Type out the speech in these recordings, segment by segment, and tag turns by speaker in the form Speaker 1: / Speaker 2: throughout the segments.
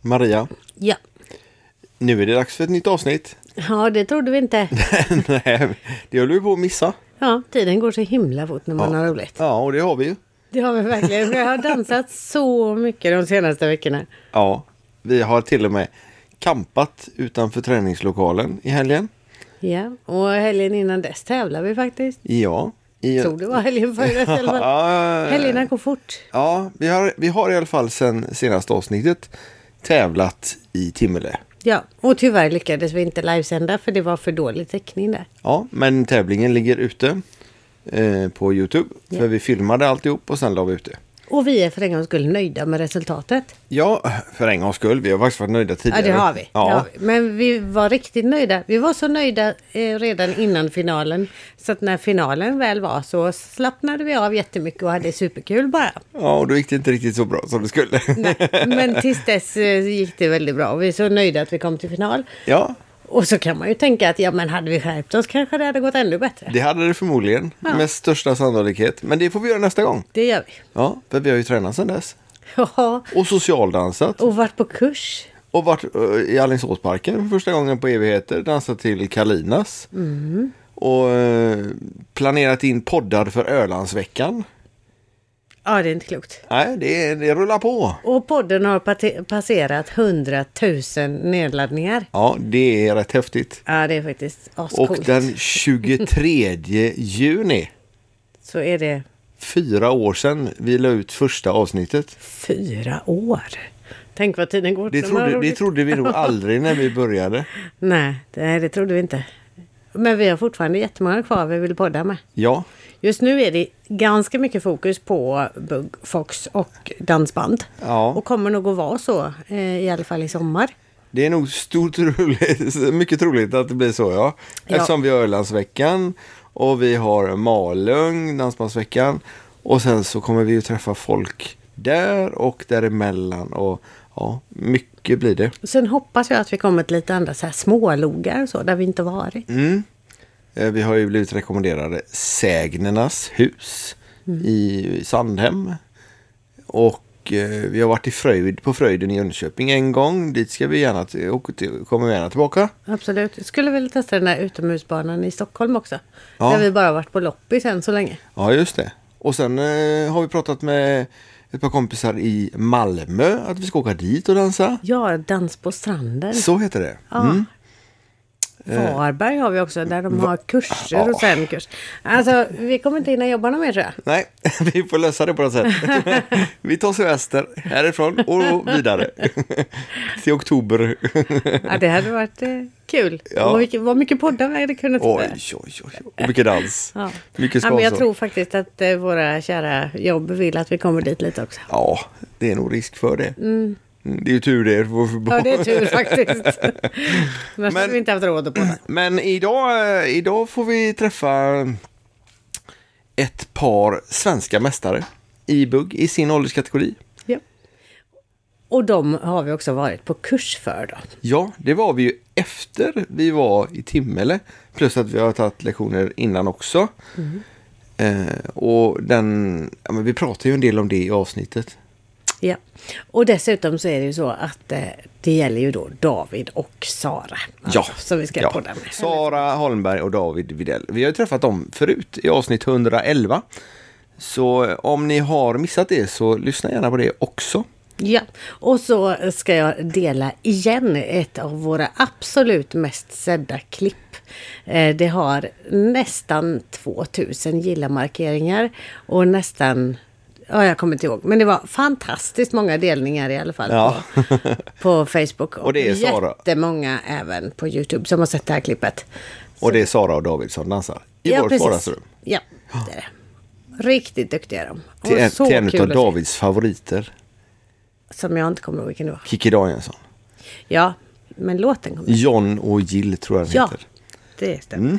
Speaker 1: Maria,
Speaker 2: Ja.
Speaker 1: nu är det dags för ett nytt avsnitt.
Speaker 2: ja, det trodde vi inte.
Speaker 1: Nej, det håller vi på att missa.
Speaker 2: Ja, tiden går så himla fort när man har roligt.
Speaker 1: Ja, och det har vi ju.
Speaker 2: Det har vi verkligen. Jag har dansat så mycket de senaste veckorna.
Speaker 1: Ja, vi har till och med kampat utanför träningslokalen i helgen.
Speaker 2: Ja, och helgen innan dess tävlar vi faktiskt.
Speaker 1: Ja, i...
Speaker 2: Tror det var helgen förra i alla fall.
Speaker 1: Ja,
Speaker 2: Helgerna går fort.
Speaker 1: Ja, vi har, vi har i alla fall sedan senaste avsnittet tävlat i Timmele.
Speaker 2: Ja, och tyvärr lyckades vi inte livesända för det var för dålig täckning där.
Speaker 1: Ja, men tävlingen ligger ute eh, på Youtube. För vi filmade alltihop och sen la vi ut det.
Speaker 2: Och vi är för en gångs skull nöjda med resultatet.
Speaker 1: Ja, för en gångs skull. Vi har faktiskt varit nöjda
Speaker 2: Ja,
Speaker 1: tidigare.
Speaker 2: det har vi. Det
Speaker 1: Ja,
Speaker 2: har vi. Men vi var riktigt nöjda. Vi var så nöjda eh, redan innan finalen. Så att när finalen väl var så slappnade vi av jättemycket och hade superkul bara.
Speaker 1: ja, och då gick det inte riktigt så bra som det skulle.
Speaker 2: Nej, men tills dess eh, gick det väldigt bra. Vi är så nöjda att vi kom till final.
Speaker 1: ja,
Speaker 2: Och så kan man ju tänka att ja, men hade vi skärpt oss kanske det hade gått ännu bättre.
Speaker 1: det hade det förmodligen. Med största sannolikhet. Men det får vi göra nästa gång.
Speaker 2: Det gör vi.
Speaker 1: Ja, för vi har ju tränat sedan dess.
Speaker 2: Ja,
Speaker 1: Och socialdansat.
Speaker 2: och varit på kurs.
Speaker 1: Och varit eh, i Alingsåsparken för första gången på evigheter. Dansat till Kalinas. Och eh, planerat in poddar för Ölandsveckan.
Speaker 2: Ja, det är inte klokt.
Speaker 1: Nej, det, det rullar på.
Speaker 2: Och podden har pate- passerat 100 000 nedladdningar.
Speaker 1: Ja, det är rätt häftigt.
Speaker 2: Ja, det är faktiskt
Speaker 1: Och
Speaker 2: ascoolt.
Speaker 1: den 23 juni,
Speaker 2: Så är det
Speaker 1: fyra år sedan vi la ut första avsnittet.
Speaker 2: fyra år. Tänk vad tiden går.
Speaker 1: Det
Speaker 2: när man har
Speaker 1: trodde, det
Speaker 2: roligt.
Speaker 1: trodde vi nog aldrig när vi började.
Speaker 2: Nej, nej, det trodde vi inte. Men vi har fortfarande jättemånga kvar vi vill podda med.
Speaker 1: Ja,
Speaker 2: Just nu är det ganska mycket fokus på bugg, fox och dansband.
Speaker 1: Ja.
Speaker 2: Och kommer nog att vara så, eh, i alla fall i sommar.
Speaker 1: det är nog stort troligt, mycket troligt att det blir så ja.
Speaker 2: Ja.
Speaker 1: Eftersom vi har Ölandsveckan och vi har Malung, Dansbandsveckan. Och sen så kommer vi ju träffa folk där och däremellan. Och ja, mycket blir det.
Speaker 2: Sen hoppas jag att vi kommer till lite andra så här smålogar och så, där vi inte varit.
Speaker 1: Eh, Vi har ju blivit rekommenderade Sägnernas hus i Sandhem. Och eh, vi har varit i Fröjd, på Fröjden i Jönköping en gång. Dit ska vi gärna till, och till, kommer vi gärna tillbaka.
Speaker 2: Absolut. Jag skulle vilja testa den där utomhusbanan i Stockholm också.
Speaker 1: Ja.
Speaker 2: Där vi bara varit på loppis än så länge.
Speaker 1: Ja, just det. Och sen eh, har vi pratat med ett par kompisar i Malmö att vi ska åka dit och dansa.
Speaker 2: Ja, dans på stranden.
Speaker 1: Så heter det. Mm.
Speaker 2: Ja. Varberg har vi också, där de har kurser
Speaker 1: Eh, Ja.
Speaker 2: och sen kurs. Alltså, vi kommer inte hinna jobba något mer tror jag.
Speaker 1: Nej, vi får lösa det på något sätt. vi tar semester härifrån och vidare. till oktober.
Speaker 2: Ja, det hade varit eh, kul.
Speaker 1: Ja.
Speaker 2: Och vilket, vad mycket poddar vi hade kunnat
Speaker 1: Oj,
Speaker 2: göra.
Speaker 1: oj, oj. oj. Och mycket dans.
Speaker 2: Ja.
Speaker 1: Mycket
Speaker 2: ja,
Speaker 1: sponsor.
Speaker 2: men
Speaker 1: Ja,
Speaker 2: jag tror faktiskt att eh, våra kära jobb vill att vi kommer dit lite också.
Speaker 1: det är nog risk för det. Mm, Det är ju tur det. Vår
Speaker 2: Ja, det är tur faktiskt. Annars hade
Speaker 1: Men-
Speaker 2: vi inte haft råd att på det.
Speaker 1: Men idag, eh, idag får vi träffa ett par svenska mästare i bugg i sin ålderskategori.
Speaker 2: Ja. Och de har vi också varit på kurs för då.
Speaker 1: Ja, det var vi ju efter vi var i Timmele. Plus att vi har tagit lektioner innan också.
Speaker 2: Mm.
Speaker 1: Eh, och den, ja, men vi pratade ju en del om det i avsnittet.
Speaker 2: Ja. Och dessutom så är det ju så att eh, det gäller ju då David och Sara. Alltså, Som vi ska
Speaker 1: ja.
Speaker 2: podda med.
Speaker 1: Sara Holmberg och David Videll. Vi har ju träffat dem förut i avsnitt 111. Så om ni har missat det så lyssna gärna på det också.
Speaker 2: Ja, och så ska jag dela igen ett av våra absolut mest sedda klipp. Eh, Det har nästan 2000 gilla-markeringar och nästan, ja jag kommer inte ihåg, men det var fantastiskt många delningar i alla fall
Speaker 1: Ja.
Speaker 2: på, på Facebook.
Speaker 1: Och det är Sara.
Speaker 2: jättemånga även på Youtube som har sett det här klippet.
Speaker 1: Och det är Sara och David som dansar i vårt vardagsrum.
Speaker 2: Ja, det är det. Riktigt duktiga de. Och
Speaker 1: Till en,
Speaker 2: så
Speaker 1: till en
Speaker 2: kul
Speaker 1: utav
Speaker 2: att se.
Speaker 1: Davids favoriter,
Speaker 2: Som jag inte kommer ihåg vilken det var.
Speaker 1: Kikki Danielsson.
Speaker 2: Ja, men låten kommer.
Speaker 1: John och Jill tror jag den
Speaker 2: Ja,
Speaker 1: heter.
Speaker 2: det stämmer.
Speaker 3: Mm.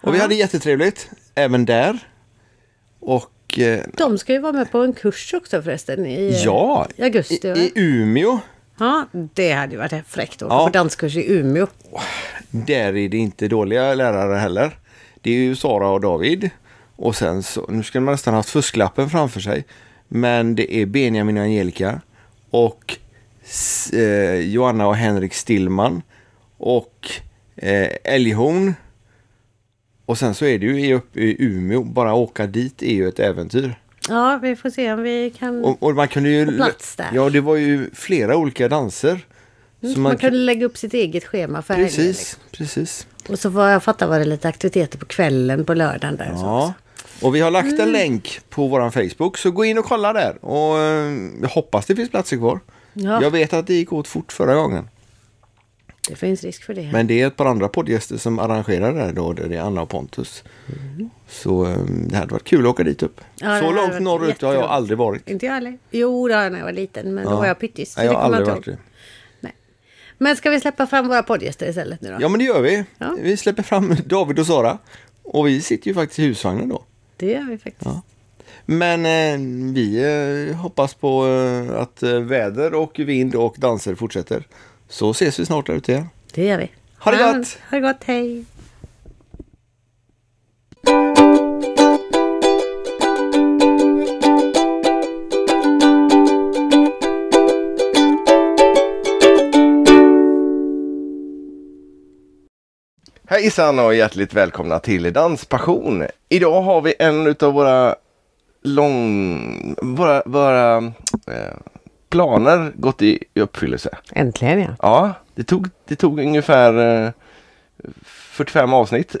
Speaker 1: Och vi hade jättetrevligt även där. Och eh,
Speaker 2: De ska ju vara med på en kurs också förresten i eh,
Speaker 1: ja,
Speaker 2: i augusti.
Speaker 1: i,
Speaker 2: va?
Speaker 1: i Umeå,
Speaker 2: Ja, det hade ju varit fräckt att åka
Speaker 1: Ja.
Speaker 2: på danskurs i Umeå.
Speaker 1: där är det inte dåliga lärare heller. Det är ju Sara och David. Och sen så, nu skulle man nästan haft fusklappen framför sig. Men det är Benjamin och Angelica. Och
Speaker 3: eh, Joanna och Henrik Stillman och eh, Älghorn. Och sen så är det ju i- uppe i Umeå. Bara åka dit är ju ett äventyr.
Speaker 4: Ja, vi får se om vi kan...
Speaker 3: Och, och man kunde ju...
Speaker 4: Mm. På plats där. Mm,
Speaker 3: Ja, det var ju flera olika danser. Så
Speaker 4: man, kan lägga upp sitt eget schema för helgen. liksom.
Speaker 3: Precis, precis.
Speaker 4: Och så var jag fattar var det lite aktiviteter på kvällen på lördagen där. och så
Speaker 3: Ja.
Speaker 4: också.
Speaker 3: Och vi har lagt
Speaker 4: Mm.
Speaker 3: en länk på vår Facebook, så gå in och kolla där. Och eh, jag hoppas det finns platser kvar.
Speaker 4: Ja.
Speaker 3: Jag vet att det gick åt fort förra gången.
Speaker 4: Det finns risk för det.
Speaker 3: Men det är ett par andra poddgäster som arrangerar det här då. Det är Anna och Pontus. Så eh, det hade varit kul att åka dit upp.
Speaker 4: Mm. Ja, det
Speaker 3: så
Speaker 4: hade
Speaker 3: långt
Speaker 4: varit
Speaker 3: norrut har jag
Speaker 4: jätteroligt.
Speaker 3: aldrig varit.
Speaker 4: Inte jag heller. Jo, det har jag när jag var liten, men då
Speaker 3: Ja.
Speaker 4: var jag pyttis. så
Speaker 3: Nej, jag
Speaker 4: det
Speaker 3: har
Speaker 4: kommer
Speaker 3: aldrig
Speaker 4: inte
Speaker 3: varit
Speaker 4: ihåg.
Speaker 3: det.
Speaker 4: Nej. Men ska vi släppa fram våra poddgäster istället nu då?
Speaker 3: Ja men det gör vi.
Speaker 4: Ja.
Speaker 3: Vi släpper fram David och Sara. Och vi sitter ju faktiskt i husvagnen då.
Speaker 4: Det gör vi faktiskt.
Speaker 3: Ja. Men eh, vi eh, hoppas på eh, att eh, väder och vind och danser fortsätter. Så ses vi snart där ute igen.
Speaker 4: Det gör vi.
Speaker 3: Ha det
Speaker 4: Ja,
Speaker 3: gott!
Speaker 4: Ha det gott, hej!
Speaker 1: Hejsan och hjärtligt välkomna till Danspassion. Idag har vi en av våra lång... Våra, våra eh, planer gått i i uppfyllelse.
Speaker 4: Äntligen ja.
Speaker 1: Ja, det tog, det tog ungefär eh, 45 avsnitt.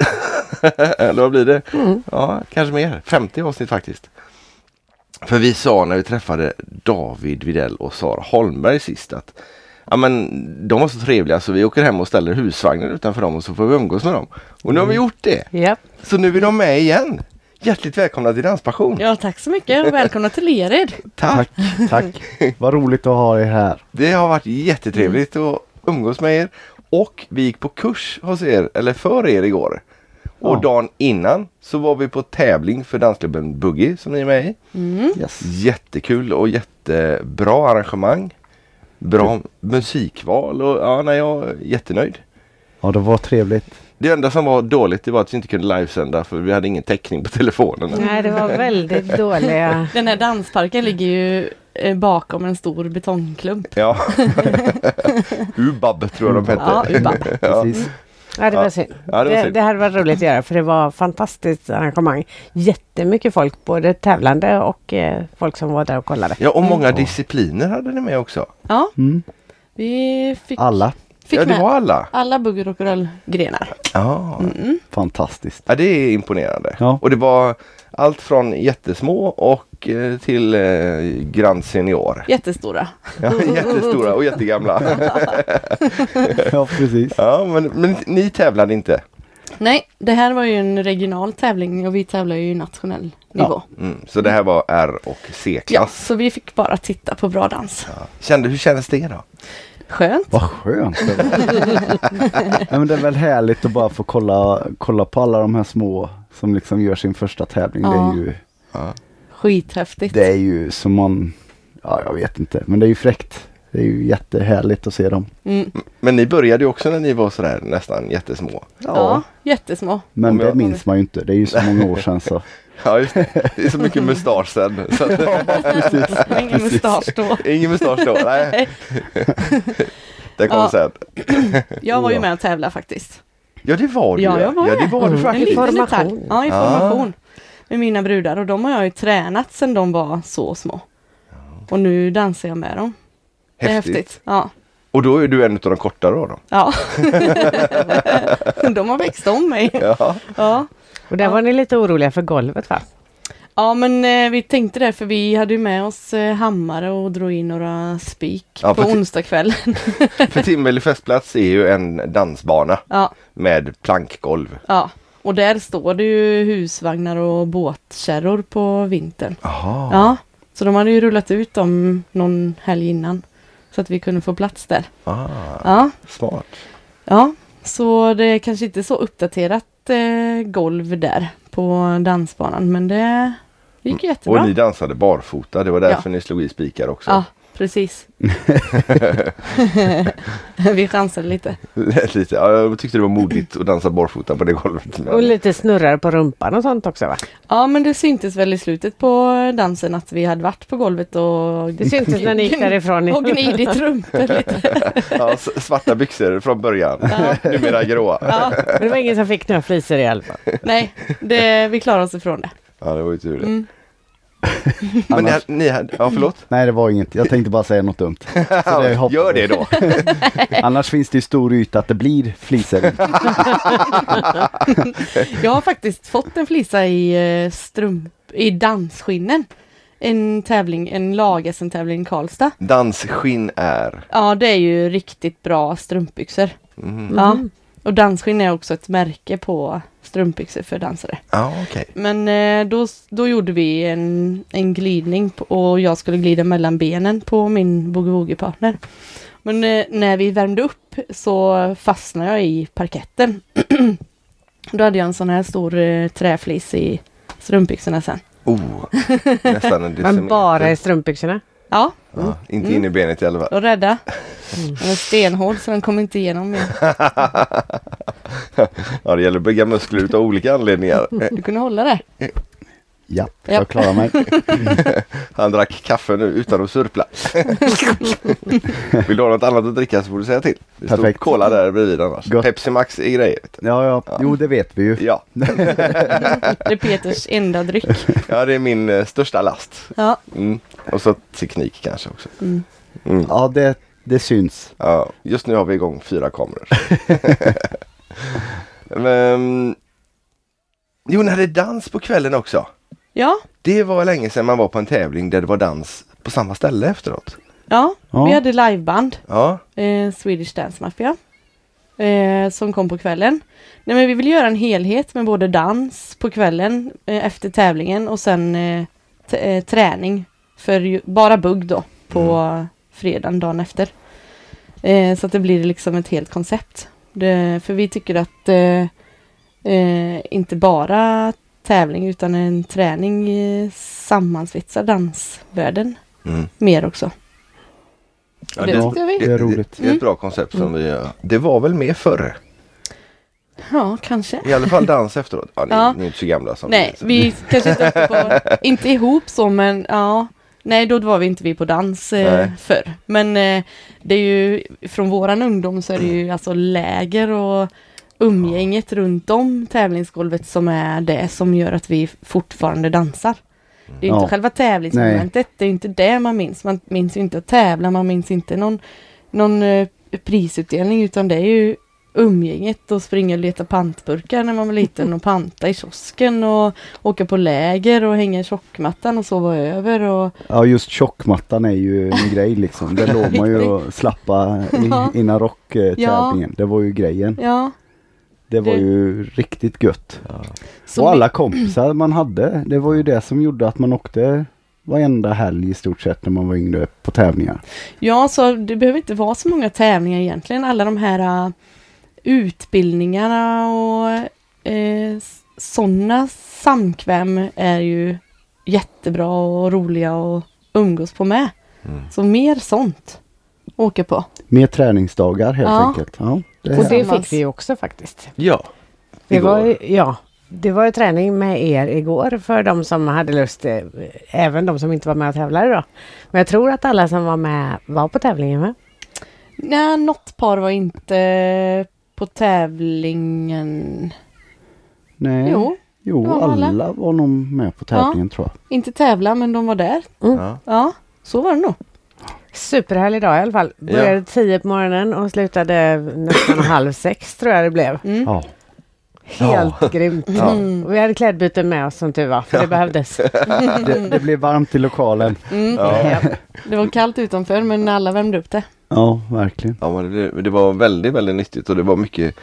Speaker 1: Eller vad blir det? Ja, kanske mer. 50 avsnitt faktiskt. För vi sa när vi träffade David Videll och Sara Holmberg sist att ja, men, de var så trevliga så vi åker hem och ställer husvagnen utanför dem och så får vi umgås med dem. Och nu har vi gjort det.
Speaker 5: Ja.
Speaker 1: Så nu är de med igen. Hjärtligt välkomna till Danspassion.
Speaker 5: ja, tack så mycket och välkomna till Lerid.
Speaker 1: Tack.
Speaker 6: Tack. Vad roligt att ha er här.
Speaker 1: Det har varit jättetrevligt
Speaker 5: Mm.
Speaker 1: att umgås med er. Och vi gick på kurs hos er, eller för er igår. Och
Speaker 6: Ja.
Speaker 1: dagen innan så var vi på tävling för dansklubben Boogie som ni är med i.
Speaker 5: Mm.
Speaker 6: Yes.
Speaker 1: Jättekul och jättebra arrangemang. Bra
Speaker 5: Mm.
Speaker 1: musikval och ja, nej, jag är jättenöjd.
Speaker 6: Ja, det var trevligt.
Speaker 1: Det enda som var dåligt det var att vi inte kunde livesända för vi hade ingen täckning på telefonerna.
Speaker 4: Nej, det var väldigt dåliga...
Speaker 5: Den här dansparken ligger ju eh, bakom en stor betongklump.
Speaker 1: Ja. Ubab tror jag de hette.
Speaker 5: Ja, Ubab.
Speaker 6: Mm. Precis.
Speaker 2: Ja, det
Speaker 1: Ja.
Speaker 2: var synd.
Speaker 1: Ja, det var
Speaker 2: det,
Speaker 1: synd.
Speaker 2: det hade varit roligt att göra för det var fantastiskt arrangemang. Jättemycket folk, både tävlande och eh, folk som var där och kollade.
Speaker 1: Ja, och
Speaker 5: Mm.
Speaker 1: många discipliner hade ni med också.
Speaker 5: Ja,
Speaker 6: Mm.
Speaker 5: vi fick,
Speaker 6: Alla.
Speaker 5: fick
Speaker 1: ja, det
Speaker 5: med Mm.
Speaker 1: var alla. Ah.
Speaker 5: alla bugger och korallgrenar.
Speaker 1: Ja.
Speaker 6: Fantastiskt.
Speaker 1: Ja, det är imponerande.
Speaker 6: Ja.
Speaker 1: Och det var allt från jättesmå och eh, till eh, grand senior.
Speaker 5: Jättestora.
Speaker 1: Ja, jättestora och jättegamla.
Speaker 6: Ja, precis.
Speaker 1: Ja, men, men ni tävlade inte.
Speaker 5: Nej, det här var ju en regional tävling och vi tävlar ju i nationell nivå.
Speaker 1: Mm, så det här var R och
Speaker 5: Ja,
Speaker 1: C-klass.
Speaker 5: så vi fick bara titta på bra dans.
Speaker 1: Kände, hur kändes det då?
Speaker 5: Skönt.
Speaker 6: Vad skönt det var. Nej, men det är väl härligt att bara få kolla, kolla på alla de här små som liksom gör sin första tävling. Det,
Speaker 5: Ja.
Speaker 6: är ju,
Speaker 5: Skithäftigt.
Speaker 6: det är ju som man... Ja, jag vet inte. Men det är ju fräckt. Det är ju jättehärligt att se dem.
Speaker 5: Mm.
Speaker 1: Men ni började ju också när ni var sådär nästan jättesmå.
Speaker 5: Ja. jättesmå.
Speaker 6: Men
Speaker 1: Om jag-
Speaker 6: det minns man ju inte. Det är ju så många år sedan så.
Speaker 1: Ja, just det. Det är så mycket mustasch sen. Så att,
Speaker 5: Ingen mustasch då.
Speaker 1: ingen mustasch då. Nej. Det kom
Speaker 5: Ja.
Speaker 1: sen.
Speaker 5: Jag var ju med och tävlade faktiskt.
Speaker 1: Ja, det var du.
Speaker 5: Ja, jag var
Speaker 1: ja det
Speaker 5: det. Mm.
Speaker 1: var du
Speaker 5: En liten
Speaker 1: faktiskt.
Speaker 5: detalj.
Speaker 2: Information.
Speaker 5: Ja, information. Med mina brudar och de har jag ju tränat sedan de var så små. Och nu dansar jag med dem. Det är
Speaker 1: Häftigt.
Speaker 5: häftigt. Ja.
Speaker 1: Och då är du en av de kortare av dem.
Speaker 5: ja. de har växt om mig.
Speaker 1: Ja.
Speaker 5: Ja.
Speaker 2: Och där var ni lite oroliga för golvet va?
Speaker 5: ja, men eh, vi tänkte det för vi hade ju med oss eh, hammare och drog in några spik
Speaker 1: Ja,
Speaker 5: på
Speaker 1: för-
Speaker 5: onsdagskväll.
Speaker 1: För Timbele festplats är ju en dansbana
Speaker 5: ja,
Speaker 1: med plankgolv.
Speaker 5: ja. Och där står det ju husvagnar och båtkärror på vintern.
Speaker 1: Aha.
Speaker 5: Ja, så de hade ju rullat ut dem någon helg innan. Så att vi kunde få plats där.
Speaker 1: Ah,
Speaker 5: Ja,
Speaker 1: smart.
Speaker 5: ja. så det är kanske inte så uppdaterat eh, golv där på dansbanan. Men det gick
Speaker 1: Och
Speaker 5: jättebra.
Speaker 1: ni dansade barfota, det var därför ni slog i spikar också.
Speaker 5: ja, Precis. Vi chansade lite.
Speaker 1: Lite. Ja, jag tyckte det var modigt att dansa barfota på det golvet.
Speaker 2: Och lite snurrar på rumpan och sånt också va?
Speaker 5: Ja, men det syntes väl i slutet på dansen att vi hade varit på golvet och,
Speaker 2: Det syntes när ni gick därifrån.
Speaker 5: och gnidit rumpor lite.
Speaker 1: Ja, s- svarta byxor från början.
Speaker 5: Ja.
Speaker 1: Numera gråa.
Speaker 5: Ja,
Speaker 2: Men det var ingen som fick några flisor i alla fall.
Speaker 5: nej, det, vi klarar oss ifrån det.
Speaker 1: Ja, det var ju tur det.
Speaker 5: Mm.
Speaker 1: Men ni,
Speaker 6: Annars-
Speaker 1: hade- ni hade, ja förlåt?
Speaker 6: Nej det var inget, jag tänkte bara säga något dumt. Så det hoppar
Speaker 1: Gör
Speaker 6: vi.
Speaker 1: det då.
Speaker 6: Annars finns det ju stor yta att det blir flisor.
Speaker 5: Jag har faktiskt fått en flisa i eh, strump, i dansskinnen. En tävling, en lag-SM-tävling i Karlstad.
Speaker 1: Dansskinn är.
Speaker 5: Ja, det är ju riktigt bra strumpbyxor.
Speaker 1: Mm.
Speaker 5: Ja. Och dansskinn är också ett märke på strumpbyxor för dansare.
Speaker 1: Ja, okej.
Speaker 5: Men eh, då, då gjorde vi en, en glidning på, och jag skulle glida mellan benen på min boogie-woogie-partner. Men eh, när vi värmde upp så fastnade jag i parketten. då hade jag en sån här stor eh, träflis i strumpbyxorna sen.
Speaker 1: Oh, nästan en decimeter.
Speaker 2: Men bara i strumpbyxorna.
Speaker 5: Ja,
Speaker 1: ja, Inte in i benet i alla fall.
Speaker 5: och rädda. Den var stenhård så den kom inte igenom mer.
Speaker 1: Ja, det gäller att bygga muskler utav olika anledningar.
Speaker 5: Du kunde hålla det.
Speaker 6: Ja,
Speaker 5: Ja.
Speaker 6: jag klarar mig.
Speaker 1: Han drack kaffe nu utan att surpla. Vill du ha något annat att dricka så får du säga till. Det stod
Speaker 6: Perfekt.
Speaker 1: cola där bredvid annars.
Speaker 6: Gott.
Speaker 1: Pepsi Max är grejer. vet du.
Speaker 6: Ja, ja, jo det vet vi ju.
Speaker 1: Ja.
Speaker 5: Det är Peters enda dryck.
Speaker 1: ja, det är min eh, största last.
Speaker 5: Ja,
Speaker 1: Mm. Och så teknik kanske också. Mm.
Speaker 6: Ja det, det syns.
Speaker 1: Ja, just nu har vi igång fyra kameror. Men, jo, ni hade dans på kvällen också.
Speaker 5: ja,
Speaker 1: Det var länge sedan man var på en tävling där det var dans på samma ställe efteråt.
Speaker 5: ja.
Speaker 6: Ja.
Speaker 5: Vi hade liveband.
Speaker 1: Ja,
Speaker 5: eh, Swedish Dance Mafia. Eh, som kom på kvällen. Nej men vi vill göra en helhet med både dans på kvällen eh, efter tävlingen och sen eh, t- eh, träning för ju, bara bugg då på fredagen dagen efter. Eh, så att det blir liksom ett helt koncept. Det, för vi tycker att eh, eh, inte bara tävling utan en träning eh, sammansvetsar dansvärlden
Speaker 1: Mm.
Speaker 5: mer också.
Speaker 1: Ja,
Speaker 5: det tyckte vi.
Speaker 6: Det är roligt.
Speaker 1: Det, det är ett bra koncept som vi gör. Det var väl med förr?
Speaker 5: Ja, kanske.
Speaker 1: I alla fall dans efteråt. Ja, ni,
Speaker 5: Ja.
Speaker 1: ni är inte så gamla som
Speaker 5: Nej,
Speaker 1: vi.
Speaker 5: vi kanske inte åkte på, inte ihop så men ja. Nej, då var vi inte vi på dans eh,
Speaker 1: Nej.
Speaker 5: förr. Men eh, det är ju, från våran ungdom så är det ju alltså läger och umgänget runt om tävlingsgolvet som är det som gör att vi fortfarande dansar. Det är ju inte
Speaker 6: Ja.
Speaker 5: själva tävlingsmomentet, det liksom. är ju inte det man minns. Man minns ju inte att tävla, man minns inte någon, någon eh, prisutdelning utan det är ju umgänget och springa och leta pantburkar när man var liten och panta i kiosken och åka på läger och hänga i tjockmattan och sova över och
Speaker 6: Ja just tjockmattan är ju en grej liksom. Där låg man ju och slappa
Speaker 5: Ja.
Speaker 6: i, innan rocktävlingen. Det
Speaker 5: Ja.
Speaker 6: var ju grejen.
Speaker 5: ja.
Speaker 6: Det var
Speaker 5: Det-
Speaker 6: ju riktigt gött.
Speaker 5: Så
Speaker 6: och alla kompisar man hade. Det var ju det som gjorde att man åkte varenda helg i stort sett när man var yngre på tävlingar.
Speaker 5: vi- ja, så det behöver inte vara så många tävlingar egentligen. Alla de här äh, utbildningarna och uh, sådana samkväm är ju jättebra och roliga att umgås på med. Så mer sånt åka på.
Speaker 6: Mer träningsdagar helt
Speaker 5: Ja.
Speaker 6: enkelt. Ja, det
Speaker 2: Och det
Speaker 5: Tillsammans.
Speaker 2: fick vi ju också faktiskt.
Speaker 1: Ja.
Speaker 2: Det var,
Speaker 1: Igår.
Speaker 2: ju- ja, det var ju träning med er igår för de som hade lust, eh, även de som inte var med och tävlade då. Men jag tror att alla som var med var på tävlingen va?
Speaker 5: Nej, något par var inte på tävlingen.
Speaker 6: Nej.
Speaker 5: Jo,
Speaker 6: Jo,
Speaker 5: Det var de
Speaker 6: alla.
Speaker 5: alla.
Speaker 6: var nog med på tävlingen tror jag.
Speaker 5: inte tävla men de var där.
Speaker 1: Ja.
Speaker 5: Ja, så var det nog.
Speaker 2: Superhärlig dag i alla fall. Började tio på morgonen och slutade nästan halv sex tror jag det blev.
Speaker 5: Mm.
Speaker 6: Ja.
Speaker 2: Helt grymt. Och vi hade klädbyte med oss som tur var, för det behövdes.
Speaker 6: Det, det blev varmt i lokalen.
Speaker 5: Ja. Det var kallt utanför men alla värmde upp det.
Speaker 6: Ja, verkligen.
Speaker 1: Ja, men det, blev- det var väldigt, väldigt nyttigt och det var mycket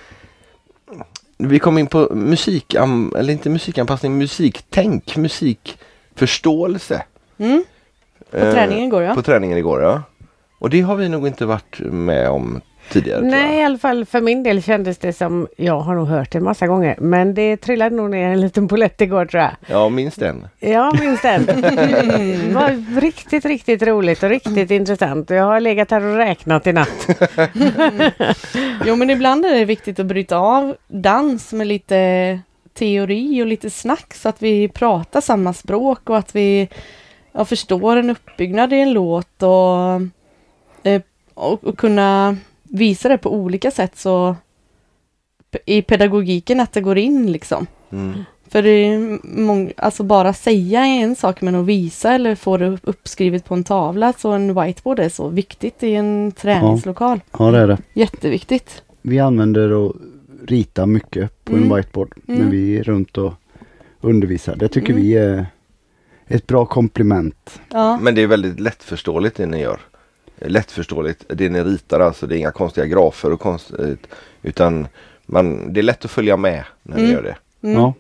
Speaker 1: Vi kom in på musik, eller inte musikanpassning, musiktänk, musikförståelse.
Speaker 5: Mm.
Speaker 1: Eh,
Speaker 5: På träningen går jag.
Speaker 1: På träningen igår ja. Och det har vi nog inte varit med om tidigare. tror jag.
Speaker 2: Nej, i alla fall för min del kändes det som, jag har nog hört det massa gånger, men det trillade nog ner en liten polett igår tror jag.
Speaker 1: Ja, minst en.
Speaker 2: Ja, minns den. Det var riktigt, riktigt roligt och riktigt intressant. Jag har legat här och räknat i natt.
Speaker 5: Jo men ibland är det viktigt att bryta av dans med lite teori och lite snack så att vi pratar samma språk och att vi ja, förstår en uppbyggnad i en låt och, eh, och, och kunna visa det på olika sätt så p- i pedagogiken att det går in liksom.
Speaker 1: Mm.
Speaker 5: För det är ju mång- alltså bara säga är en sak men att visa eller få det upp- uppskrivet på en tavla så en whiteboard är så viktigt i en träningslokal.
Speaker 6: Ja det är det.
Speaker 5: Jätteviktigt.
Speaker 6: Vi använder att rita mycket på
Speaker 5: Mm.
Speaker 6: en whiteboard när
Speaker 5: Mm.
Speaker 6: vi är runt och undervisar. Det tycker
Speaker 5: Mm.
Speaker 6: vi är ett bra komplement.
Speaker 5: Ja.
Speaker 1: Men det är väldigt lättförståeligt det ni gör. Lättförståeligt, det ni ritar alltså. Det är inga konstiga grafer och konstigt. Utan man, det är lätt att följa med när ni
Speaker 5: Mm.
Speaker 1: gör det.
Speaker 5: Mm.
Speaker 6: Ja.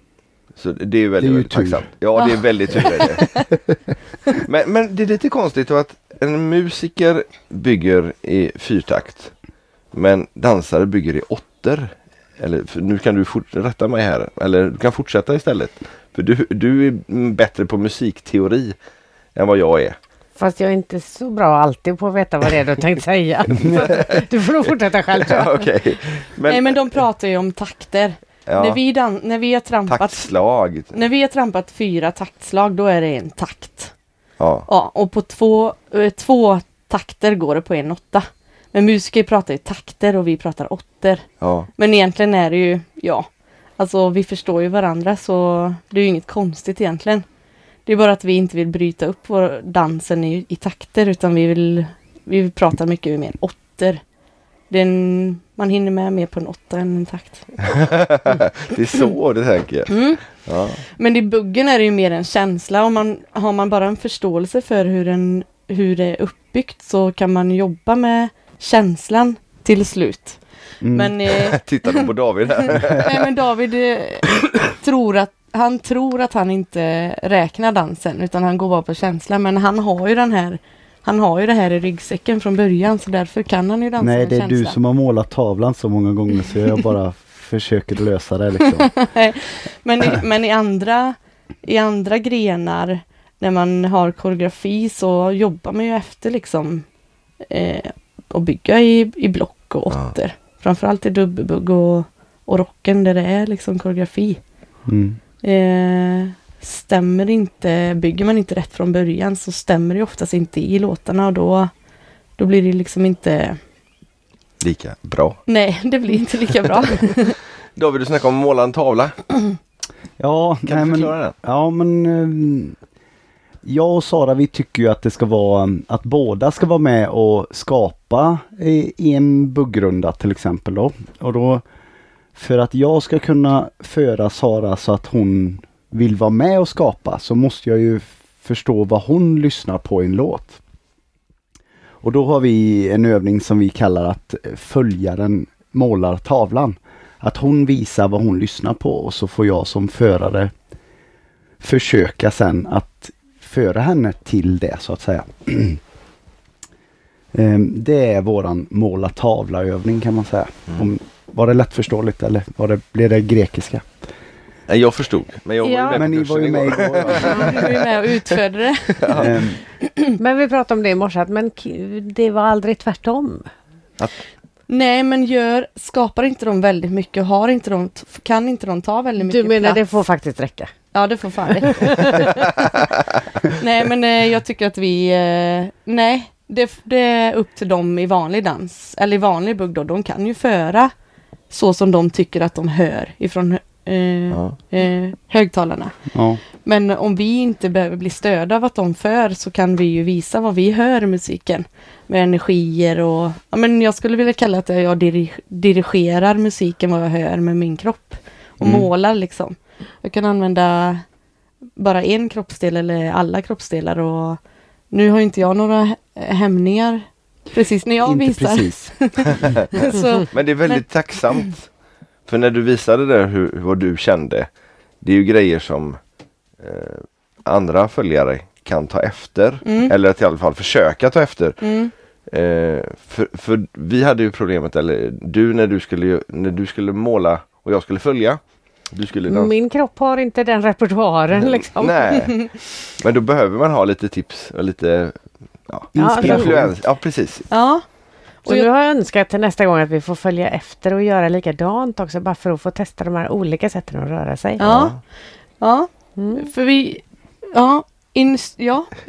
Speaker 1: Så det är ju väldigt,
Speaker 6: Det är ju
Speaker 1: väldigt
Speaker 6: tur.
Speaker 1: tacksamt. Ja, det är väldigt tur. Är det. men, men det är lite konstigt då att en musiker bygger i fyrtakt. Men dansare bygger i åttor. Eller för nu kan du fort, rätta mig här. Eller du kan fortsätta istället. För du, du är mm, bättre på musikteori än vad jag är.
Speaker 2: Fast jag är inte så bra alltid på att veta vad det är du tänkt säga. Du får nog fortsätta själv. tror jag.
Speaker 1: Ja, Okej.
Speaker 5: Nej men de pratar ju om takter. När,
Speaker 1: ja,
Speaker 5: vi dan- när vi har trampat
Speaker 1: taktslag.
Speaker 5: När vi har trampat fyra taktslag då är det en takt.
Speaker 1: Ja.
Speaker 5: Ja, och på två, eh, två takter går det på en åtta. Men musiker pratar ju takter och vi pratar åttor.
Speaker 1: Ja.
Speaker 5: Men egentligen är det ju, ja, alltså vi förstår ju varandra så det är ju inget konstigt egentligen. Det är bara att vi inte vill bryta upp vår dansen i, i takter utan vi vill, vi vill prata mycket mer åttor. Det är en- man hinner med mer på en åtta än en takt.
Speaker 1: det är så det tänker jag.
Speaker 5: Mm.
Speaker 1: Ja.
Speaker 5: Men i buggen är det ju mer en känsla och man, har man bara en förståelse för hur, en, hur det är uppbyggt så kan man jobba med känslan till slut.
Speaker 6: Mm.
Speaker 5: Men, eh,
Speaker 1: Tittar du på David här?
Speaker 5: nej, men David eh, tror att han tror att han inte räknar dansen utan han går bara på känsla men han har ju den här han har ju det här i ryggsäcken från början så därför kan han ju dansa
Speaker 6: Nej
Speaker 5: med
Speaker 6: det är
Speaker 5: känslan.
Speaker 6: du som har målat tavlan så många gånger så jag bara försöker lösa det liksom.
Speaker 5: Men i, men i, andra, i andra grenar, när man har koreografi så jobbar man ju efter liksom eh, och bygga i, i block och
Speaker 1: Ja.
Speaker 5: åttor. Framförallt i dubbelbugg och, och rocken där det är liksom koreografi.
Speaker 6: Mm.
Speaker 5: Eh, stämmer inte, bygger man inte rätt från början så stämmer det oftast inte i låtarna och då, då blir det liksom inte,
Speaker 1: Lika bra.
Speaker 5: nej det blir inte lika bra.
Speaker 1: David, du snackade om att måla en tavla.
Speaker 6: Ja,
Speaker 1: Kan
Speaker 6: nej,
Speaker 1: du
Speaker 6: men,
Speaker 1: förklara den?
Speaker 6: Ja men ehm, Jag och Sara vi tycker ju att det ska vara mm, att båda ska vara med och skapa i, i en buggrunda till exempel då. Och då För att jag ska kunna föra Sara så att hon vill vara med och skapa så måste jag ju f- förstå vad hon lyssnar på i en låt. Och då har vi en övning som vi kallar att eh, följaren målar tavlan. Att hon visar vad hon lyssnar på och så får jag som förare försöka sen att föra henne till det så att säga. Ehm, det är våran måla tavla-övning kan man säga. Om, var det lättförståeligt eller var det, blev det grekiska?
Speaker 1: Nej, jag förstod. Men jag var ju
Speaker 2: Ja.
Speaker 1: med på
Speaker 6: Men ni var
Speaker 1: kursen
Speaker 6: ju med
Speaker 1: igår.
Speaker 6: igår. va?
Speaker 5: Du är med och utförde det.
Speaker 6: Ehm,
Speaker 2: Men vi pratade om det i morse, att men k- det var aldrig tvärtom.
Speaker 5: Nej men gör, skapar inte de väldigt mycket och har inte de, t- kan inte de ta väldigt
Speaker 2: Du
Speaker 5: mycket
Speaker 2: menar det
Speaker 5: plats?
Speaker 2: får faktiskt räcka?
Speaker 5: Ja det får fan räcka. Nej men eh, jag tycker att vi, eh, nej det, f- det är upp till dem i vanlig dans, eller i vanlig bugg då, de kan ju föra så som de tycker att de hör ifrån eh,
Speaker 1: Ja.
Speaker 5: eh, högtalarna.
Speaker 6: ja.
Speaker 5: Men om vi inte behöver bli störda av att de för så kan vi ju visa vad vi hör i musiken. Med energier och, ja men jag skulle vilja kalla att jag diri- dirigerar musiken vad jag hör med min kropp. Och
Speaker 6: Mm.
Speaker 5: målar liksom. Jag kan använda bara en kroppsdel eller alla kroppsdelar och nu har ju inte jag några hä- hämningar precis när jag
Speaker 6: inte
Speaker 5: visar.
Speaker 6: precis.
Speaker 5: så,
Speaker 1: Men det är väldigt tacksamt. För när du visade där hur, vad du kände. Det är ju grejer som eh, andra följare kan ta efter.
Speaker 5: Mm.
Speaker 1: Eller att i alla fall försöka ta efter.
Speaker 5: mm,
Speaker 1: Eh, för, för vi hade ju problemet, eller du när du skulle, ju- när du skulle måla och jag skulle följa. Du skulle dansa.
Speaker 2: Min kropp har inte den repertoaren liksom.
Speaker 1: Nej, men då behöver man ha lite tips och lite ja,
Speaker 6: Inspiration.
Speaker 1: influens. Ja, precis.
Speaker 5: Ja.
Speaker 2: Så nu har jag önskat till nästa gång att vi får följa efter och göra likadant också bara för att få testa de här olika sätten att röra sig. Mm.
Speaker 5: Ja. Ja. För vi... Ja. Ins- ja,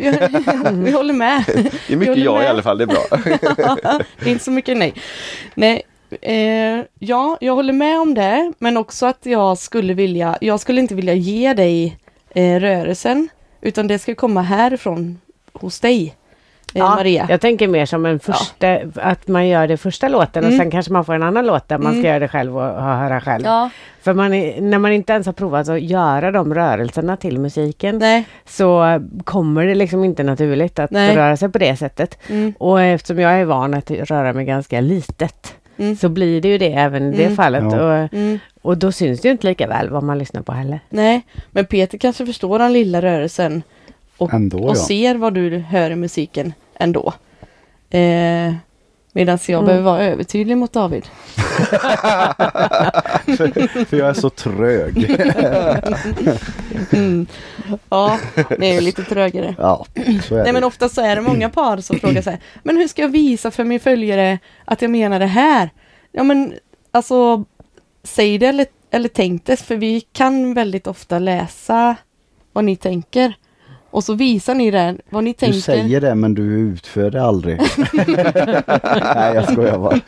Speaker 5: vi håller med.
Speaker 1: Det är mycket
Speaker 5: håller
Speaker 1: jag i
Speaker 5: med.
Speaker 1: alla fall, det är bra.
Speaker 5: det är inte så mycket nej. Nej, eh, ja, jag håller med om det, men också att jag skulle vilja, jag skulle inte vilja ge dig eh, rörelsen, utan det ska komma härifrån hos dig, eh,
Speaker 2: Ja,
Speaker 5: Maria.
Speaker 2: Jag tänker mer som en första, att man gör det första låten och
Speaker 5: Mm.
Speaker 2: sen kanske man får en annan låt där man ska
Speaker 5: Mm.
Speaker 2: göra det själv och hö- höra själv.
Speaker 5: Ja,
Speaker 2: För man är, när man inte ens har provat att göra de rörelserna till musiken
Speaker 5: nej,
Speaker 2: så kommer det liksom inte naturligt att
Speaker 5: Nej.
Speaker 2: röra sig på det sättet.
Speaker 5: mm,
Speaker 2: Och eftersom jag är van att röra mig ganska litet
Speaker 5: mm,
Speaker 2: så blir det ju det även i det
Speaker 5: Mm.
Speaker 2: fallet.
Speaker 6: Ja.
Speaker 2: Och,
Speaker 5: mm,
Speaker 2: och då syns det ju inte lika väl vad man lyssnar på heller.
Speaker 5: nej. Men Peter kanske förstår den lilla rörelsen och,
Speaker 6: Ändå,
Speaker 5: och
Speaker 6: ja.
Speaker 5: ser vad du hör i musiken ändå. Eh, Medan jag
Speaker 2: Mm.
Speaker 5: behöver vara övertydlig mot David.
Speaker 6: för, för jag är så trög.
Speaker 5: Mm. Ja, det är ju lite trögare.
Speaker 6: Ja, så är
Speaker 5: Nej men
Speaker 6: det.
Speaker 5: ofta så är det många par som frågar så här, men hur ska jag visa för min följare att jag menar det här? Ja men alltså, säg det eller, eller tänk det, för vi kan väldigt ofta läsa vad ni tänker. Och så visar ni det, vad ni
Speaker 6: Du
Speaker 5: tänker.
Speaker 6: säger det men du utför det aldrig. Nej jag skojar bara.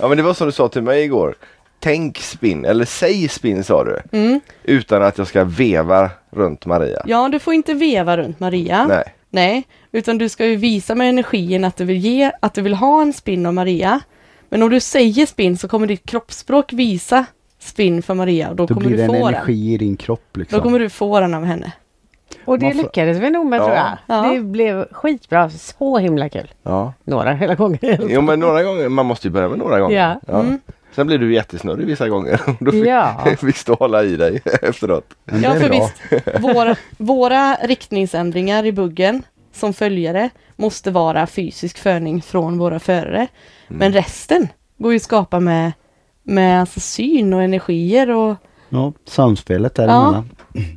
Speaker 1: Ja, men det var som du sa till mig igår. Tänk spinn, eller säg spinn sa du.
Speaker 5: Mm.
Speaker 1: Utan att jag ska veva runt Maria.
Speaker 5: Ja, du får inte veva runt Maria.
Speaker 1: Nej.
Speaker 5: Nej, utan du ska ju visa med energin att du vill ge, att du vill ha en spinn av Maria. Men om du säger spinn så kommer ditt kroppsspråk visa spinn för Maria och då,
Speaker 6: Då
Speaker 5: kommer
Speaker 6: blir det
Speaker 5: du
Speaker 6: en
Speaker 5: få
Speaker 6: energi
Speaker 5: den.
Speaker 6: i din kropp
Speaker 5: Då kommer
Speaker 6: liksom.
Speaker 5: du få den av henne.
Speaker 2: Och det
Speaker 6: Man får-
Speaker 2: lyckades vi nog med
Speaker 1: Ja.
Speaker 2: tror jag.
Speaker 5: Ja.
Speaker 2: Det blev skitbra, så himla kul.
Speaker 1: Ja.
Speaker 2: Några hela gången.
Speaker 1: Jo men några gånger, man måste ju börja med några gånger.
Speaker 2: Ja.
Speaker 1: Sen blir du jättesnurrig vissa gånger. Då fick,
Speaker 2: Ja.
Speaker 1: fick du hålla i dig efteråt.
Speaker 6: Men det
Speaker 5: Ja,
Speaker 6: är
Speaker 5: för
Speaker 6: bra.
Speaker 5: visst. Våra, våra riktningsändringar i buggen som följare måste vara fysisk förning från våra förare.
Speaker 6: Mm.
Speaker 5: Men resten går ju att skapa med, med alltså syn och energier och
Speaker 6: Ja, samspelet däremellan.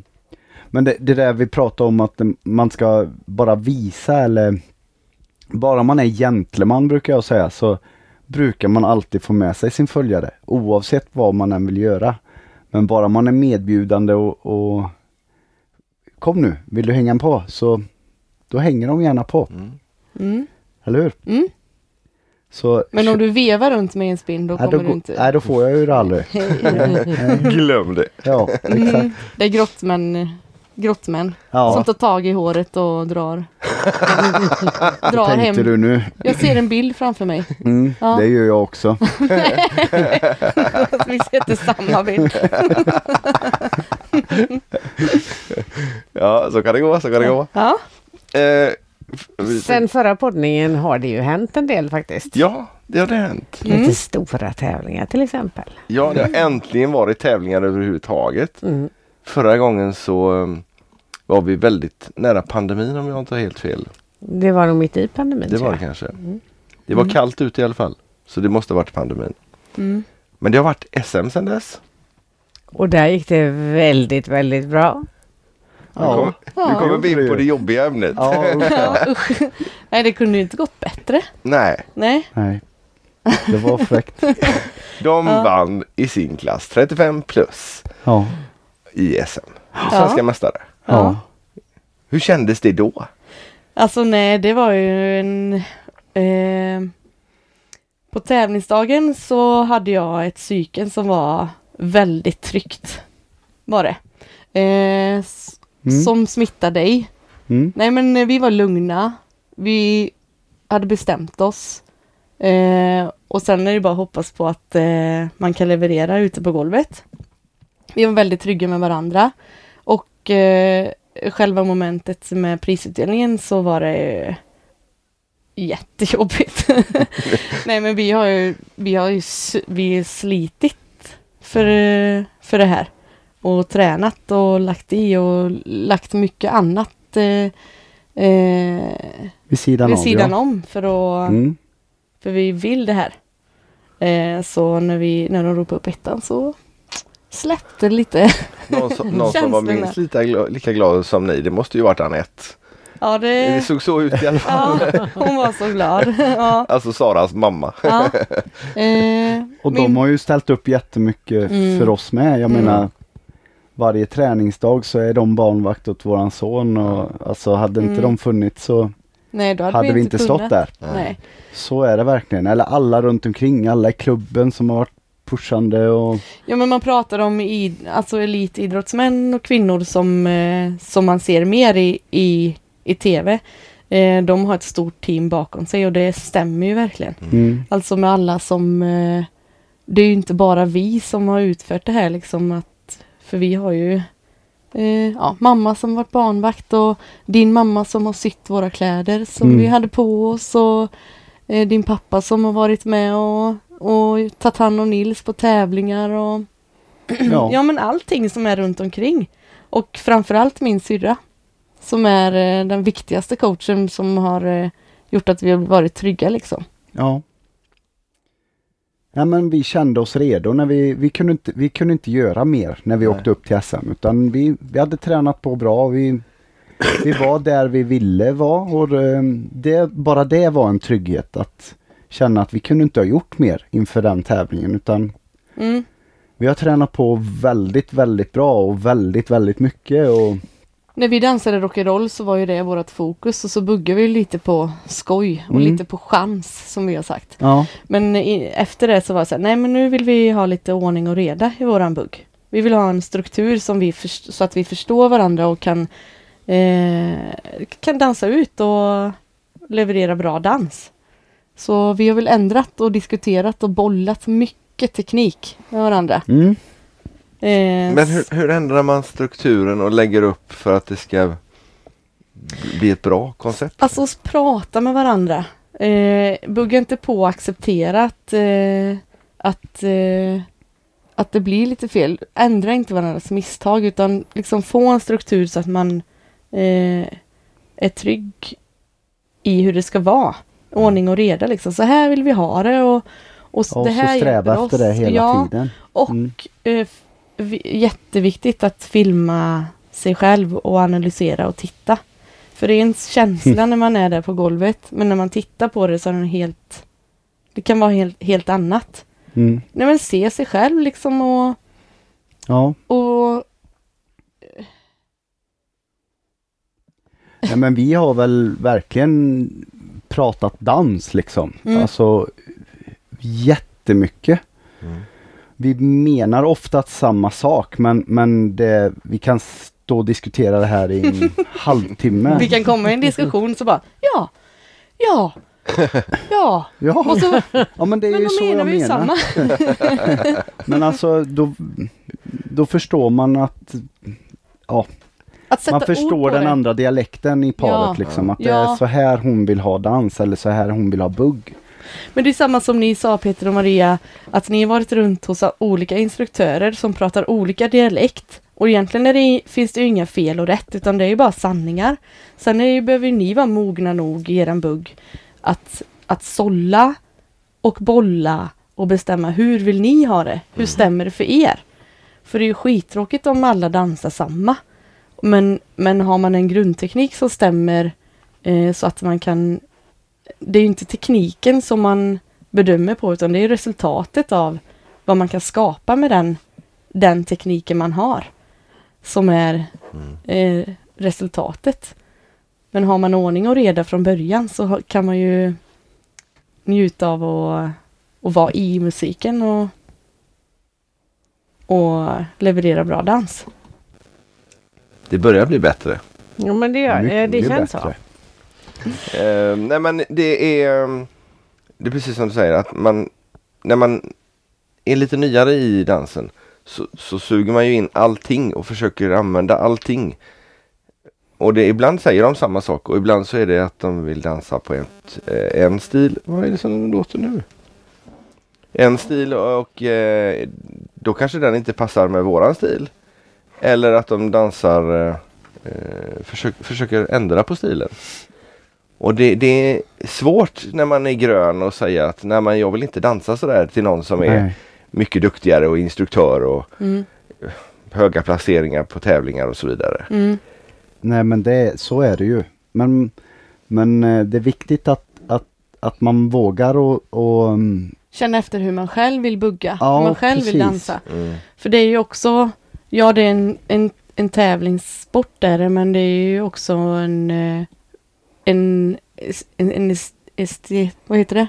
Speaker 6: Men det, det där vi pratade om att man ska bara visa eller bara man är gentleman brukar jag säga så brukar man alltid få med sig sin följare oavsett vad man än vill göra. Men bara man är medbjudande och, och kom nu, vill du hänga på? Så då hänger de gärna på,
Speaker 5: mm.
Speaker 6: eller hur?
Speaker 5: Mm.
Speaker 6: Så,
Speaker 5: Men om du vevar runt med en spinn då
Speaker 6: nej,
Speaker 5: kommer
Speaker 6: då,
Speaker 5: du
Speaker 6: går-
Speaker 5: inte...
Speaker 6: nej, då får jag ju det aldrig.
Speaker 1: Glöm det.
Speaker 6: Ja, exakt.
Speaker 5: Mm. Det är grottmän, grottmän som
Speaker 6: Ja,
Speaker 5: tar tag i håret och drar.
Speaker 6: vad
Speaker 5: drar
Speaker 6: tänkte
Speaker 5: hem.
Speaker 6: du nu?
Speaker 5: Jag ser en bild framför mig.
Speaker 6: Mm,
Speaker 5: Ja.
Speaker 6: Det gör jag också.
Speaker 5: Vi ser inte samma bild.
Speaker 1: Ja, så kan det gå, så kan det gå.
Speaker 5: Ja.
Speaker 1: Eh, f- vi-
Speaker 2: Sen förra poddningen har det ju hänt en del faktiskt.
Speaker 1: Ja, det har det hänt.
Speaker 2: Lite stora tävlingar till exempel.
Speaker 1: Ja, det har äntligen varit tävlingar överhuvudtaget.
Speaker 2: Mm.
Speaker 1: Förra gången så eh, var vi väldigt nära pandemin om jag inte har helt fel.
Speaker 2: Det var nog mitt i pandemin.
Speaker 1: Det
Speaker 2: tror
Speaker 1: var det
Speaker 2: jag.
Speaker 1: kanske. Det var kallt ute i alla fall. Så det måste ha varit pandemin.
Speaker 5: Mm.
Speaker 1: Men det har varit SM sedan dess.
Speaker 2: Och där gick det väldigt, väldigt bra.
Speaker 1: Nu
Speaker 6: Ja.
Speaker 1: kommer, nu kommer vi in på
Speaker 6: Ja.
Speaker 1: det jobbiga ämnet.
Speaker 6: Ja, usch, ja.
Speaker 5: Ja, usch. Nej, det kunde ju inte gått bättre.
Speaker 1: Nej,
Speaker 5: Nej.
Speaker 6: Nej. Det var fräckt.
Speaker 1: de vann i sin klass 35 plus
Speaker 6: Ja.
Speaker 1: i SM. Svenska mästare.
Speaker 6: Ja.
Speaker 1: Hur kändes det då?
Speaker 5: Alltså nej, det var ju en... Eh, på tävlingsdagen så hade jag ett psyken som var väldigt tryggt. Var det. Eh, s-
Speaker 6: Mm.
Speaker 5: Som smittade dig.
Speaker 6: Mm.
Speaker 5: Nej men eh, vi var lugna. Vi hade bestämt oss. Eh, och sen är det bara att hoppas på att eh, man kan leverera ute på golvet. Vi var väldigt trygga med varandra. Och eh, själva momentet med prisutdelningen så var det eh, jättejobbigt. Nej men vi har ju, vi har ju s- vi har slitit för, eh, för det här. Och tränat och lagt i och lagt mycket annat eh, Eh,
Speaker 6: Vid sidan
Speaker 5: vid
Speaker 6: av.
Speaker 5: sidan
Speaker 6: ja.
Speaker 5: om för att
Speaker 6: Mm.
Speaker 5: För vi vill det här. Eh, så när, vi, när de ropade upp ettan så släppte det lite.
Speaker 1: Någon som, någon som var
Speaker 5: Känslorna.
Speaker 1: minst lika, gla- lika glad som ni, det måste ju varit Anette.
Speaker 5: Ja,
Speaker 1: Det
Speaker 5: det,
Speaker 1: såg så ut i alla fall.
Speaker 5: ja hon var så glad. Ja,
Speaker 1: Alltså Saras mamma.
Speaker 5: ja. Eh,
Speaker 6: Och
Speaker 5: min-
Speaker 6: de har ju ställt upp jättemycket
Speaker 5: Mm.
Speaker 6: för oss med. Jag
Speaker 5: Mm.
Speaker 6: menar varje träningsdag så är de barnvakt åt våran son och alltså hade inte
Speaker 5: Mm.
Speaker 6: de funnits så
Speaker 5: nej, då hade,
Speaker 6: hade, vi inte
Speaker 5: kunnat.
Speaker 6: stått där.
Speaker 5: Nej.
Speaker 6: Så är det verkligen. Eller alla runt omkring, alla i klubben som har varit pushande och
Speaker 5: Ja, men man pratar om i, alltså elitidrottsmän och kvinnor som, eh, som man ser mer i, i, i tv. Eh, de har ett stort team bakom sig och det stämmer ju verkligen.
Speaker 6: mm.
Speaker 5: Alltså med alla som eh, Det är ju inte bara vi som har utfört det här liksom att För vi har ju eh, ja, Mamma som varit barnvakt och Din mamma som har sytt våra kläder som
Speaker 6: Mm.
Speaker 5: vi hade på oss och eh, Din pappa som har varit med och, och tagit hand om Nils på tävlingar och
Speaker 6: ja.
Speaker 5: Ja men allting som är runt omkring. Och framförallt min syrra. Som är eh, den viktigaste coachen som har eh, gjort att vi har varit trygga liksom.
Speaker 6: Ja. Nej, men vi kände oss redo. När vi, vi, kunde inte, vi kunde inte göra mer när vi
Speaker 1: Nej.
Speaker 6: åkte upp till SM. Utan vi, vi hade tränat på bra. Vi, vi var där vi ville vara. Och eh, det, bara det var en trygghet att känna att vi kunde inte ha gjort mer inför den tävlingen. Utan
Speaker 5: Mm.
Speaker 6: vi har tränat på väldigt, väldigt bra och väldigt, väldigt mycket. Och,
Speaker 5: När vi dansade rock'n'roll så var ju det vårt fokus och så buggade vi lite på skoj och
Speaker 6: Mm.
Speaker 5: lite på chans som vi har sagt.
Speaker 6: ja,
Speaker 5: Men i, efter det så var det så här, nej men nu vill vi ha lite ordning och reda i våran bugg. Vi vill ha en struktur som vi först- så att vi förstår varandra och kan, eh, kan dansa ut och leverera bra dans. Så vi har väl ändrat och diskuterat och bollat mycket teknik med varandra.
Speaker 6: mm,
Speaker 5: Eh,
Speaker 1: Men hur, hur ändrar man strukturen och lägger upp för att det ska bli ett bra koncept?
Speaker 5: Alltså s- prata med varandra. Eh, bugga inte på och acceptera att, eh, att, eh, att det blir lite fel. Ändra inte varandras misstag utan liksom få en struktur så att man eh, är trygg i hur det ska vara. Ordning och reda liksom. Så här vill vi ha det och, och s-
Speaker 6: och
Speaker 5: det
Speaker 6: så
Speaker 5: här
Speaker 6: sträva
Speaker 5: hjälper
Speaker 6: efter
Speaker 5: oss.
Speaker 6: det hela
Speaker 5: ja,
Speaker 6: tiden.
Speaker 5: Och
Speaker 6: Mm.
Speaker 5: eh, f- vi- jätteviktigt att filma sig själv och analysera och titta. För det är en känsla när man är där på golvet, men när man tittar på det så är den helt... Det kan vara helt, helt annat.
Speaker 6: Mm,
Speaker 5: När man ser sig själv liksom och...
Speaker 6: ja.
Speaker 5: och
Speaker 6: Ja, men vi har väl verkligen pratat dans liksom.
Speaker 5: Mm.
Speaker 6: Alltså jättemycket.
Speaker 3: Mm.
Speaker 6: Vi menar ofta att samma sak men, men det, vi kan stå och diskutera det här i en halvtimme.
Speaker 5: vi kan komma i en diskussion så bara, ja, ja, ja.
Speaker 6: Ja,
Speaker 5: Och så,
Speaker 6: ja, men det är
Speaker 5: men
Speaker 6: ju så
Speaker 5: då
Speaker 6: jag
Speaker 5: menar vi ju
Speaker 6: menar.
Speaker 5: samma.
Speaker 6: Men alltså då, då förstår man att
Speaker 5: Att sätta
Speaker 6: man
Speaker 5: ord
Speaker 6: förstår
Speaker 5: på
Speaker 6: den
Speaker 5: det.
Speaker 6: andra dialekten i paret
Speaker 5: Ja.
Speaker 6: liksom. Att det
Speaker 5: Ja.
Speaker 6: är så här hon vill ha dans eller så här hon vill ha bugg.
Speaker 5: Men det är samma som ni sa Peter och Maria, att ni har varit runt hos olika instruktörer som pratar olika dialekt. Och egentligen är det, finns det ju inga fel och rätt, utan det är ju bara sanningar. Sen är det, ju- behöver ju ni vara mogna nog i eran bugg att, att sålla och bolla och bestämma hur vill ni ha det? Hur stämmer det för er? För det är ju skittråkigt om alla dansar samma. Men, men har man en grundteknik som stämmer eh, så att man kan det är ju inte tekniken som man bedömer på utan det är ju resultatet av vad man kan skapa med den, den tekniken man har. Som är
Speaker 6: Mm.
Speaker 5: eh, resultatet. Men har man ordning och reda från början så ha- kan man ju njuta av att och vara i musiken och, och leverera bra dans.
Speaker 1: Det börjar bli bättre.
Speaker 2: Jo, men det, gör, eh, det
Speaker 6: Mycket
Speaker 2: känns så.
Speaker 6: bättre.
Speaker 1: Eh, nej men det är eh, Det är precis som du säger att man När man är lite nyare i dansen så, så suger man ju in allting och försöker använda allting. Och det, ibland säger de samma sak och ibland så är det att de vill dansa på ett, eh, en stil. Vad är det som låter nu? En stil och eh, då kanske den inte passar med våran stil. Eller att de dansar eh, eh, försök, försöker ändra på stilen. Och det, det är svårt när man är grön och säga att nej men jag vill inte dansa sådär till någon som är
Speaker 6: Nej.
Speaker 1: mycket duktigare och instruktör och
Speaker 5: Mm.
Speaker 1: höga placeringar på tävlingar och så vidare.
Speaker 5: Mm.
Speaker 6: Nej men det, så är det ju. Men, men eh, det är viktigt att, att, att man vågar och, och mm,
Speaker 5: Känna efter hur man själv vill bugga,
Speaker 6: Ja,
Speaker 5: hur man själv vill
Speaker 6: precis.
Speaker 5: dansa.
Speaker 1: Mm.
Speaker 5: För det är ju också, ja det är en, en, en tävlingssport är det, men det är ju också en, eh, en, en, en est- estet, vad heter det?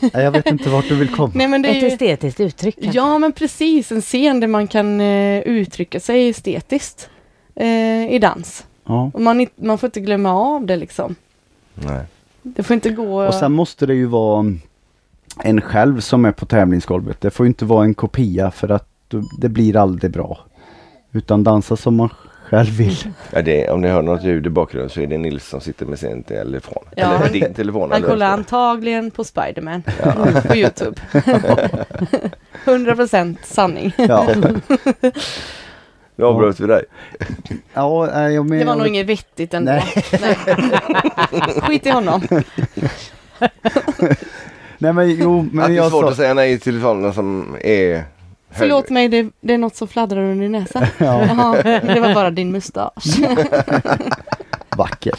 Speaker 6: nej, jag vet inte vart du vill komma.
Speaker 5: Nej men det
Speaker 2: Ett
Speaker 5: är ju,
Speaker 2: estetiskt uttryck. kanske.
Speaker 5: ja men precis, en scen där man kan eh, uttrycka sig estetiskt eh, i dans.
Speaker 6: Ja.
Speaker 5: Och man, inte- man får inte glömma av det liksom.
Speaker 1: Nej.
Speaker 5: Det får inte gå...
Speaker 6: Och sen måste det ju vara mm, en själv som är på tävlingsgolvet. Det får ju inte vara en kopia för att du- det blir aldrig bra. Utan dansa som man själv vill.
Speaker 1: Ja, det, om ni hör något ljud i bakgrunden så är det Nils som sitter med sin telefon.
Speaker 5: Ja,
Speaker 1: eller
Speaker 5: han-
Speaker 1: din telefon.
Speaker 5: Han
Speaker 1: eller vad
Speaker 5: kollar
Speaker 1: det
Speaker 5: antagligen på Spiderman på Youtube. 100% sanning.
Speaker 6: Ja,
Speaker 1: står. Nu avbröt vi dig.
Speaker 6: ja nej, jag menar...
Speaker 5: Det var nog inget vettigt ändå.
Speaker 6: Nej.
Speaker 5: Nej. Skit i honom.
Speaker 6: Nej men jo,
Speaker 1: att
Speaker 6: men
Speaker 1: det är
Speaker 6: jag
Speaker 1: svårt
Speaker 6: sa...
Speaker 1: att säga nej till sådana som är hög-
Speaker 5: Förlåt mig, det, det är något som fladdrar under din näsa.
Speaker 6: Ja.
Speaker 5: Jaha, det var bara din mustasch.
Speaker 6: Vacker.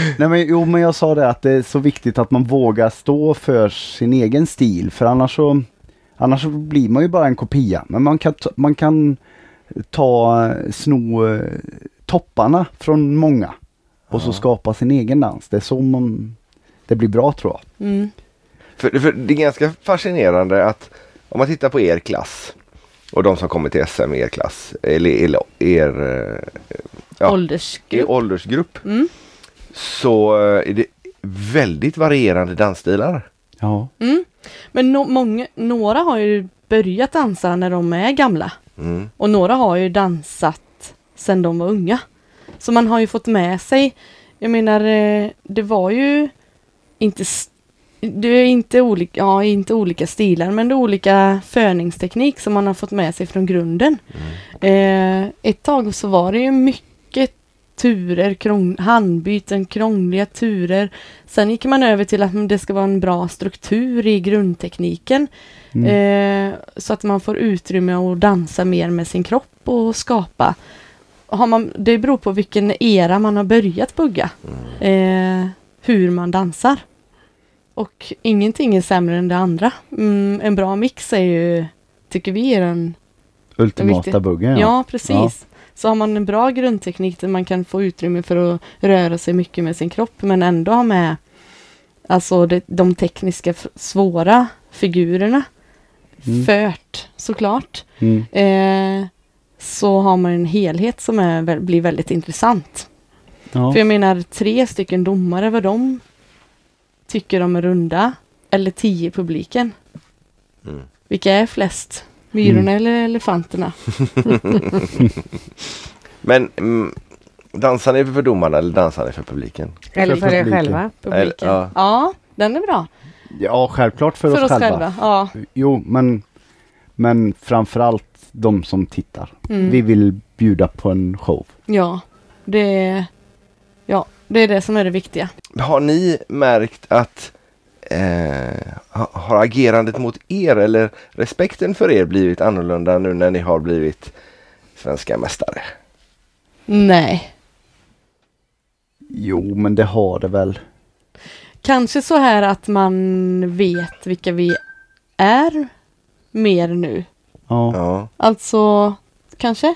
Speaker 6: Nej men jo, men jag sa det att det är så viktigt att man vågar stå för sin egen stil för annars så Annars så blir man ju bara en kopia. Men man kan, ta- man kan ta, sno eh, topparna från många och så skapa sin egen dans. Det är så man, det blir bra tror jag.
Speaker 5: Mm.
Speaker 1: För, för det är ganska fascinerande att om man tittar på er klass och de som kommer till SM i er klass eller, eller er, eh, Ja. er
Speaker 5: Åldersgrupp.
Speaker 1: åldersgrupp
Speaker 5: Mm.
Speaker 1: så eh, är det väldigt varierande dansstilar.
Speaker 6: Ja.
Speaker 5: Mm. Men no, många, några har ju börjat dansa när de är gamla.
Speaker 1: Mm.
Speaker 5: Och några har ju dansat sedan de var unga. Så man har ju fått med sig, jag menar eh, det var ju inte, s- det är inte olika, ja inte olika stilar men det är olika föningsteknik som man har fått med sig från grunden. Eh, ett tag så var det ju mycket turer, krång, handbyten, krångliga turer. Sen gick man över till att mm, det ska vara en bra struktur i grundtekniken.
Speaker 6: Mm.
Speaker 5: Eh, så att man får utrymme att dansa mer med sin kropp och skapa. Har man, det beror på vilken era man har börjat bugga. Eh, hur man dansar. Och ingenting är sämre än det andra. Mm, en bra mix är ju, tycker vi är den
Speaker 6: Ultimata
Speaker 5: Viktigt.
Speaker 6: buggen
Speaker 5: Ja,
Speaker 6: ja.
Speaker 5: precis.
Speaker 6: Ja.
Speaker 5: Så har man en bra grundteknik där man kan få utrymme för att röra sig mycket med sin kropp men ändå ha med alltså det, de tekniska f- svåra figurerna
Speaker 6: Mm.
Speaker 5: fört såklart.
Speaker 6: Mm.
Speaker 5: Eh, så har man en helhet som är, vä- blir väldigt intressant.
Speaker 6: Ja.
Speaker 5: För jag menar tre stycken domare, vad de tycker de är runda eller tio i publiken.
Speaker 1: Mm.
Speaker 5: Vilka är flest?
Speaker 6: Mm.
Speaker 5: Myrorna eller elefanterna?
Speaker 1: Men mm, dansar ni för domarna eller dansar ni för publiken?
Speaker 2: Eller för er
Speaker 6: Publiken.
Speaker 2: själva.
Speaker 5: Publiken.
Speaker 1: Eller, ja.
Speaker 5: ja. den är bra.
Speaker 6: ja, självklart för,
Speaker 5: För, oss själva. Ja.
Speaker 6: Jo, men, men framförallt de som tittar.
Speaker 5: Mm.
Speaker 6: Vi vill bjuda på en show.
Speaker 5: ja, det ja, det är det som är det viktiga.
Speaker 1: Har ni märkt att eh, ha- har agerandet mot er eller respekten för er blivit annorlunda nu när ni har blivit svenska mästare?
Speaker 5: Nej,
Speaker 6: Jo, men det har det väl.
Speaker 5: kanske så här att man vet vilka vi är mer nu.
Speaker 6: Ja.
Speaker 1: Ja.
Speaker 5: Alltså, kanske?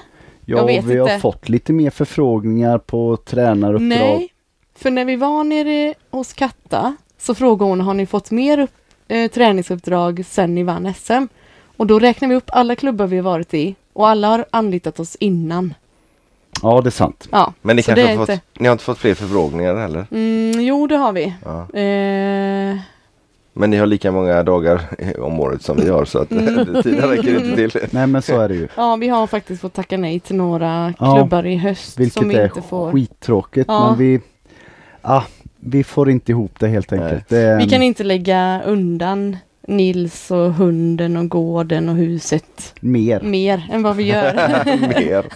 Speaker 6: Ja,
Speaker 5: Jag vet
Speaker 6: vi har
Speaker 5: inte.
Speaker 6: fått lite mer förfrågningar på tränaruppdrag.
Speaker 5: Nej, för när vi var nere hos Katta så frågade hon, har ni fått mer upp, eh, träningsuppdrag sen ni vann SM? Och då räknar vi upp alla klubbar vi har varit i och alla har anlitat oss innan.
Speaker 6: Ja, det är sant.
Speaker 5: Ja,
Speaker 1: Men ni,
Speaker 5: så det
Speaker 1: kanske
Speaker 5: är
Speaker 1: har fått,
Speaker 5: inte...
Speaker 1: ni har inte fått fler förfrågningar heller?
Speaker 5: Mm, jo, det har vi.
Speaker 1: Ja.
Speaker 5: Eh,
Speaker 1: Men ni har lika många dagar eh, om året som vi har så att
Speaker 5: Mm.
Speaker 1: tiden räcker inte till.
Speaker 6: Nej, men så är det ju.
Speaker 5: ja, vi har faktiskt fått tacka nej till några
Speaker 6: Ja,
Speaker 5: klubbar i höst
Speaker 6: Vilket
Speaker 5: som
Speaker 6: är
Speaker 5: inte får.
Speaker 6: skittråkigt.
Speaker 5: Ja.
Speaker 6: Men vi, ah, vi får inte ihop det helt enkelt. Det,
Speaker 5: Vi kan inte lägga undan Nils och hunden och gården och huset
Speaker 6: Mer.
Speaker 5: mer än vad vi gör.
Speaker 1: Mer.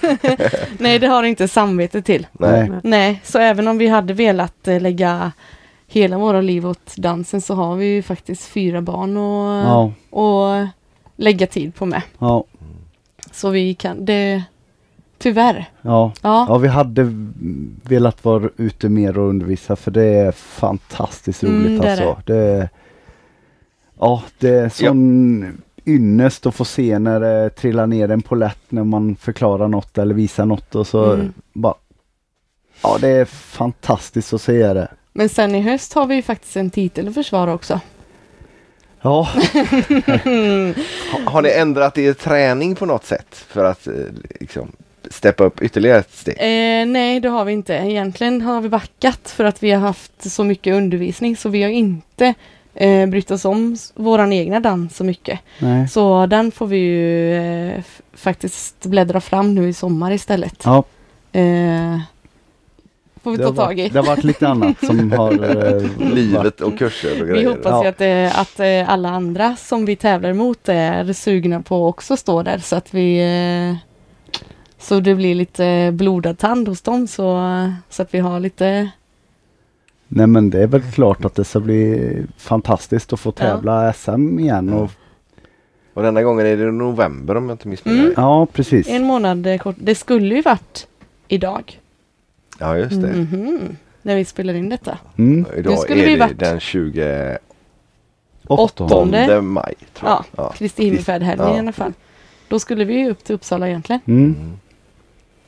Speaker 5: Nej, det har inte samvetet till.
Speaker 1: Nej.
Speaker 5: Nej, så även om vi hade velat eh, lägga hela våra liv åt dansen så har vi ju faktiskt fyra barn och,
Speaker 6: Ja,
Speaker 5: och lägga tid på med.
Speaker 6: ja,
Speaker 5: Så vi kan, det tyvärr.
Speaker 6: ja.
Speaker 5: Ja,
Speaker 6: Ja, vi hade mm, velat vara ute mer och undervisa för det är fantastiskt
Speaker 5: Mm,
Speaker 6: roligt
Speaker 5: det är
Speaker 6: alltså. Det, ja, det är sån ynnest att få se när det trillar ner en polett när man förklarar något eller visar något och så
Speaker 5: Mm.
Speaker 6: bara Ja, det är fantastiskt att se det.
Speaker 5: men sen i höst har vi ju faktiskt en titel att försvara också. Mm.
Speaker 6: Ja,
Speaker 1: Ha- Har ni ändrat er träning på något sätt för att eh, liksom, steppa upp ytterligare ett steg?
Speaker 5: Eh, nej, det har vi inte. Egentligen har vi backat för att vi har haft så mycket undervisning så vi har inte eh, brytt oss om s- våran egna dans så mycket.
Speaker 6: nej.
Speaker 5: Så den får vi ju eh, f- faktiskt bläddra fram nu i sommar istället.
Speaker 6: Ja,
Speaker 5: Eh, får vi
Speaker 6: det,
Speaker 5: ta
Speaker 6: har
Speaker 5: tag i.
Speaker 6: varit, det har varit lite annat som har eh, varit-
Speaker 1: Livet och kurser och
Speaker 5: Vi
Speaker 1: grejer.
Speaker 5: hoppas ju att, eh, att eh, alla andra som vi tävlar emot är sugna på att också stå där så att vi eh, så det blir lite eh, blodad tand hos dem så, så att vi har lite
Speaker 6: Nej men det är väl klart att det ska bli fantastiskt att få tävla SM igen. Och,
Speaker 1: Och denna gången är det november om jag inte missminner
Speaker 5: Mm.
Speaker 1: mig.
Speaker 6: ja, precis.
Speaker 5: en månad eh, kort. Det skulle ju varit idag.
Speaker 1: Ja just det. Mm.
Speaker 5: Mhm. När vi spelar in detta.
Speaker 6: Mm.
Speaker 1: Och Idag
Speaker 5: skulle
Speaker 1: är
Speaker 5: vi
Speaker 1: det
Speaker 5: varit-
Speaker 1: den 28
Speaker 5: Åttonde.
Speaker 1: maj. Tror jag.
Speaker 5: Ja,
Speaker 1: Ja.
Speaker 5: Kristi himmelfärdhelgen
Speaker 1: Ja.
Speaker 5: i alla fall. Då skulle vi ju upp till Uppsala egentligen.
Speaker 6: Mm.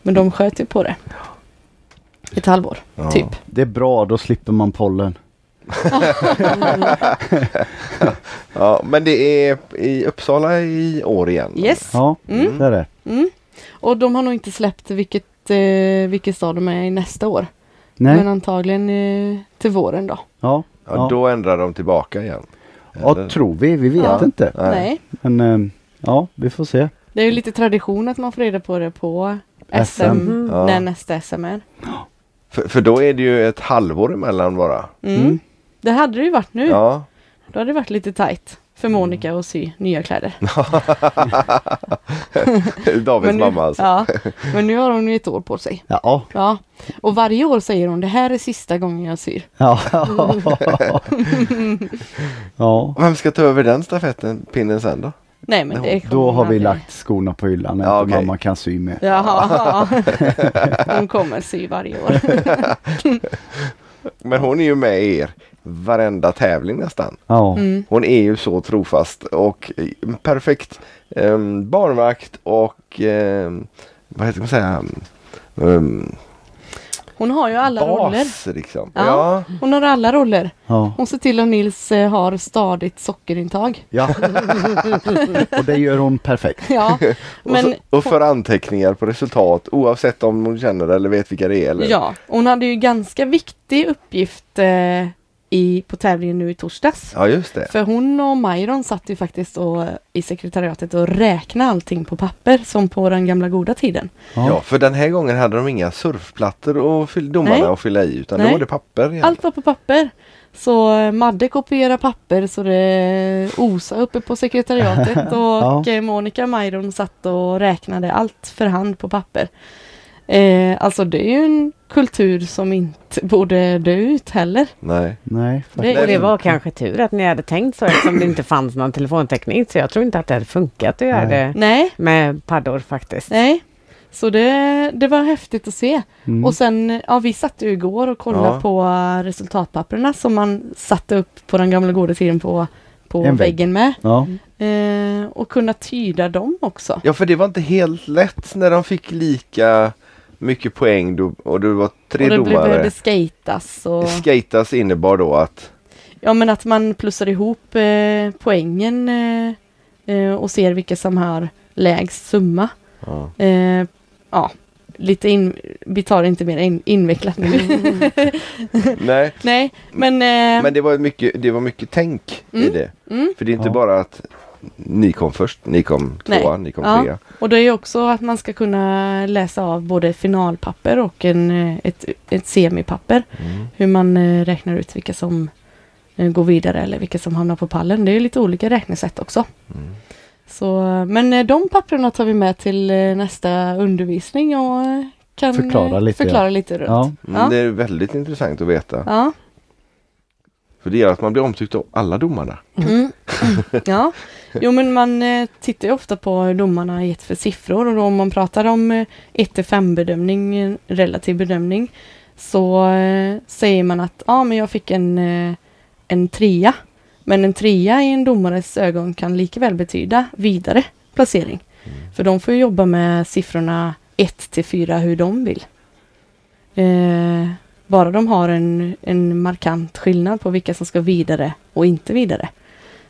Speaker 5: Men de sköt ju på det. Ett halvår,
Speaker 1: Ja.
Speaker 5: typ.
Speaker 6: Det är bra, då slipper man pollen.
Speaker 1: Ja, men det är i Uppsala i år igen.
Speaker 5: Yes.
Speaker 6: Ja,
Speaker 5: Mm.
Speaker 6: det är det.
Speaker 5: Mm. Och de har nog inte släppt vilket, eh, vilket stad de är i nästa år.
Speaker 6: Nej,
Speaker 5: Men antagligen eh, till våren då.
Speaker 6: ja.
Speaker 1: Ja, Då ändrar de tillbaka igen.
Speaker 6: ja,
Speaker 1: Eller?
Speaker 6: tror vi. Vi vet
Speaker 5: Ja.
Speaker 6: inte.
Speaker 1: Nej.
Speaker 5: Nej.
Speaker 6: Men eh, ja, vi får se.
Speaker 5: Det är ju lite tradition att man får reda på det på SM,
Speaker 6: SM.
Speaker 1: Mm. Ja.
Speaker 5: när nästa SM är.
Speaker 1: För, för då är det ju ett halvår emellan bara.
Speaker 5: Mm. Det hade det ju varit nu.
Speaker 1: Ja.
Speaker 5: Då hade det varit lite tajt för
Speaker 1: Mm.
Speaker 5: Monica att sy nya kläder.
Speaker 1: Davids
Speaker 5: nu,
Speaker 1: mamma alltså.
Speaker 5: ja. Men nu har hon ju ett år på sig.
Speaker 6: Ja,
Speaker 5: Ja. Och varje år säger hon det här är sista gången jag syr.
Speaker 6: ja. ja.
Speaker 1: Vem ska ta över den stafetten, pinnen sen då?
Speaker 5: Nej men det kommer
Speaker 6: Då
Speaker 5: hon
Speaker 6: har vi
Speaker 5: aldrig.
Speaker 6: lagt skorna på hyllan.
Speaker 1: Ja,
Speaker 6: Ja,
Speaker 1: okej.
Speaker 6: Mamma kan sy med.
Speaker 5: Jaha. hon kommer sy varje år.
Speaker 1: Men hon är ju med er varenda tävling nästan.
Speaker 6: Ja,
Speaker 5: Mm.
Speaker 1: Hon är ju så trofast och eh, perfekt um, barnvakt och ehm, vad heter man säga? Um,
Speaker 5: Hon har ju alla roller.
Speaker 1: bas liksom.
Speaker 5: Ja.
Speaker 1: Ja.
Speaker 5: Hon har alla roller.
Speaker 6: ja.
Speaker 5: Hon ser till att Nils eh, har stadigt sockerintag.
Speaker 6: ja. Och det gör hon perfekt.
Speaker 5: Ja, men
Speaker 1: och, så, och för anteckningar på resultat oavsett om hon känner det eller vet vilka det är. Eller?
Speaker 5: ja, hon hade ju ganska viktig uppgift eh, i, på tävlingen nu i torsdags.
Speaker 1: ja, just det.
Speaker 5: För hon och Majron satt ju faktiskt och, i sekretariatet och räknade allting på papper som på den gamla goda tiden.
Speaker 6: Ja.
Speaker 1: Ja, för den här gången hade de inga surfplattor och fyll- domarna
Speaker 5: Nej.
Speaker 1: att fylla i utan
Speaker 5: Nej.
Speaker 1: då var det papper igen.
Speaker 5: Allt var på papper. Så eh, Madde kopierade papper så det osade uppe på sekretariatet och
Speaker 6: Ja.
Speaker 5: eh, Monica Majron satt och räknade allt för hand på papper. Eh, alltså det är ju en kultur som inte borde dö ut heller.
Speaker 1: Nej.
Speaker 6: Nej,
Speaker 5: Nej.
Speaker 2: Och det var kanske tur att ni hade tänkt så eftersom det inte fanns någon telefontäckning. Så jag tror inte att det hade funkat att göra det
Speaker 5: Nej,
Speaker 2: med paddor faktiskt.
Speaker 5: nej. Så det, det var häftigt att se.
Speaker 6: Mm.
Speaker 5: Och sen, ja vi satt ju igår och kollade
Speaker 1: Ja.
Speaker 5: på eh, resultatpapperna som man satte upp på den gamla goda tiden på, på
Speaker 6: En vägg.
Speaker 5: väggen med.
Speaker 6: Ja.
Speaker 5: Eh, och kunna tyda dem också.
Speaker 1: Ja, för det var inte helt lätt när de fick lika mycket poäng då, och det var tre
Speaker 5: och det blev-
Speaker 1: domare.
Speaker 5: behövde skatas och
Speaker 1: Skatas innebar då att
Speaker 5: ja men att man plussar ihop eh, poängen eh, eh, och ser vilka som har lägst summa.
Speaker 1: ja.
Speaker 5: Eh, ja, lite in, vi tar det inte mer in, invecklat nu.
Speaker 1: Nej,
Speaker 5: Nej, men, eh,
Speaker 1: men det var mycket, det var mycket tänk i
Speaker 5: Mm.
Speaker 1: det.
Speaker 5: mm,
Speaker 1: För det är inte
Speaker 6: Ja.
Speaker 1: bara att ni kom först, ni kom
Speaker 5: Nej.
Speaker 1: tvåa, ni kom
Speaker 5: Ja.
Speaker 1: trea.
Speaker 5: och det är ju också att man ska kunna läsa av både finalpapper Mm. och en, eh, ett, ett semipapper. Hur man eh, räknar ut vilka som eh, går vidare eller vilka som hamnar på pallen. Det är ju lite olika räknesätt också.
Speaker 6: Mm.
Speaker 5: Så, men eh, de papperna tar vi med till eh, nästa undervisning och eh, kan eh,
Speaker 6: Förklara lite, ja.
Speaker 5: förklara lite runt.
Speaker 6: Ja.
Speaker 1: Mm,
Speaker 5: Ja.
Speaker 1: Det är väldigt intressant att veta.
Speaker 5: Ja.
Speaker 1: För det gör att man blir omtyckt av alla domarna.
Speaker 5: Mm. Ja, jo men man eh, tittar ju ofta på hur domarna har gett för siffror och då om man pratar om eh, 1-5 bedömning, eh, relativ bedömning, så eh, säger man att ja men jag fick en, eh, en trea. Men en trea i en domares ögon kan lika väl betyda vidare placering. För de får ju jobba med siffrorna 1-4 hur de vill. Eh, bara de har en, en markant skillnad på vilka som ska vidare och inte vidare.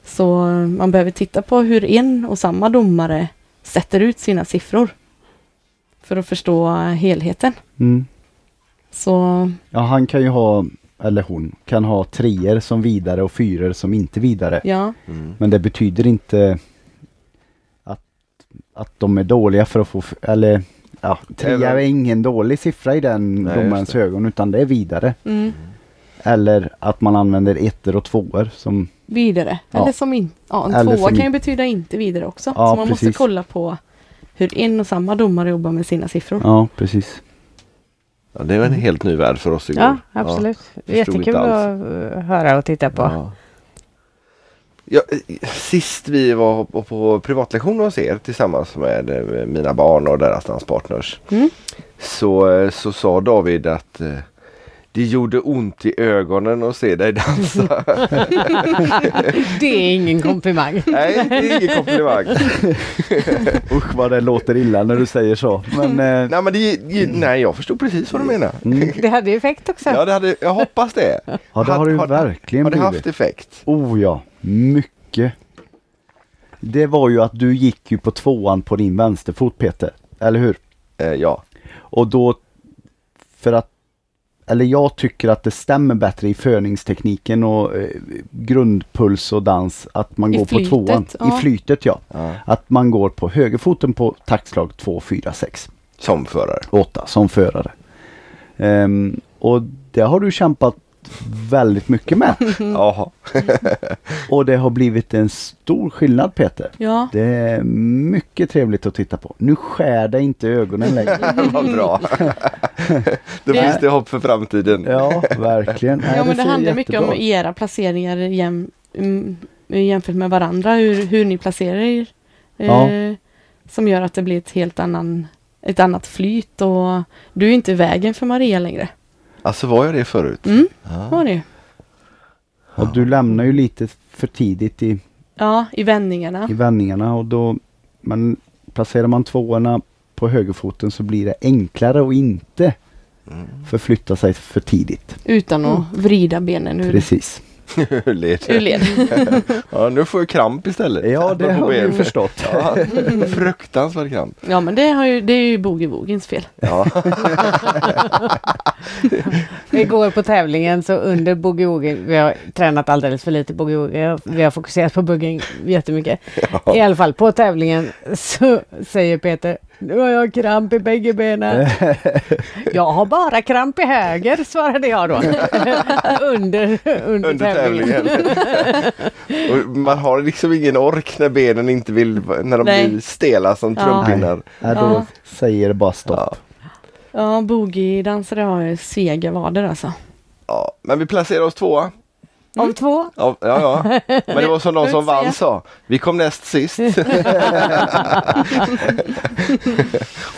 Speaker 5: Så man behöver titta på hur en och samma domare sätter ut sina siffror. För att förstå helheten.
Speaker 6: Mm.
Speaker 5: Så
Speaker 6: Ja, han kan ju ha, eller hon, kan ha treor som vidare och fyror som inte vidare.
Speaker 5: ja,
Speaker 6: Men det betyder inte att, att de är dåliga för att få, f- eller ja, trea är
Speaker 1: Även-
Speaker 6: ingen dålig siffra i den
Speaker 1: Nej, just
Speaker 6: domarens
Speaker 1: det.
Speaker 6: ögon utan det är vidare.
Speaker 5: mm,
Speaker 6: Eller att man använder ettor och tvåor som,
Speaker 5: vidare.
Speaker 6: Ja.
Speaker 5: Eller som in, ja, en
Speaker 6: Eller
Speaker 5: tvåa
Speaker 6: som
Speaker 5: kan
Speaker 6: in-
Speaker 5: ju betyda inte vidare också.
Speaker 6: Ja,
Speaker 5: så man måste
Speaker 6: precis.
Speaker 5: kolla på hur en och samma domare jobbar med sina siffror.
Speaker 6: ja precis.
Speaker 1: Ja, det var en helt ny värld för oss igår.
Speaker 2: Ja, absolut.
Speaker 1: inte
Speaker 2: Jättekul
Speaker 1: alls.
Speaker 2: att eh, höra och titta på.
Speaker 1: Ja. Ja, eh, sist vi var på- på privatlektion hos er tillsammans med eh, mina barn och deras danspartners
Speaker 5: Mm.
Speaker 1: så, eh, så sa David att eh, det gjorde ont i ögonen att se dig dansa.
Speaker 2: Det är ingen komplimang.
Speaker 1: Nej, det är ingen komplimang.
Speaker 6: Usch vad det låter illa när du säger så. Men eh,
Speaker 1: Nej, men det, det, nej, jag förstod precis vad du menar.
Speaker 2: Det hade ju effekt också.
Speaker 1: Ja, det hade, jag hoppas det.
Speaker 6: ja, Mm. det har det ju
Speaker 1: Har- har-
Speaker 6: verkligen
Speaker 1: Har det
Speaker 6: blivit.
Speaker 1: haft effekt?
Speaker 6: Oh ja, mycket. Det var ju att du gick ju på tvåan på din vänsterfot Peter, eller hur?
Speaker 1: Eh, ja.
Speaker 6: Och då, för att, eller jag tycker att det stämmer bättre i förningstekniken och eh, grundpuls och dans att man
Speaker 5: I
Speaker 6: går
Speaker 5: flytet,
Speaker 6: på tvåan.
Speaker 5: ja.
Speaker 6: I flytet ja.
Speaker 1: Ja.
Speaker 6: Att man går på högerfoten på taktslag 2, 4, 6,
Speaker 1: Som förare.
Speaker 6: 8 som förare. Ehm, och det har du kämpat väldigt mycket med.
Speaker 1: Jaha.
Speaker 6: Och det har blivit en stor skillnad Peter.
Speaker 5: Ja,
Speaker 6: Det är mycket trevligt att titta på. Nu skär det inte i ögonen längre.
Speaker 1: Vad bra. Då
Speaker 5: Det-
Speaker 1: finns det hopp för framtiden.
Speaker 6: Ja, verkligen. Nej,
Speaker 5: ja men det
Speaker 6: ser
Speaker 5: handlar mycket
Speaker 6: jättebra
Speaker 5: om era placeringar jäm, mm, jämfört med varandra. Hur, hur ni placerar er. Eh,
Speaker 6: Ja.
Speaker 5: Som gör att det blir ett helt annan, ett annat flyt och du är inte i vägen för Maria längre.
Speaker 1: Alltså var jag det förut?
Speaker 5: Mm,
Speaker 1: Ja.
Speaker 5: var det.
Speaker 6: Och du lämnar ju lite för tidigt i,
Speaker 5: Ja, i vändningarna.
Speaker 6: i vändningarna och då men placerar man tvåorna på högerfoten så blir det enklare att inte Mm. förflytta sig för tidigt.
Speaker 5: Utan att vrida benen ur,
Speaker 6: Precis.
Speaker 1: Hur led.
Speaker 5: ur led.
Speaker 1: Ja, nu får jag kramp istället.
Speaker 6: Ja, det har vi ju förstått.
Speaker 1: Ja, fruktansvärd kramp.
Speaker 5: Ja men det, har ju, det är ju boogie-woogiens fel.
Speaker 1: Ja.
Speaker 2: Igår på tävlingen så under boogie vi har tränat alldeles för lite boogie vi har fokuserat på bugging jättemycket. I alla fall på tävlingen så säger Peter, nu har jag kramp i bägge benen. jag har bara kramp i höger, svarade jag då. under, under,
Speaker 1: Under
Speaker 2: tävlingen.
Speaker 1: tävlingen. Och man har liksom ingen ork när benen inte vill, när de
Speaker 5: Nej.
Speaker 1: blir stela som
Speaker 5: Ja.
Speaker 1: trumpinnar.
Speaker 6: Nej, då
Speaker 5: Ja.
Speaker 6: säger det bara stopp.
Speaker 5: Ja, boogie-dansare har ju sega vader alltså.
Speaker 1: Ja. Men vi placerar oss tvåa.
Speaker 2: Av två.
Speaker 1: Ja, ja, ja. Men det var som någon som vann sa. Vi kom näst sist. Och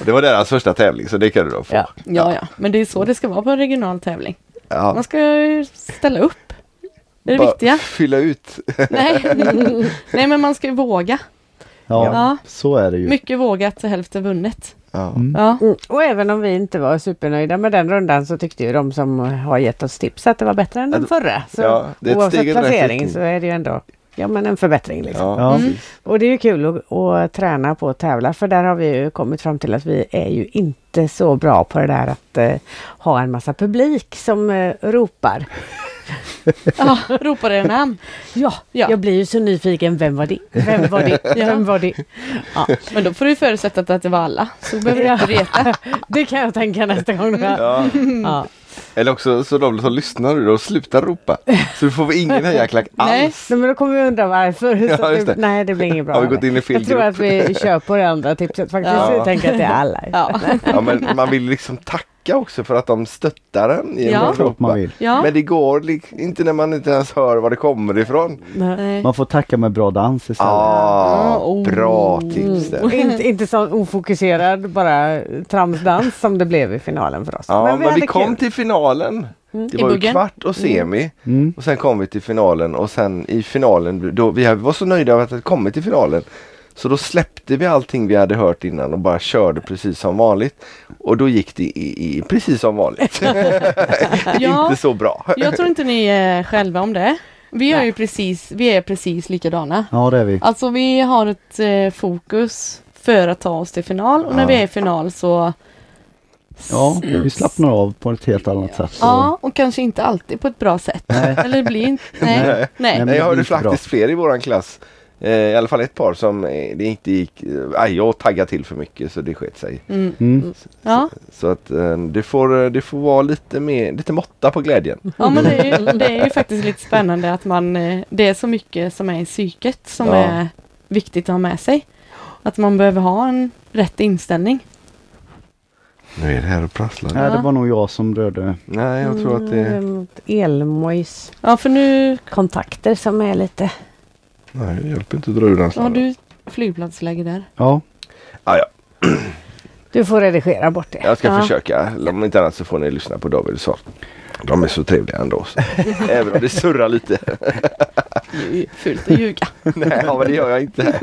Speaker 1: det var deras första tävling så det kan du då få.
Speaker 2: Ja.
Speaker 5: Ja, ja. Men det är så det ska vara på en regional tävling.
Speaker 1: Ja.
Speaker 5: Man ska ju ställa upp. Det är det
Speaker 1: Bara
Speaker 5: viktiga.
Speaker 1: Fylla ut.
Speaker 5: Nej. Nej, men man ska ju våga.
Speaker 6: Ja,
Speaker 5: Ja.
Speaker 6: så är det ju.
Speaker 5: Mycket vågat till hälften vunnet.
Speaker 1: Ja.
Speaker 5: Ja,
Speaker 2: Mm. Och även om vi inte var supernöjda med den rundan så tyckte ju de som har gett oss tips att det var bättre än den förra. Så
Speaker 1: Ja, det är ett steg i
Speaker 2: oavsett
Speaker 1: rätt
Speaker 2: placering
Speaker 1: riktning.
Speaker 2: så är det ju ändå ja, men en förbättring. Liksom.
Speaker 1: Ja. Mm.
Speaker 6: Ja,
Speaker 2: Och det är ju kul att, att träna på att tävla för där har vi ju kommit fram till att vi är ju inte så bra på det där att eh, ha en massa publik som eh, ropar.
Speaker 5: ja ropar era namn.
Speaker 2: Ja,
Speaker 5: Ja.
Speaker 2: jag blir ju så nyfiken. Vem var det? Vem var det? Vem var det?
Speaker 5: Men då får du förutsätta att det var alla. Så behöver du inte reta.
Speaker 2: Det kan jag tänka nästa gång. Ja.
Speaker 1: Ja.
Speaker 2: Ja.
Speaker 1: Eller också så de som lyssnar nu då, sluta ropa. Så du får vi ingen hejaklack
Speaker 2: Nej,
Speaker 1: alls.
Speaker 2: men då kommer vi undra varför. Så
Speaker 1: Ja,
Speaker 2: att
Speaker 1: just det.
Speaker 2: Nej, det blir inget bra.
Speaker 1: Har vi
Speaker 2: av det.
Speaker 1: gått in i fel
Speaker 2: Jag tror
Speaker 1: grupp?
Speaker 2: att vi kör på det andra tipset faktiskt.
Speaker 5: Ja.
Speaker 2: Jag tänker att det är alla.
Speaker 5: Ja.
Speaker 1: Ja, men man vill liksom tacka också för att de stöttar en. genom
Speaker 5: Ja.
Speaker 1: att
Speaker 6: Klart man
Speaker 1: ropa.
Speaker 6: vill.
Speaker 5: ja.
Speaker 1: Men det går lik- inte när man inte ens hör var det kommer ifrån.
Speaker 5: Nej.
Speaker 6: Man får tacka med bra dans istället.
Speaker 1: Ah,
Speaker 5: Oh.
Speaker 1: Bra tips där.
Speaker 2: Inte, inte sån ofokuserad bara tramsdans som det blev i finalen för oss.
Speaker 1: Ja, men vi,
Speaker 2: hade
Speaker 1: kom
Speaker 2: kul.
Speaker 1: till finalen. Det
Speaker 5: I
Speaker 1: var ju
Speaker 5: buggen.
Speaker 1: kvart och semi
Speaker 6: Mm.
Speaker 1: och sen kom vi till finalen och sen i finalen, då, vi var så nöjda över att vi kommit till finalen. Så då släppte vi allting vi hade hört innan och bara körde precis som vanligt. Och då gick det i, i, precis som vanligt.
Speaker 5: Ja.
Speaker 1: Inte så bra.
Speaker 5: Jag tror inte ni är själva om det. Vi är ju precis, vi är precis likadana.
Speaker 6: Ja, det är vi.
Speaker 5: Alltså vi har ett eh, fokus för att ta oss till final och när vi är i final så
Speaker 6: Ja, vi slappnar av på ett helt annat sätt.
Speaker 5: Ja, och kanske inte alltid på ett bra sätt. Eller det blir inte... Nej. Nej.
Speaker 6: Nej, men
Speaker 1: Nej, jag
Speaker 6: det
Speaker 1: hörde
Speaker 6: gick bra.
Speaker 1: faktiskt fler i våran klass. Eh, I alla fall ett par som eh, det inte gick. eh, Aj, jag taggade till för mycket så det sket sig.
Speaker 5: Mm.
Speaker 6: Mm.
Speaker 5: Ja.
Speaker 1: Så att eh, det får, eh, det får vara lite mer, lite måtta på glädjen.
Speaker 5: ja, men det är, ju, det är ju faktiskt lite spännande att man... eh, Det är så mycket som är i psyket som
Speaker 1: Ja.
Speaker 5: är viktigt att ha med sig. Att man behöver ha en rätt inställning.
Speaker 1: Nu är det här och prasslar.
Speaker 6: Nej, det var nog jag som rörde.
Speaker 1: Nej, jag tror att det...
Speaker 2: Mm, mot Elmojs
Speaker 5: Ja, för nu
Speaker 2: kontakter som är lite...
Speaker 1: Nej, det hjälper inte att dra ur den
Speaker 5: har
Speaker 1: sladden.
Speaker 5: du flygplatsläge där.
Speaker 6: Ja,
Speaker 1: ah, ja.
Speaker 2: Du får redigera bort det.
Speaker 1: Jag ska
Speaker 5: Ja.
Speaker 1: försöka. Om inte annat så får ni lyssna på David och Sara. De är så trevliga ändå. Så. Även om det surrar lite.
Speaker 5: Det är ju fult att ljuga.
Speaker 1: Nej, ja, men det gör jag inte.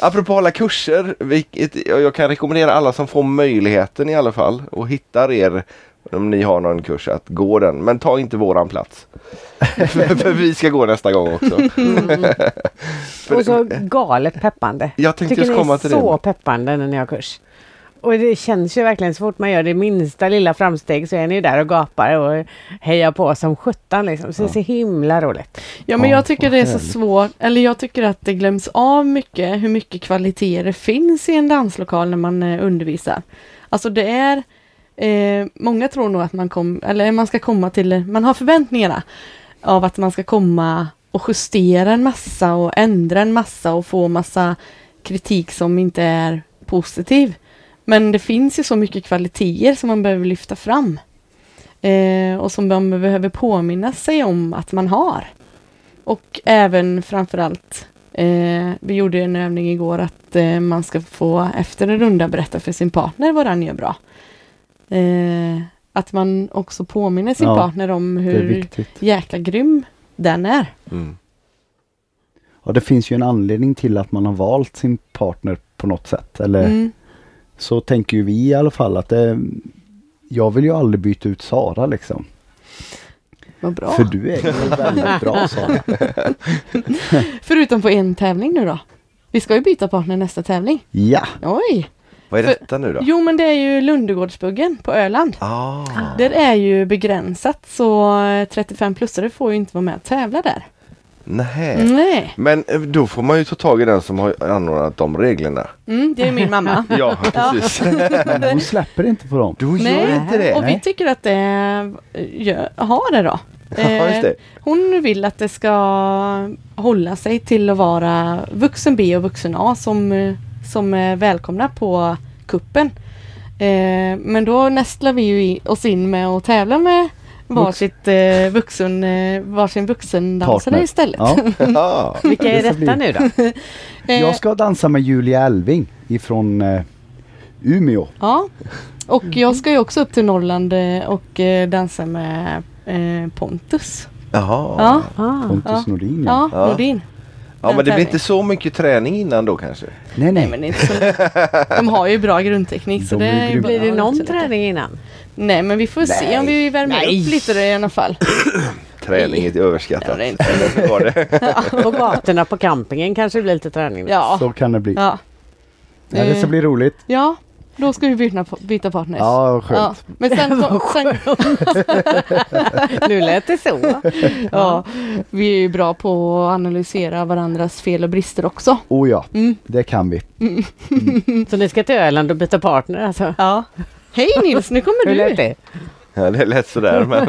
Speaker 1: Apropå alla kurser, vilket jag jag kan rekommendera alla som får möjligheten i alla fall och hittar er om ni har någon kurs att gå den. Men ta inte våran plats. för, för vi ska gå nästa gång också.
Speaker 2: Mm. Och så galet peppande.
Speaker 1: Jag tänkte
Speaker 2: Tycker
Speaker 1: just komma
Speaker 2: ni är
Speaker 1: till
Speaker 2: så
Speaker 1: det.
Speaker 2: peppande när ni har kurs. Och det känns ju verkligen så fort man gör det minsta lilla framsteg så är ni ju där och gapar och hejar på som sjutton liksom. Så det är så himla roligt.
Speaker 5: Ja men
Speaker 6: Ja,
Speaker 5: jag tycker det är så
Speaker 6: härligt.
Speaker 5: svårt, eller jag tycker att det glöms av mycket hur mycket kvaliteter det finns i en danslokal när man eh, undervisar. Alltså det är, eh, många tror nog att man kom, eller man ska komma till, man har förväntningarna av att man ska komma och justera en massa och ändra en massa och få massa kritik som inte är positiv. Men det finns ju så mycket kvaliteter som man behöver lyfta fram. Eh, och som man behöver påminna sig om att man har. Och även framförallt, eh, vi gjorde en övning igår att eh, man ska få efter en runda berätta för sin partner vad den gör bra. Eh, att man också påminner sin
Speaker 6: Ja,
Speaker 5: partner om
Speaker 6: det är
Speaker 5: hur
Speaker 6: viktigt.
Speaker 5: jäkla grym den är.
Speaker 1: Mm.
Speaker 6: Ja, det finns ju en anledning till att man har valt sin partner på något sätt. Eller
Speaker 5: Mm.
Speaker 6: så tänker ju vi i alla fall att det, jag vill ju aldrig byta ut Sara liksom.
Speaker 5: Vad bra.
Speaker 6: För du är ju väldigt bra Sara.
Speaker 5: Förutom på en tävling nu då. Vi ska ju byta partner nästa tävling.
Speaker 6: Ja,
Speaker 5: Oj!
Speaker 1: Vad är
Speaker 5: För-
Speaker 1: detta nu då?
Speaker 5: Jo men det är ju Lundegårdsbuggen på Öland.
Speaker 1: Ah.
Speaker 5: Där är ju begränsat så eh, 35-plussare får ju inte vara med och tävla där.
Speaker 1: Nej.
Speaker 5: Nej,
Speaker 1: Men eh, då får man ju ta tag i den som har anordnat de reglerna.
Speaker 5: mm, det är min mamma.
Speaker 1: Ja, precis.
Speaker 6: men hon släpper inte på dem.
Speaker 1: Då gör
Speaker 5: Nej,
Speaker 1: inte det.
Speaker 5: och vi tycker att det gör, har det då. Eh,
Speaker 1: Ja, just det.
Speaker 5: Hon vill att det ska hålla sig till att vara vuxen B och vuxen A som, eh, som är välkomna på kuppen. Eh, Men då nästlar vi ju i- oss in med att tävla med varsitt eh, vuxen, eh, varsin vuxendansare
Speaker 6: Partner.
Speaker 5: istället.
Speaker 6: Ja,
Speaker 1: Ja.
Speaker 2: Vilka är
Speaker 6: Det
Speaker 2: detta
Speaker 6: ska bli-
Speaker 2: nu då?
Speaker 5: Eh,
Speaker 6: jag ska dansa med Julia Elving ifrån eh, Umeå.
Speaker 5: Ja, och jag ska ju också upp till Norrland eh, och eh, dansa med eh, Pontus.
Speaker 1: Jaha.
Speaker 5: Ja,
Speaker 2: Ah.
Speaker 6: Pontus Nordin ja.
Speaker 5: ja,
Speaker 1: Ja.
Speaker 5: Nordin.
Speaker 1: Ja, men det blir inte så mycket träning innan då kanske?
Speaker 6: Nej,
Speaker 5: Nej
Speaker 6: nej.
Speaker 5: men det är inte så lätt. De har ju bra grundteknik så
Speaker 6: De
Speaker 5: det
Speaker 6: är
Speaker 5: är ju
Speaker 6: grymma.
Speaker 5: bara
Speaker 2: Blir det
Speaker 5: att
Speaker 2: någon
Speaker 5: fortsätta.
Speaker 2: träning innan?
Speaker 5: Nej men vi får se om vi värmer
Speaker 2: Nej.
Speaker 5: upp lite då i alla fall.
Speaker 1: Träning är
Speaker 5: Ja,
Speaker 1: överskattat.
Speaker 5: det är inte.
Speaker 1: Var det?
Speaker 2: På gatorna på campingen kanske det blir lite träning. då.
Speaker 5: Ja.
Speaker 6: Så kan det bli.
Speaker 5: Ja.
Speaker 6: Ja, det ska bli roligt.
Speaker 5: ja, då ska vi byta, byta partners.
Speaker 6: Ja, skönt.
Speaker 5: Ja, Men sen, så, sen
Speaker 2: Nu lät det så.
Speaker 5: ja, vi är ju bra på att analysera varandras fel och brister också.
Speaker 6: Oh ja,
Speaker 5: Mm.
Speaker 6: det kan vi.
Speaker 2: Så ni ska till Öland och byta partner alltså?
Speaker 5: Ja. Hej Nils, nu kommer
Speaker 2: Hur
Speaker 5: du.
Speaker 2: lät det?
Speaker 1: Ja, det lät sådär men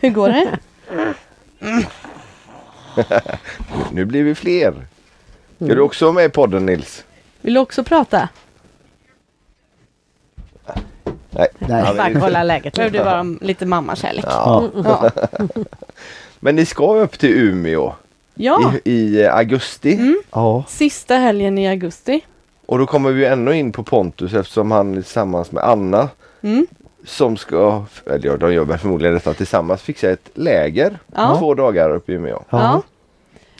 Speaker 5: Hur går det?
Speaker 1: nu blir vi fler. Ska
Speaker 5: Mm.
Speaker 1: du också vara med i podden Nils?
Speaker 5: Vill du också prata?
Speaker 1: Nej.
Speaker 6: Nej.
Speaker 1: han vill
Speaker 2: Bara
Speaker 1: inte.
Speaker 2: kolla läget.
Speaker 5: Behövde bara lite mammakärlek.
Speaker 1: Ja.
Speaker 5: Ja.
Speaker 1: Men ni ska upp till Umeå
Speaker 5: ja, Mm.
Speaker 1: i, i eh, augusti.
Speaker 6: Ja.
Speaker 5: sista helgen i augusti.
Speaker 1: Och då kommer vi ändå in på Pontus eftersom han är tillsammans med Anna
Speaker 5: Mm.
Speaker 1: som ska, eller ja, de gör väl förmodligen detta tillsammans, fixa ett läger
Speaker 5: Ja.
Speaker 1: två dagar uppe i Umeå.
Speaker 5: Ja.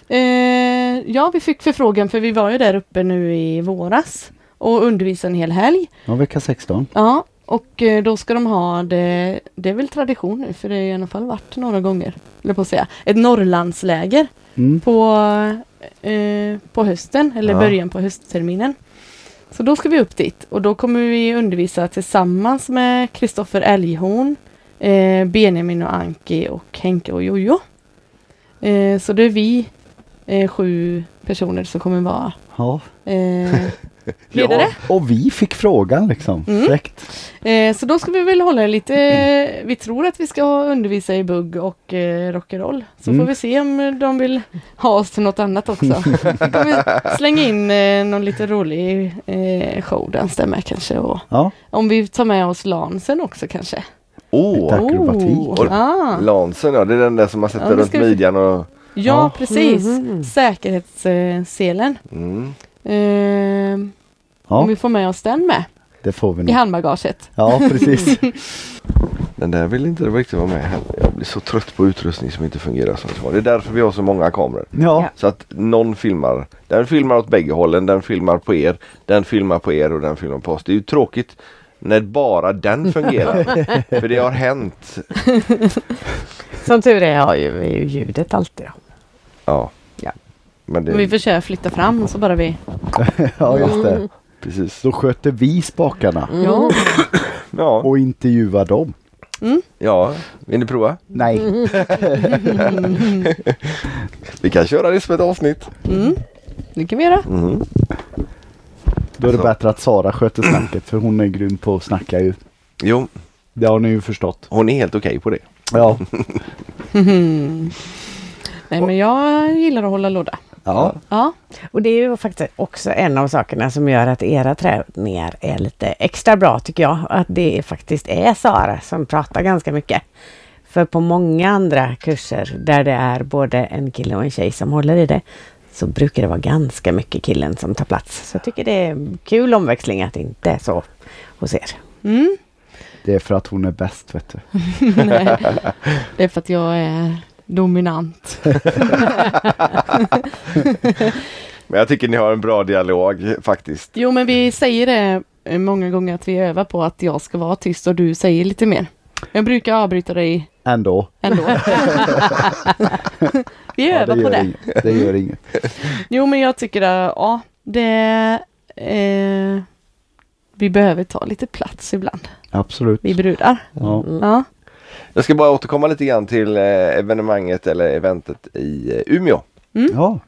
Speaker 5: Eh, ja, vi fick förfrågan för vi var ju där uppe nu i våras och undervisade en hel helg.
Speaker 6: ja, vecka 16.
Speaker 5: Ja, och eh, då ska de ha det, det är väl tradition nu för det har i alla fall varit några gånger, eller på att säga, ett Norrlandsläger
Speaker 6: Mm.
Speaker 5: på, eh, på hösten eller
Speaker 1: Ja.
Speaker 5: början på höstterminen. Så då ska vi upp dit och då kommer vi undervisa tillsammans med Kristoffer Älghorn, eh, Benjamin och Anki och Henke och Jojo. Eh, så det är vi eh, sju personer som kommer vara
Speaker 6: Ja.
Speaker 5: eh, ledare.
Speaker 1: Ja.
Speaker 6: Och vi fick frågan liksom.
Speaker 5: Mm.
Speaker 6: Direkt.
Speaker 5: Eh, så då ska vi väl hålla lite,
Speaker 6: Mm.
Speaker 5: eh, vi tror att vi ska undervisa i bugg och eh, rock'n'roll. Så
Speaker 6: Mm.
Speaker 5: får vi se om eh, de vill ha oss till något annat också. Då kan vi slänga in eh, någon lite rolig eh, showdans där med kanske. Och
Speaker 6: Ja.
Speaker 5: om vi tar med oss lansen också kanske.
Speaker 1: Åh!
Speaker 6: Tack. Akrobatik.
Speaker 5: Oh, ah.
Speaker 1: Lansen ja, det är den där som man sätter
Speaker 5: Ja, det
Speaker 1: runt
Speaker 5: ska vi-
Speaker 1: midjan och...
Speaker 5: Ja, precis.
Speaker 4: Mhm.
Speaker 5: Säkerhetsselen.
Speaker 1: Mm.
Speaker 5: Eh, Om
Speaker 6: ja, Mm.
Speaker 5: vi får med oss den med
Speaker 6: det får vi
Speaker 5: i
Speaker 6: nog.
Speaker 5: handbagaget.
Speaker 6: Ja, precis.
Speaker 1: Den där vill inte riktigt vara med heller. Jag blir så trött på utrustning som inte fungerar som det ska. Det är därför vi har så många kameror.
Speaker 6: Ja,
Speaker 1: Så att någon filmar. Den filmar åt bägge hållen. Den filmar på er. Den filmar på er och den filmar på oss. Det är ju tråkigt när bara den fungerar. För det har hänt.
Speaker 2: Som tur är har ju, är ju ljudet alltid. Då.
Speaker 1: Ja.
Speaker 2: Ja.
Speaker 1: Men det
Speaker 5: Men vi försöker flytta fram så bara vi...
Speaker 6: ja just det.
Speaker 1: precis.
Speaker 6: Då sköter vi spakarna
Speaker 5: Ja.
Speaker 1: Ja.
Speaker 6: och intervjuar dem.
Speaker 1: ja, vill ni prova?
Speaker 5: Mm.
Speaker 6: Nej.
Speaker 1: Vi kan köra det som ett avsnitt.
Speaker 5: Mm. Det kan vi göra.
Speaker 1: Mm.
Speaker 6: Då är det
Speaker 1: Så.
Speaker 6: bättre att Sara sköter snacket för hon är grym på att snacka ju.
Speaker 1: Jo,
Speaker 6: Det har ni ju förstått.
Speaker 1: hon är helt okej på det.
Speaker 6: Ja.
Speaker 5: Nej men jag gillar att hålla låda.
Speaker 6: Ja.
Speaker 5: Ja.
Speaker 2: Och det är ju faktiskt också en av sakerna som gör att era träningar är lite extra bra tycker jag. Att det faktiskt är Sara som pratar ganska mycket. För på många andra kurser där det är både en kille och en tjej som håller i det så brukar det vara ganska mycket killen som tar plats. Så jag tycker det är kul omväxling att det inte är så hos er.
Speaker 5: Mm.
Speaker 6: Det är för att hon är bäst vet du.
Speaker 5: Nej. Det är för att jag är dominant.
Speaker 1: Men jag tycker ni har en bra dialog faktiskt.
Speaker 5: Jo men vi säger det eh, många gånger att vi övar på att jag ska vara tyst och du säger lite mer. Jag brukar avbryta dig
Speaker 6: Ändå.
Speaker 5: ändå. vi
Speaker 6: Ja,
Speaker 5: övar
Speaker 6: gör
Speaker 5: på det.
Speaker 6: Inget. Det gör inget.
Speaker 5: Jo men jag tycker att ja, det... Eh, vi behöver ta lite plats ibland.
Speaker 6: Absolut.
Speaker 5: Vi brudar.
Speaker 6: Ja.
Speaker 2: Mm.
Speaker 5: Ja.
Speaker 1: Jag ska bara återkomma lite grann till eh, evenemanget eller eventet i eh, Umeå.
Speaker 6: ja.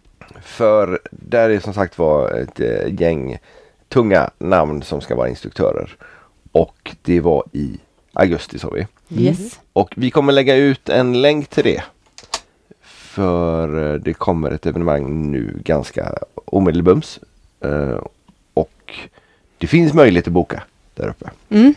Speaker 1: För där är som sagt var ett eh, gäng tunga namn som ska vara instruktörer. Och det var i augusti sa vi.
Speaker 5: Yes.
Speaker 1: Och vi kommer lägga ut en länk till det. För eh, det kommer ett evenemang nu ganska omedelbums. Eh, Och det finns möjlighet att boka där uppe.
Speaker 5: Mm.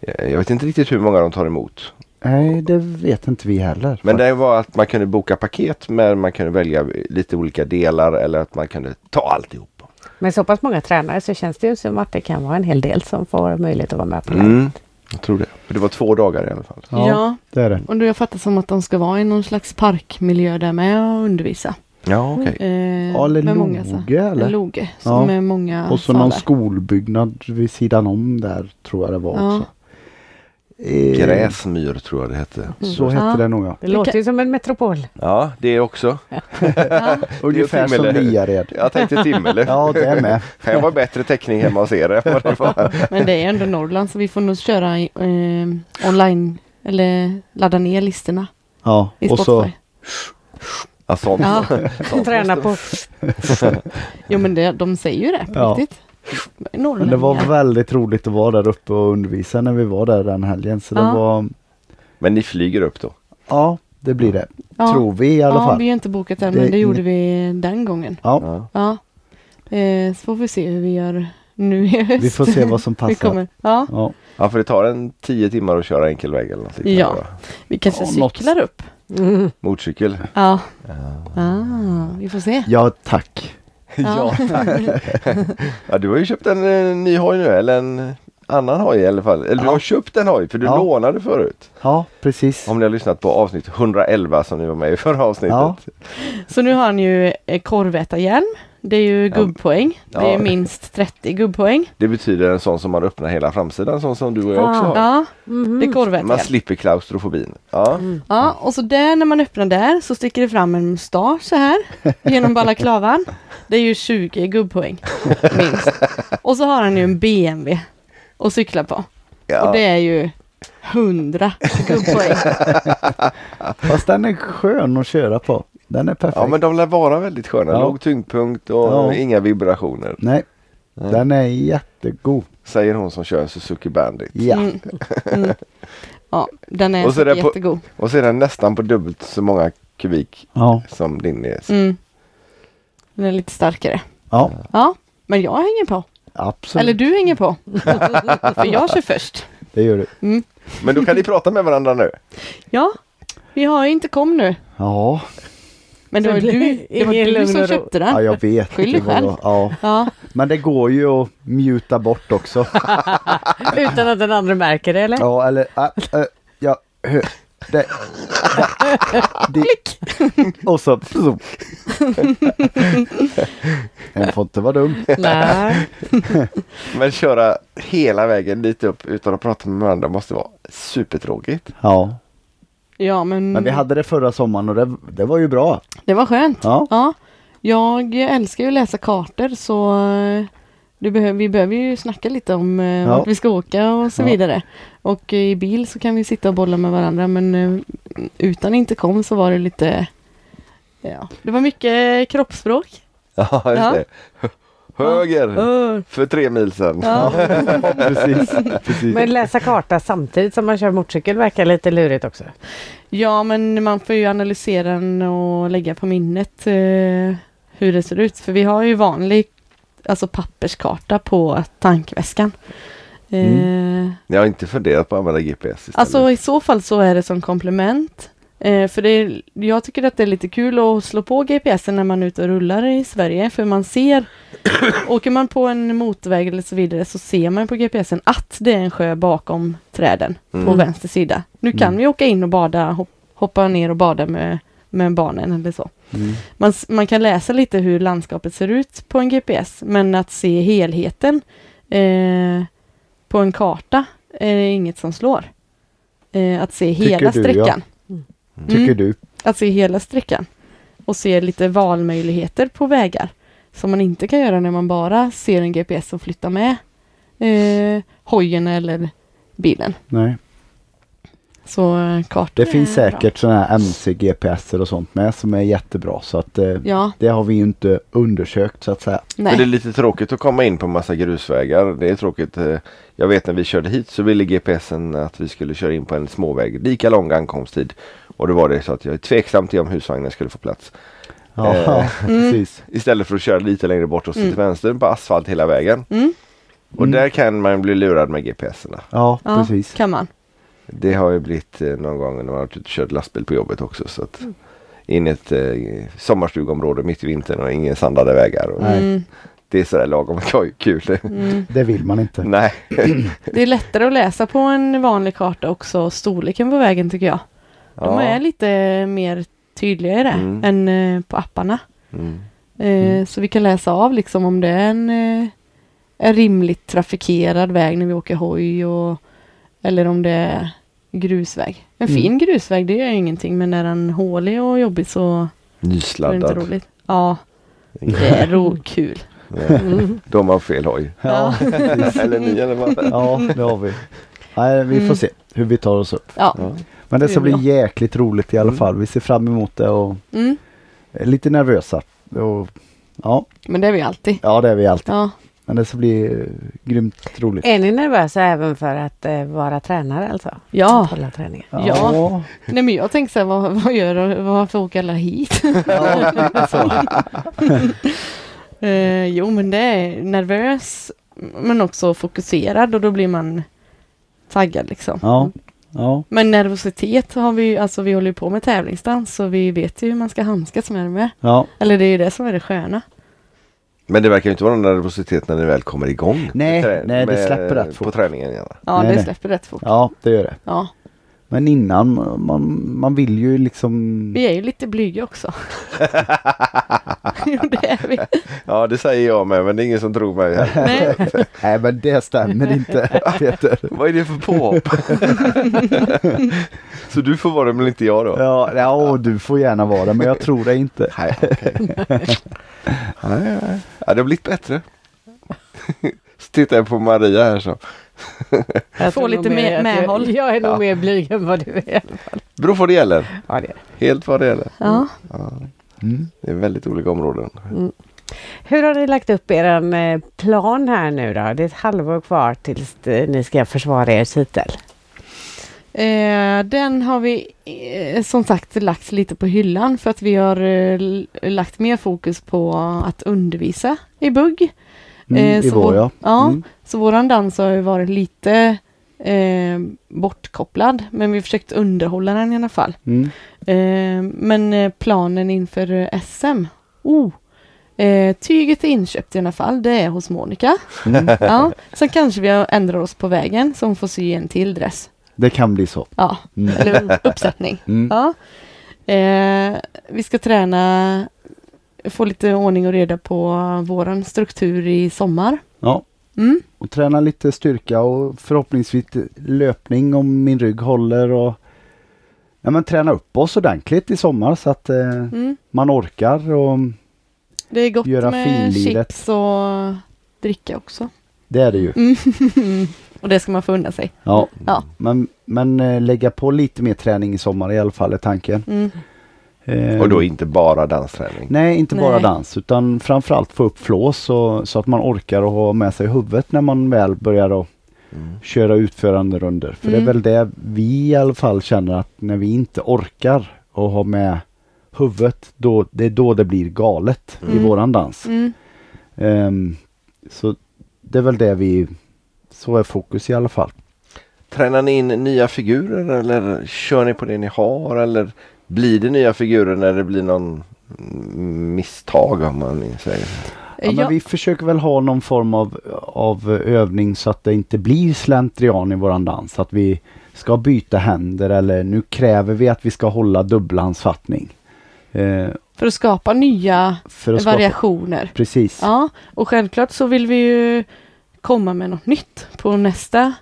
Speaker 1: Eh, Jag vet inte riktigt hur många de tar emot.
Speaker 6: Nej, det vet inte vi heller.
Speaker 1: Men det var att man kunde boka paket men man kunde välja lite olika delar eller att man kunde ta alltihop.
Speaker 2: Med så pass många tränare så känns det ju som att det kan vara en hel del som får möjlighet att vara med på det.
Speaker 5: Mm.
Speaker 1: Mm. Jag tror det. För det var två dagar i alla fall.
Speaker 6: Ja,
Speaker 5: ja.
Speaker 6: det är det.
Speaker 5: Och då jag fattar som att de ska vara i någon slags parkmiljö där med och undervisa.
Speaker 1: Ja, okej.
Speaker 5: Eh,
Speaker 6: Ja, eller
Speaker 5: med många så-
Speaker 6: Loge eller?
Speaker 5: En Loge, som
Speaker 6: Ja.
Speaker 5: är många
Speaker 6: Och så någon
Speaker 5: salar.
Speaker 6: skolbyggnad vid sidan om där tror jag det var
Speaker 5: Ja.
Speaker 6: också. Eh,
Speaker 1: Gräsmyr tror jag det hette.
Speaker 6: Så hette
Speaker 5: Mm. Ja.
Speaker 6: det nog ja.
Speaker 2: Det låter ju som en metropol.
Speaker 1: Ja, det också.
Speaker 6: Ungefär som
Speaker 1: Timmele.
Speaker 6: Liared.
Speaker 1: Jag tänkte Timmele.
Speaker 6: Ja, det är med.
Speaker 1: Här var bättre täckning hemma hos er än vad det var.
Speaker 5: Men det är ändå Norrland så vi får nog köra i, eh, online eller ladda ner listorna
Speaker 6: Ja,
Speaker 5: i
Speaker 6: och så
Speaker 5: Spotify.
Speaker 1: Ja, sånt.
Speaker 5: Ja,
Speaker 2: Träna på
Speaker 5: jo men det, de säger ju det på
Speaker 6: Ja.
Speaker 5: riktigt.
Speaker 6: Men det var
Speaker 5: norrlänningar.
Speaker 6: väldigt roligt att vara där uppe och undervisa när vi var där den helgen. Så det
Speaker 5: Ja.
Speaker 6: var,
Speaker 1: Men ni flyger upp då?
Speaker 6: ja det blir det.
Speaker 5: Ja.
Speaker 6: Tror vi i alla
Speaker 5: ja,
Speaker 6: fall.
Speaker 5: vi har inte bokat än, men
Speaker 6: Det-
Speaker 5: det, gjorde vi den gången.
Speaker 6: Ja,
Speaker 5: Ja. Eh, så får vi se hur vi gör nu i höst.
Speaker 6: vi får se vad som
Speaker 5: vi
Speaker 6: passar.
Speaker 5: kommer. Ja,
Speaker 6: Ja,
Speaker 1: Ja, för det tar en 10 timmar att köra enkel väg eller något liknande,
Speaker 5: Ja.
Speaker 1: va?
Speaker 5: vi kanske
Speaker 6: Ja, något.
Speaker 5: cyklar upp.
Speaker 4: Mm.
Speaker 1: Motorcykel?
Speaker 5: Ja. Ah, vi får se.
Speaker 6: ja tack.
Speaker 5: Ja.
Speaker 1: Ja, du har ju köpt en eh, ny hoj nu, eller en annan hoj i alla fall. Eller du
Speaker 6: Ja.
Speaker 1: har köpt en hoj, för du
Speaker 6: Ja.
Speaker 1: lånade förut.
Speaker 6: Ja, precis.
Speaker 1: Om ni har lyssnat på avsnitt 111 som ni var med i förra avsnittet.
Speaker 6: Ja.
Speaker 5: Så nu har han ju eh, korvätarhjälm. Det är ju gubbpoäng.
Speaker 1: Ja.
Speaker 5: Det är minst 30 gubbpoäng.
Speaker 1: Det betyder en sån som man öppnar hela framsidan, en sån som du och jag också har.
Speaker 5: Ja, det är
Speaker 1: Man
Speaker 5: korvätarhjälm.
Speaker 1: slipper klaustrofobin. Ja.
Speaker 2: Mm.
Speaker 5: Ja, och så där när man öppnar där så sticker det fram en mustasch så här genom balaklavan. Det är ju 20 gubbpoäng minst. Och så har han ju en BMW att cykla på.
Speaker 1: Ja.
Speaker 5: Och det är ju 100 gubbpoäng.
Speaker 6: Fast den är skön att köra på. Den är perfekt.
Speaker 1: ja, men de lär vara väldigt sköna.
Speaker 6: Ja.
Speaker 1: Låg tyngdpunkt och
Speaker 6: Ja.
Speaker 1: inga vibrationer.
Speaker 6: Nej, den är jättegod.
Speaker 1: Säger hon som kör en Suzuki Bandit.
Speaker 6: Ja.
Speaker 5: Mm. Mm. Ja, den är, alltså
Speaker 1: Och så är det på-
Speaker 5: jättegod.
Speaker 1: Och så är den nästan på dubbelt så många kubik
Speaker 6: Ja.
Speaker 1: som din är.
Speaker 5: Mm. Den är lite starkare.
Speaker 6: ja,
Speaker 5: Ja, men jag hänger på.
Speaker 6: absolut.
Speaker 5: Eller du hänger på. För jag kör först.
Speaker 6: Det gör du.
Speaker 1: Men då kan ni prata med varandra nu.
Speaker 5: Ja, vi har ju inte kom nu.
Speaker 6: Ja,
Speaker 5: Men det
Speaker 2: Så
Speaker 5: var
Speaker 2: det-
Speaker 5: du, det var
Speaker 2: ingen lugn
Speaker 5: du som
Speaker 2: och ro.
Speaker 5: köpte
Speaker 6: ja
Speaker 5: den.
Speaker 6: jag vet.
Speaker 5: Ah, Skyll
Speaker 6: Det
Speaker 5: dig
Speaker 6: var-
Speaker 5: själv.
Speaker 6: Ja.
Speaker 5: Ja,
Speaker 6: Men det går ju att mjuta bort också.
Speaker 2: Utan att den andra märker det eller?
Speaker 6: Ja, eller... Äh, äh, ja, hö, det, det, och så... En får inte vara dum.
Speaker 2: Nej.
Speaker 1: Men köra hela vägen dit upp utan att prata med varandra måste vara supertråkigt.
Speaker 6: Ja,
Speaker 5: ja men,
Speaker 6: men vi hade det förra sommaren och det, det var ju bra.
Speaker 5: det var skönt.
Speaker 6: Ja,
Speaker 5: Ja, jag älskar ju att läsa kartor så eh, du behö- vi behöver ju snacka lite om eh, vart vi ska åka och så
Speaker 6: Ja.
Speaker 5: vidare. Och eh, i bil så kan vi sitta och bolla med varandra men eh, utan inte kom så var det lite Ja, det var mycket kroppsspråk.
Speaker 1: Ja, just
Speaker 5: Ja.
Speaker 1: det. Hö-
Speaker 6: Mm.
Speaker 1: Höger
Speaker 5: Öh,
Speaker 1: för tre mil sedan.
Speaker 5: Ja.
Speaker 6: precis. precis.
Speaker 2: Men läsa karta samtidigt som man kör motorcykel verkar lite lurigt också.
Speaker 5: Ja, men man får ju analysera den och lägga på minnet eh, hur det ser ut. För vi har ju vanlig alltså papperskarta på tankväskan. Eh,
Speaker 1: Jag har inte funderat på att använda GPS istället.
Speaker 5: Alltså i så fall så är det som komplement. Eh, för det är, jag tycker att det är lite kul att slå på GPSen när man är ute och rullar i Sverige. För man ser, åker man på en motorväg eller så vidare så ser man på GPSen att det är en sjö bakom träden på
Speaker 1: Mm.
Speaker 5: vänster sida. Nu
Speaker 6: Mm.
Speaker 5: kan vi åka in och bada, hop- hoppa ner och bada med, med barnen eller så.
Speaker 6: Mm.
Speaker 5: Man, s- man kan läsa lite hur landskapet ser ut på en GPS, men att se helheten eh, på en karta är inget som slår. Eh, att se
Speaker 6: Tycker
Speaker 5: hela
Speaker 6: du, ja.
Speaker 5: sträckan.
Speaker 6: Tycker
Speaker 5: Mm.
Speaker 6: du?
Speaker 5: Att se hela sträckan. Och se lite valmöjligheter på vägar. Som man inte kan göra när man bara ser en GPS och flyttar med eh, hojen eller bilen.
Speaker 6: Nej.
Speaker 5: Så eh, kartor
Speaker 6: Det finns
Speaker 5: är bra.
Speaker 6: säkert sådana här mc-GPSer och sånt med som är jättebra så att eh,
Speaker 5: Ja,
Speaker 6: det har vi ju inte undersökt så att säga.
Speaker 5: nej.
Speaker 1: Men det är lite tråkigt att komma in på massa grusvägar. Det är tråkigt. eh, Jag vet när vi körde hit så ville GPSen att vi skulle köra in på en småväg. Lika lång ankomsttid. Och då var det så att jag är tveksam till om husvagnen skulle få plats.
Speaker 6: Ja,
Speaker 1: Eh.
Speaker 5: Mm.
Speaker 6: precis.
Speaker 1: Istället för att köra lite längre bort och stå till vänster på asfalt hela vägen.
Speaker 5: Mm.
Speaker 1: Och där kan man bli lurad med GPSerna.
Speaker 6: Ja,
Speaker 5: ja,
Speaker 6: precis.
Speaker 5: kan man.
Speaker 1: Det har ju blivit eh, någon gång när man har varit ute och kört lastbil på jobbet också. Så att
Speaker 5: Mm.
Speaker 1: in i ett eh, sommarstugområde mitt i vintern och ingen sandade vägar. Och
Speaker 6: Nej.
Speaker 5: Mm,
Speaker 1: Det är sådär lagom koj- kul.
Speaker 5: mm.
Speaker 6: Det vill man inte.
Speaker 1: Nej.
Speaker 5: Det är lättare att läsa på en vanlig karta också, storleken på vägen tycker jag. De
Speaker 1: Ja.
Speaker 5: är lite mer tydliga i det
Speaker 1: Mm.
Speaker 5: än eh, på apparna.
Speaker 1: Mm.
Speaker 5: Eh, Så vi kan läsa av liksom om det är en, eh, en rimligt trafikerad väg när vi åker hoj och eller om det är grusväg. En
Speaker 6: Mm.
Speaker 5: fin grusväg det är ju ingenting men är den hålig och jobbig så är det inte
Speaker 1: Nysladdad.
Speaker 5: roligt. Ja, det är ro- kul. Mm.
Speaker 2: Mm.
Speaker 1: Nej. De har fel hoj.
Speaker 6: Ja,
Speaker 1: eller ni eller vad.
Speaker 6: ja det har vi. Nej, vi får
Speaker 5: Mm.
Speaker 6: se hur vi tar oss upp.
Speaker 5: Ja.
Speaker 1: Ja.
Speaker 6: Men det ska
Speaker 5: Det är
Speaker 6: bli jäkligt roligt i alla fall. Vi ser fram emot det och
Speaker 5: Mm.
Speaker 6: är lite nervösa. Och, ja,
Speaker 5: Men det är vi alltid.
Speaker 6: ja, det är vi alltid.
Speaker 5: Ja.
Speaker 6: Men det ska bli eh, grymt roligt.
Speaker 2: Är ni nervösa även för att eh, vara tränare alltså?
Speaker 5: Ja,
Speaker 2: Att hålla träningen?
Speaker 5: Eh, Ja. nej men jag tänkte så här, vad, vad gör de, varför åker alla hit?
Speaker 6: Ja, så.
Speaker 5: Eh, jo men det är nervös men också fokuserad och då blir man taggad liksom.
Speaker 6: ja. ja.
Speaker 5: Men nervositet har vi ju, alltså vi håller ju på med tävlingsdans så vi vet ju hur man ska handskas med det med.
Speaker 6: ja.
Speaker 5: Eller det är ju det som är det sköna.
Speaker 1: Men det verkar ju inte vara någon nervositet när ni väl kommer igång.
Speaker 6: Nej,
Speaker 1: med trä-
Speaker 6: nej, det
Speaker 1: med-
Speaker 6: släpper rätt
Speaker 1: På
Speaker 6: fort.
Speaker 1: träningen igen. va?
Speaker 5: Ja,
Speaker 6: Nej,
Speaker 5: det
Speaker 6: nej.
Speaker 5: släpper rätt fort. Ja.
Speaker 6: Ja, det gör det. Men innan, man, man vill ju liksom...
Speaker 5: Vi är ju lite blyga också. jo, det är vi.
Speaker 1: Ja, det säger jag med, men det är ingen som tror mig. Här.
Speaker 5: Nej,
Speaker 6: Nej men det stämmer inte Peter.
Speaker 1: Vad är det för påhopp? Så du får vara det, men inte jag då?
Speaker 6: Ja, ja och du får gärna vara det men jag tror det inte.
Speaker 1: Nej, okej. Nej, nej. ja, det har blittit bättre. Så tittar jag på Maria här så.
Speaker 2: Jag
Speaker 5: Få
Speaker 2: tror nog
Speaker 5: lite mer
Speaker 2: att
Speaker 5: medhåll.
Speaker 2: Jag, jag är nog
Speaker 1: Ja.
Speaker 2: mer blyg än vad du är.
Speaker 1: Beror på vad det gäller.
Speaker 2: Ja, det är. det.
Speaker 1: Helt vad det gäller.
Speaker 5: ja.
Speaker 6: Mm.
Speaker 5: Eh,
Speaker 1: Det är väldigt olika områden.
Speaker 2: Hur har ni lagt upp er eh, plan här nu då? Det är ett halvår kvar tills eh, ni ska försvara er titel.
Speaker 5: Eh, den har vi eh, som sagt lagt lite på hyllan för att vi har eh, l- lagt mer fokus på att undervisa i bugg.
Speaker 6: Mm,
Speaker 5: Eh,
Speaker 6: I
Speaker 5: så
Speaker 6: vår
Speaker 5: vår-
Speaker 6: ja.
Speaker 5: ja.
Speaker 6: Mm.
Speaker 5: Så våran dans har ju varit lite eh, bortkopplad men vi har försökt underhålla den i alla fall.
Speaker 6: Mm.
Speaker 5: Eh, men eh, planen inför eh, SM. Oh. Eh, tyget är inköpt i alla fall, det är hos Monica.
Speaker 6: Mm.
Speaker 5: Ja. Sen kanske vi ändrar oss på vägen så hon får sy en till dress.
Speaker 6: Det kan bli så.
Speaker 5: Ja,
Speaker 6: Mm.
Speaker 5: eller uppsättning.
Speaker 6: Mm.
Speaker 5: Ja. Eh, vi ska träna, få lite ordning och reda på våran struktur i sommar.
Speaker 6: Ja.
Speaker 5: Mm.
Speaker 6: Och träna lite styrka och förhoppningsvis löpning om min rygg håller och ja, men träna upp oss ordentligt i sommar så att eh,
Speaker 5: Mm.
Speaker 6: man orkar och
Speaker 5: Det är gott
Speaker 6: Göra
Speaker 5: med
Speaker 6: finliret.
Speaker 5: chips och dricka också.
Speaker 6: det är det ju.
Speaker 5: Mm. och det ska man få unna sig.
Speaker 6: Ja.
Speaker 5: Ja.
Speaker 6: Men, men eh, lägga på lite mer träning i sommar i alla fall är tanken.
Speaker 5: Mm.
Speaker 6: Eh,
Speaker 1: Och då inte bara dansträning.
Speaker 6: Nej, inte bara
Speaker 5: Nej.
Speaker 6: dans utan framförallt få upp flås och, så att man orkar att ha med sig huvudet när man väl börjar att
Speaker 1: Mm.
Speaker 6: köra utförande runder. För det är
Speaker 5: Mm.
Speaker 6: väl det vi i alla fall känner att när vi inte orkar att ha med huvudet, då, det är då det blir galet i
Speaker 5: Mm.
Speaker 6: våran dans.
Speaker 5: Mm.
Speaker 6: Ehm, så det är väl det vi, så är fokus i alla fall.
Speaker 1: Tränar ni in nya figurer eller kör ni på det ni har eller blir det nya figurer när det blir någon mm, misstag om man säger så?
Speaker 6: Ja, men
Speaker 5: Ja,
Speaker 6: vi försöker väl ha någon form av, av övning så att det inte blir slentrian i våran dans. Att vi ska byta händer eller nu kräver vi att vi ska hålla dubbelhandsfattning. Eh,
Speaker 5: För att skapa nya
Speaker 6: för att skapa,
Speaker 5: variationer.
Speaker 6: Precis.
Speaker 5: Ja, och självklart så vill vi ju komma med något nytt på nästa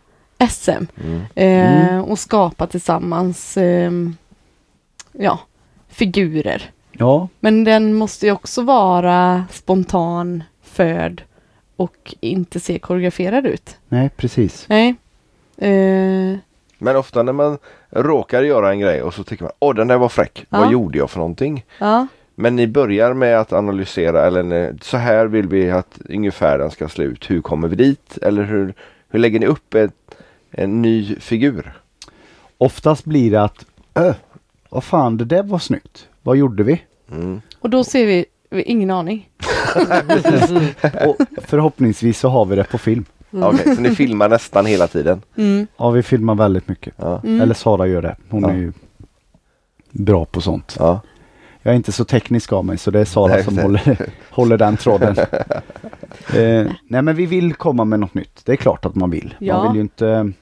Speaker 5: SM.
Speaker 1: Mm.
Speaker 5: Eh,
Speaker 6: Mm.
Speaker 5: Och skapa tillsammans ehm, ja, figurer.
Speaker 6: Ja,
Speaker 5: Men den måste ju också vara spontan, förd och inte se koreograferad ut.
Speaker 6: nej precis.
Speaker 5: Nej. Eh,
Speaker 1: Men ofta när man råkar göra en grej och så tycker man åh den där var fräck,
Speaker 5: Ja.
Speaker 1: vad gjorde jag för någonting?
Speaker 5: ja.
Speaker 1: Men ni börjar med att analysera eller ni, så här vill vi att ungefär den ska slut, hur kommer vi dit? Eller hur, hur lägger ni upp ett, en ny figur?
Speaker 6: Oftast blir det att "Ö, vad fan det där var snyggt. Vad gjorde vi?
Speaker 1: Mm.
Speaker 5: Och då ser vi, vi ingen aning.
Speaker 6: Och förhoppningsvis så har vi det på film.
Speaker 1: Okej, så ni filmar nästan hela tiden?
Speaker 5: Mm.
Speaker 6: Ja, vi filmar väldigt mycket.
Speaker 1: Ja.
Speaker 5: Mm.
Speaker 6: Eller Sara gör det. Hon
Speaker 1: Ja.
Speaker 6: är ju bra på sånt.
Speaker 1: ja.
Speaker 6: Jag är inte så teknisk av mig så det är Sara
Speaker 1: Nej,
Speaker 6: som
Speaker 1: det.
Speaker 6: håller, håller den tråden. eh, nej men vi vill komma med något nytt. Det är klart att man vill. Man
Speaker 5: Ja.
Speaker 6: vill ju inte...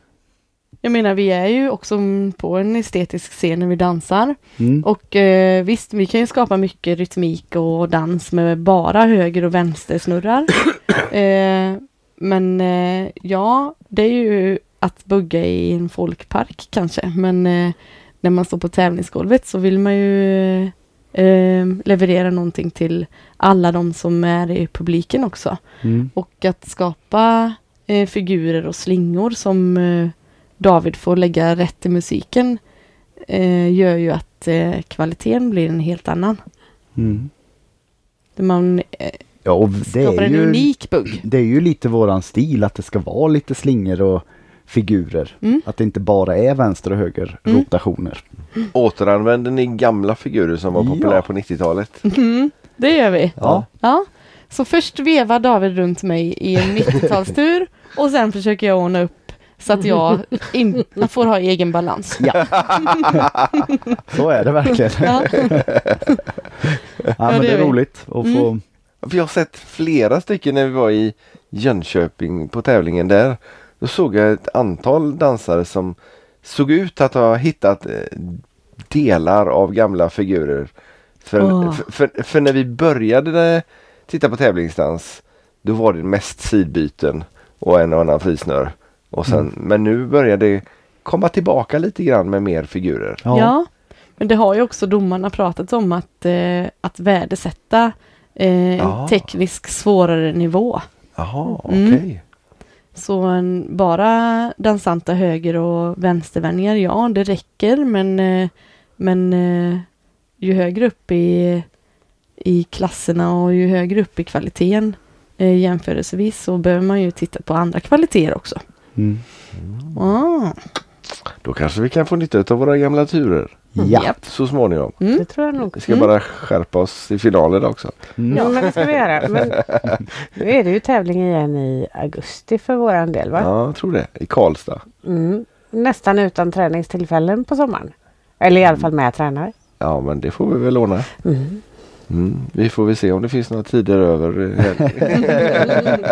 Speaker 5: Jag menar, vi är ju också på en estetisk scen när vi dansar.
Speaker 6: Mm,
Speaker 5: Och eh, visst, vi kan ju skapa mycket rytmik och dans med bara höger och vänster snurrar. eh, men eh, ja, det är ju att bugga i en folkpark kanske. Men eh, när man står på tävlingsgolvet så vill man ju eh, eh, leverera någonting till alla de som är i publiken också.
Speaker 6: mm,
Speaker 5: Och att skapa eh, figurer och slingor som eh, David får lägga rätt till musiken eh, gör ju att eh, kvaliteten blir en helt annan.
Speaker 6: mm.
Speaker 5: Där man eh,
Speaker 6: Ja, och det
Speaker 5: Skapar
Speaker 6: är,
Speaker 5: en
Speaker 6: ju,
Speaker 5: unik bugg.
Speaker 6: det är ju lite våran stil att det ska vara lite slingor och figurer.
Speaker 5: Mm.
Speaker 6: Att det inte bara är vänster och höger rotationer.
Speaker 1: Återanvänder ni gamla figurer som var
Speaker 6: Ja.
Speaker 1: populära på 90-talet?
Speaker 5: Det gör vi.
Speaker 6: Ja.
Speaker 5: Ja. Så först vevar David runt mig i en 90-talstur och sen försöker jag ordna upp så att jag in- får ha egen balans.
Speaker 6: Så är det verkligen.
Speaker 5: Ja.
Speaker 6: Ja, men
Speaker 5: det
Speaker 6: det
Speaker 5: är
Speaker 6: är
Speaker 5: vi. Mm.
Speaker 6: roligt att få...
Speaker 1: För jag har sett flera stycken när vi var i Jönköping på tävlingen där. Då såg jag ett antal dansare som såg ut att ha hittat eh, delar av gamla figurer. För,
Speaker 5: Åh.
Speaker 1: för, för, för när vi började eh, titta på tävlingsdans då var det mest sidbyten och en och annan frisnör. Och sen, Men nu börjar det komma tillbaka lite grann med mer figurer.
Speaker 5: Ja.
Speaker 6: Ja.
Speaker 5: men det har ju också domarna pratat om att, eh, att värdesätta eh,
Speaker 1: Ja.
Speaker 5: en teknisk svårare nivå.
Speaker 1: Jaha,
Speaker 5: Mm.
Speaker 1: okej.
Speaker 5: Så en, bara dansanta höger och vänstervändningar, ja det räcker men, eh, men eh, ju högre upp i, i klasserna och ju högre upp i kvaliteten eh, jämförelsevis så behöver man ju titta på andra kvaliteter också.
Speaker 6: Mm.
Speaker 5: Ah,
Speaker 1: Då kanske vi kan få nytta av våra gamla turer.
Speaker 6: Ja.
Speaker 5: japp.
Speaker 1: så småningom.
Speaker 2: Det tror jag nog.
Speaker 1: Vi ska bara skärpa oss i finalen också.
Speaker 6: Mm.
Speaker 2: Ja, men det ska vi göra. Men nu är det ju tävling igen i augusti för våran del, va?
Speaker 1: Ja, jag tror det. I Karlstad.
Speaker 2: Mm. Nästan utan träningstillfällen på sommaren. Eller
Speaker 1: Mm.
Speaker 2: i alla fall med tränare.
Speaker 1: Ja, men det får vi väl ordna. Mm. Vi får väl se om det finns några tider över. eh, helg.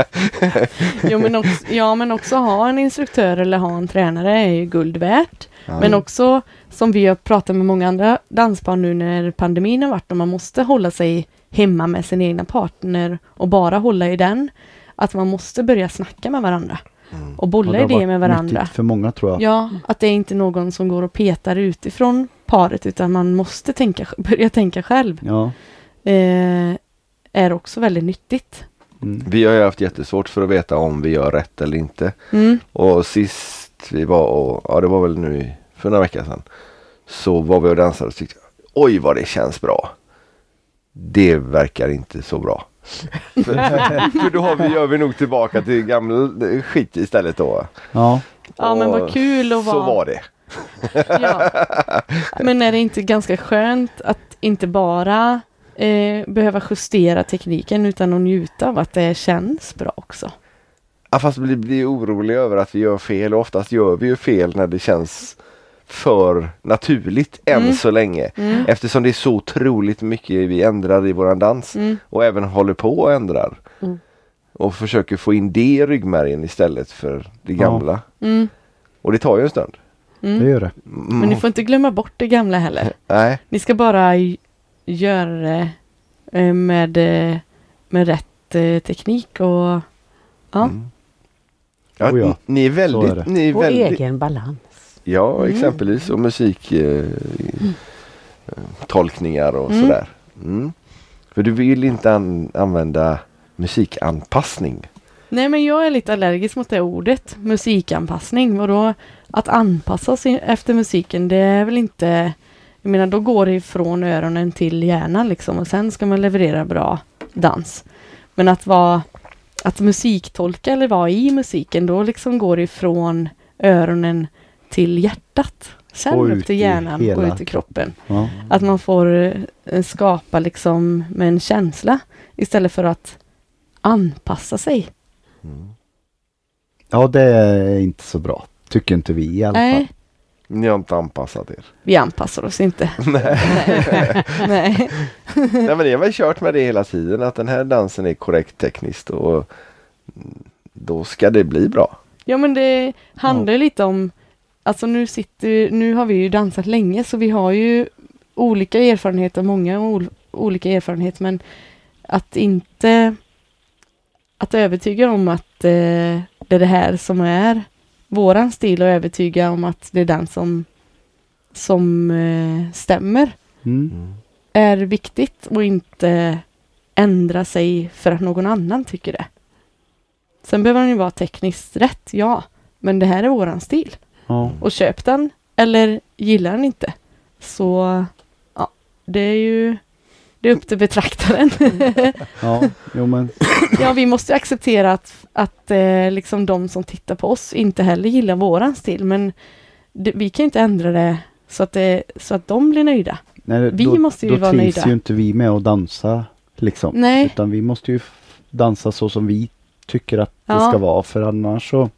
Speaker 5: Jo, men också, ja men också ha en instruktör eller ha en tränare är ju guld värt.
Speaker 1: Ja.
Speaker 5: Men också som vi har pratat med många andra dansband nu när pandemin har varit och man måste hålla sig hemma med sin egna partner och bara hålla i den. Att man måste börja snacka med varandra och
Speaker 6: Ja,
Speaker 5: bolla
Speaker 6: det har
Speaker 5: idéer
Speaker 6: varit
Speaker 5: med varandra.
Speaker 6: nyttigt för många tror jag.
Speaker 5: Ja, att det är inte någon som går och petar utifrån paret utan man måste tänka, börja tänka själv.
Speaker 6: Ja.
Speaker 5: Eh, är också väldigt nyttigt.
Speaker 6: Mm.
Speaker 1: Vi har ju haft jättesvårt för att veta om vi gör rätt eller inte.
Speaker 5: Mm.
Speaker 1: Och sist vi var och, ja det var väl nu i- för några veckor sedan. Så var vi och dansade och tyckte, oj vad det känns bra. Det verkar inte så bra. för, för då har vi, gör vi nog tillbaka till gammal skit istället då.
Speaker 6: Ja.
Speaker 5: Ja, men vad
Speaker 1: Och
Speaker 5: kul att
Speaker 1: Så
Speaker 5: vara-
Speaker 1: var det.
Speaker 5: Ja. Men är det inte ganska skönt att inte bara eh, behöva justera tekniken utan att njuta av att det känns bra också?
Speaker 1: Ja, fast vi blir oroliga över att vi gör fel och oftast gör vi ju fel när det känns för naturligt än
Speaker 5: Mm.
Speaker 1: så länge.
Speaker 5: Mm.
Speaker 1: Eftersom det är så otroligt mycket vi ändrar i våran dans
Speaker 5: Mm.
Speaker 1: och även håller på och ändrar.
Speaker 2: Mm.
Speaker 1: Och försöker få in det i ryggmärgen istället för det
Speaker 6: Ja.
Speaker 1: gamla.
Speaker 5: Mm.
Speaker 1: Och det tar ju en stund.
Speaker 6: det
Speaker 5: Mm.
Speaker 6: gör det.
Speaker 1: Mm.
Speaker 5: Men ni får inte glömma bort det gamla heller.
Speaker 1: Nej,
Speaker 5: Ni ska bara j- göra det eh, med, eh, med rätt eh, teknik och ja.
Speaker 1: ja,
Speaker 6: Oh ja.
Speaker 1: n- ni är väldigt,
Speaker 6: är det.
Speaker 1: ni är
Speaker 2: Och
Speaker 1: väldigt,
Speaker 2: egen balans.
Speaker 1: Ja,
Speaker 5: Mm.
Speaker 1: exempelvis och musik eh, eh, tolkningar och
Speaker 5: Mm.
Speaker 1: sådär. Mm. För du vill inte an- använda musikanpassning.
Speaker 5: Nej men jag är lite allergisk mot det ordet, musikanpassning. Vadå? Att anpassa sig efter musiken, det är väl inte... Jag menar, då går det ifrån öronen till hjärnan liksom och sen ska man leverera bra dans. Men att vara... Att musiktolka eller vara i musiken, då liksom går det ifrån öronen till hjärtat. Sen
Speaker 6: Och
Speaker 5: upp
Speaker 6: ut
Speaker 5: till
Speaker 6: i
Speaker 5: hjärnan och
Speaker 6: hela
Speaker 5: ut i kroppen.
Speaker 6: Ja.
Speaker 5: Att man får eh, skapa liksom med en känsla istället för att anpassa sig. Mm.
Speaker 6: ja, det är inte så bra. Tycker inte vi i alla fall.
Speaker 5: Nej,
Speaker 1: Ni har inte anpassat er.
Speaker 5: vi anpassar oss inte. Nej. Nej.
Speaker 1: Nej men ni har väl kört med det hela tiden att den här dansen är korrekt tekniskt och mm, då ska det bli bra.
Speaker 5: Ja men det handlar ju lite om, alltså nu sitter, nu har vi ju dansat länge så vi har ju olika erfarenheter, många ol, olika erfarenheter men att inte, att övertyga om att eh, det är det här som är våran stil och övertyga om att det är den som, som eh, stämmer.
Speaker 6: Mm.
Speaker 5: är viktigt och inte ändra sig för att någon annan tycker det. Sen behöver den ju vara tekniskt rätt, ja. Men det här är våran stil.
Speaker 6: Ja.
Speaker 1: Mm.
Speaker 5: Och köp den, eller gillar den inte. Så, ja, det är ju Det är upp till betraktaren.
Speaker 6: Ja, jo men
Speaker 5: ja, vi måste ju acceptera att, att eh, liksom de som tittar på oss inte heller gillar våran stil, men det, vi kan ju inte ändra det så att, det, så att de blir nöjda.
Speaker 6: nej,
Speaker 5: Vi
Speaker 6: då,
Speaker 5: måste ju
Speaker 6: då
Speaker 5: vara
Speaker 6: trivs
Speaker 5: nöjda.
Speaker 6: ju inte vi med att dansa liksom.
Speaker 5: Nej.
Speaker 6: Utan vi måste ju f- dansa så som vi tycker att det
Speaker 5: Ja.
Speaker 6: ska vara för annars så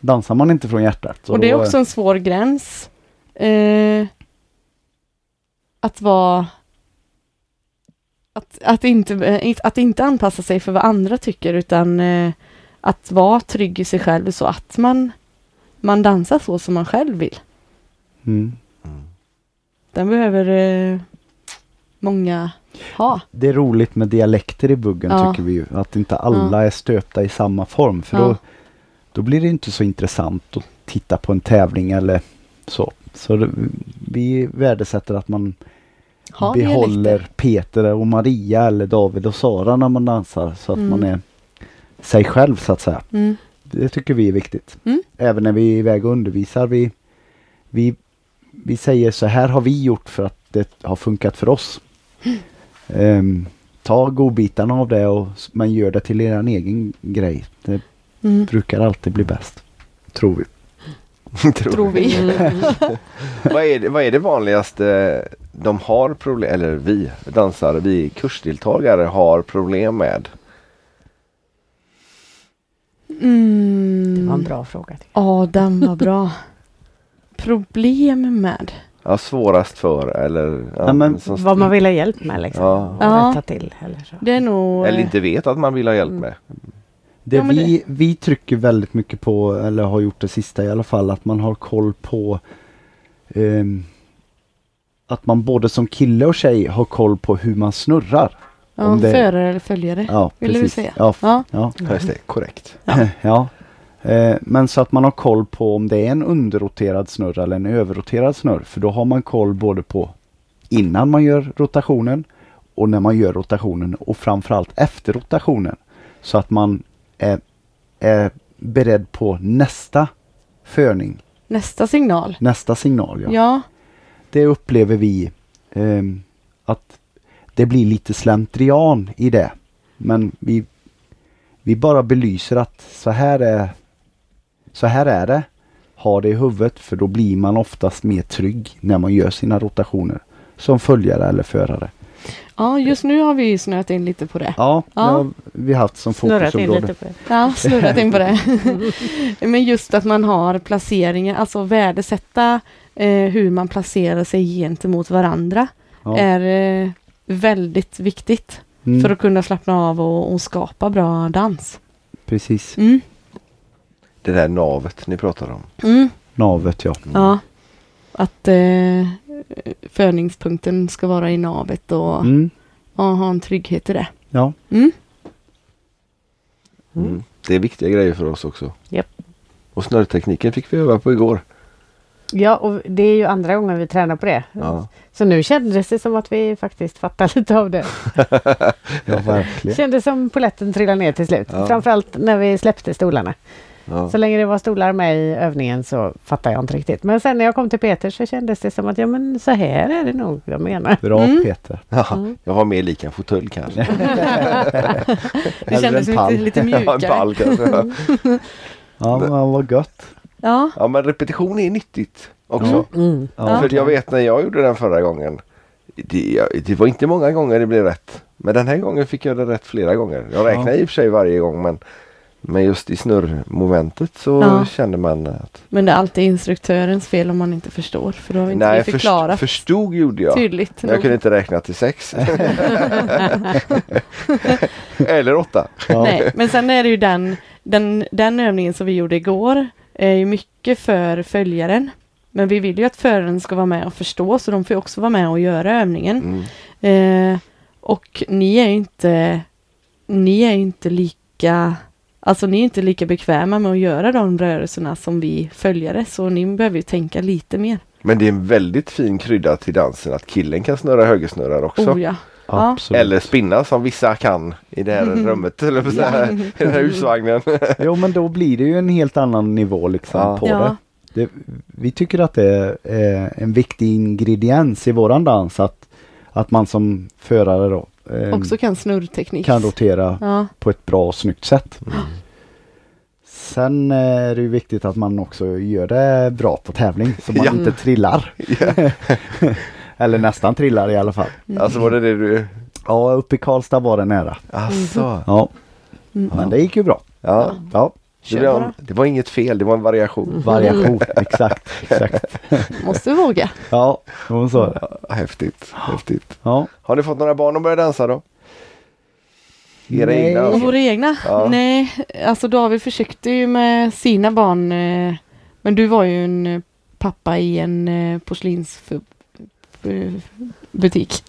Speaker 6: dansar man inte från hjärtat. Så
Speaker 5: Och det är
Speaker 6: då-
Speaker 5: också en svår gräns. Eh, att vara... Att, att, inte, eh, att inte anpassa sig för vad andra tycker utan eh, att vara trygg i sig själv så att man, man dansar så som man själv vill.
Speaker 6: Mm.
Speaker 5: Den behöver eh, många ha.
Speaker 6: Det är roligt med dialekter i buggen
Speaker 5: Ja.
Speaker 6: tycker vi ju. Att inte alla är stöpta i samma form. För då,
Speaker 5: Ja.
Speaker 6: då blir det inte så intressant att titta på en tävling eller så. Så det, vi värdesätter att man
Speaker 5: ha
Speaker 6: behåller
Speaker 5: dialekter.
Speaker 6: Peter och Maria eller David och Sara när man dansar. Så att
Speaker 5: Mm.
Speaker 6: man är sig själv så att säga.
Speaker 5: Mm.
Speaker 6: Det tycker vi är viktigt.
Speaker 5: Mm.
Speaker 6: Även när vi är iväg och undervisar. Vi, vi, vi säger så här har vi gjort för att det har funkat för oss. Ehm, ta godbitarna av det och, s- men gör det till er egen grej. Det
Speaker 5: Mm.
Speaker 6: brukar alltid bli bäst. Tror vi.
Speaker 5: Tror vi.
Speaker 2: Mm.
Speaker 1: vad, är det, vad är det vanligaste de har problem, eller vi dansare, vi kursdeltagare har problem med?
Speaker 2: Det var en
Speaker 5: Mm.
Speaker 2: bra fråga. tycker
Speaker 5: Ja, den var bra. Problem med.
Speaker 1: Ja, svårast för eller, ja,
Speaker 6: Nej, men
Speaker 2: jag.
Speaker 1: som,
Speaker 2: Vad man vill ha hjälp med liksom.
Speaker 1: Ja.
Speaker 2: Och
Speaker 5: Ja.
Speaker 2: rätta till. Eller så.
Speaker 5: Det är nog... eh,
Speaker 1: eller inte vet att man vill ha hjälp med.
Speaker 6: Det
Speaker 5: Ja, men
Speaker 6: vi, vi trycker väldigt mycket på, eller har gjort det sista i alla fall, att man har koll på ehm, att man både som kille och tjej har koll på hur man snurrar.
Speaker 5: Ja,
Speaker 6: om det-
Speaker 5: förare eller följare.
Speaker 6: Ja,
Speaker 5: Ville du
Speaker 6: precis.
Speaker 5: säga?
Speaker 6: Ja, f-
Speaker 5: Ja.
Speaker 6: ja.
Speaker 1: Just det, korrekt.
Speaker 6: ja. Eh, men så att man har koll på om det är en underroterad snurr eller en överroterad snurr. För då har man koll både på innan man gör rotationen och när man gör rotationen och framförallt efter rotationen. Så att man är, är beredd på nästa förning,
Speaker 5: Nästa signal.
Speaker 6: nästa signal.
Speaker 5: Ja.
Speaker 6: Ja. Det upplever vi ehm, att det blir lite slentrian i det. Men vi, vi bara belyser att så här är så här är det. Ha det i huvudet för då blir man oftast mer trygg när man gör sina rotationer. Som följare eller förare.
Speaker 5: ja, just nu har vi ju snöat in lite på det.
Speaker 6: Ja,
Speaker 5: Ja.
Speaker 6: det har vi haft som
Speaker 2: Snurrat in lite
Speaker 6: fokusområde.
Speaker 2: på det.
Speaker 5: Ja, snurrat in på det. Men just att man har placeringar, alltså värdesätta eh, hur man placerar sig gentemot varandra
Speaker 6: Ja.
Speaker 5: är eh, väldigt viktigt för
Speaker 6: Mm,
Speaker 5: att kunna slappna av och, och skapa bra dans.
Speaker 6: precis,
Speaker 5: Mm.
Speaker 1: Det där navet ni pratar om.
Speaker 5: Mm.
Speaker 6: navet ja.
Speaker 5: Ja. Att eh, födningspunkten ska vara i navet och,
Speaker 6: Mm,
Speaker 5: och ha en trygghet i det.
Speaker 6: ja.
Speaker 5: Mm.
Speaker 1: Mm. Det är viktiga grejer för oss också.
Speaker 2: Japp.
Speaker 1: Och snurrtekniken fick vi öva på igår.
Speaker 2: Ja, och det är ju andra gången vi tränar på det.
Speaker 1: Ja.
Speaker 2: Så nu kändes det som att vi faktiskt fattar lite av det.
Speaker 6: ja, verkligen.
Speaker 2: Kändes som poletten trillade ner till slut.
Speaker 1: Ja.
Speaker 2: Framförallt när vi släppte stolarna.
Speaker 1: Ja.
Speaker 2: Så länge det var stolar med i övningen så fattade jag inte riktigt. Men sen när jag kom till Peter så kändes det som att ja men så här är det nog jag menar.
Speaker 6: Bra
Speaker 5: Mm.
Speaker 6: Peter.
Speaker 1: Ja, jag var mer lik en fåtölj kanske.
Speaker 5: Det
Speaker 6: Hellre
Speaker 5: kändes
Speaker 6: en
Speaker 5: lite,
Speaker 6: pall.
Speaker 5: lite
Speaker 1: Ja, en
Speaker 5: mjukare.
Speaker 1: pall kanske.
Speaker 6: Ja, men vad gött.
Speaker 5: Ja,
Speaker 1: Ja, men repetition är nyttigt också.
Speaker 2: Mm.
Speaker 6: Ja.
Speaker 1: För jag vet när jag gjorde den förra gången. Det, jag- det var inte många gånger det blev rätt. Men den här gången fick jag det rätt flera gånger. Jag räknar i och för sig varje gång men, men just i snurrmomentet så
Speaker 5: Ja.
Speaker 1: kände man att
Speaker 5: men det är alltid instruktörens fel om man inte förstår. För då har vi inte
Speaker 1: Nej,
Speaker 5: Nej,
Speaker 1: först-
Speaker 5: förklarat
Speaker 1: förstod gjorde jag.
Speaker 5: tydligt.
Speaker 1: Men jag
Speaker 5: nog.
Speaker 1: kunde inte räkna till sex. Eller åtta.
Speaker 6: Ja.
Speaker 5: Nej, men sen är det ju den, den, den övningen som vi gjorde igår. är ju mycket för följaren. Men vi vill ju att föraren ska vara med och förstå så de får ju också vara med och göra övningen.
Speaker 1: Mm.
Speaker 5: Eh, och ni är ju inte, ni är ju inte lika, alltså ni är inte lika bekväma med att göra de rörelserna som vi följare, så ni behöver ju tänka lite mer.
Speaker 1: Men det är en väldigt fin krydda till dansen att killen kan snurra högersnurrar också.
Speaker 5: Oh ja. Ja.
Speaker 6: Absolut.
Speaker 1: Eller spinna som vissa kan i det här
Speaker 5: Mm-hmm.
Speaker 1: rummet, eller på så här, i den här husvagnen.
Speaker 6: Jo men då blir det ju en helt annan nivå liksom
Speaker 1: Ja.
Speaker 6: på
Speaker 5: Ja.
Speaker 6: det. det. Vi tycker att det är eh, en viktig ingrediens i våran dans att, Att man som förare då ehm,
Speaker 5: Också kan snurrteknik.
Speaker 6: kan rotera
Speaker 5: Ja,
Speaker 6: på ett bra och snyggt sätt.
Speaker 1: Mm.
Speaker 6: Sen eh, är det ju viktigt att man också gör det bra på tävling så man
Speaker 1: Ja.
Speaker 6: inte trillar. Eller nästan trillar i alla fall.
Speaker 1: Alltså var det det du...
Speaker 6: Ja, uppe i Karlstad var det nära.
Speaker 1: Alltså.
Speaker 5: Mm-hmm.
Speaker 6: Ja,
Speaker 5: Mm.
Speaker 6: men det gick ju bra.
Speaker 1: Ja.
Speaker 6: Ja,
Speaker 1: Det
Speaker 5: kör
Speaker 1: var,
Speaker 5: bara.
Speaker 1: det var inget fel, det var en
Speaker 6: Mm.
Speaker 1: variation.
Speaker 6: variation, exakt. exakt.
Speaker 5: Måste våga.
Speaker 6: Ja, hon sa det.
Speaker 1: Ja, häftigt, häftigt.
Speaker 6: Ja.
Speaker 1: Har ni fått några barn att börja dansa då? Era
Speaker 6: Nej.
Speaker 1: egna
Speaker 5: Om
Speaker 1: alltså.
Speaker 5: våra egna?
Speaker 1: Ja.
Speaker 5: Nej, alltså David försökte ju med sina barn. eh, Men du var ju en eh, pappa i en eh, porslinsbutik.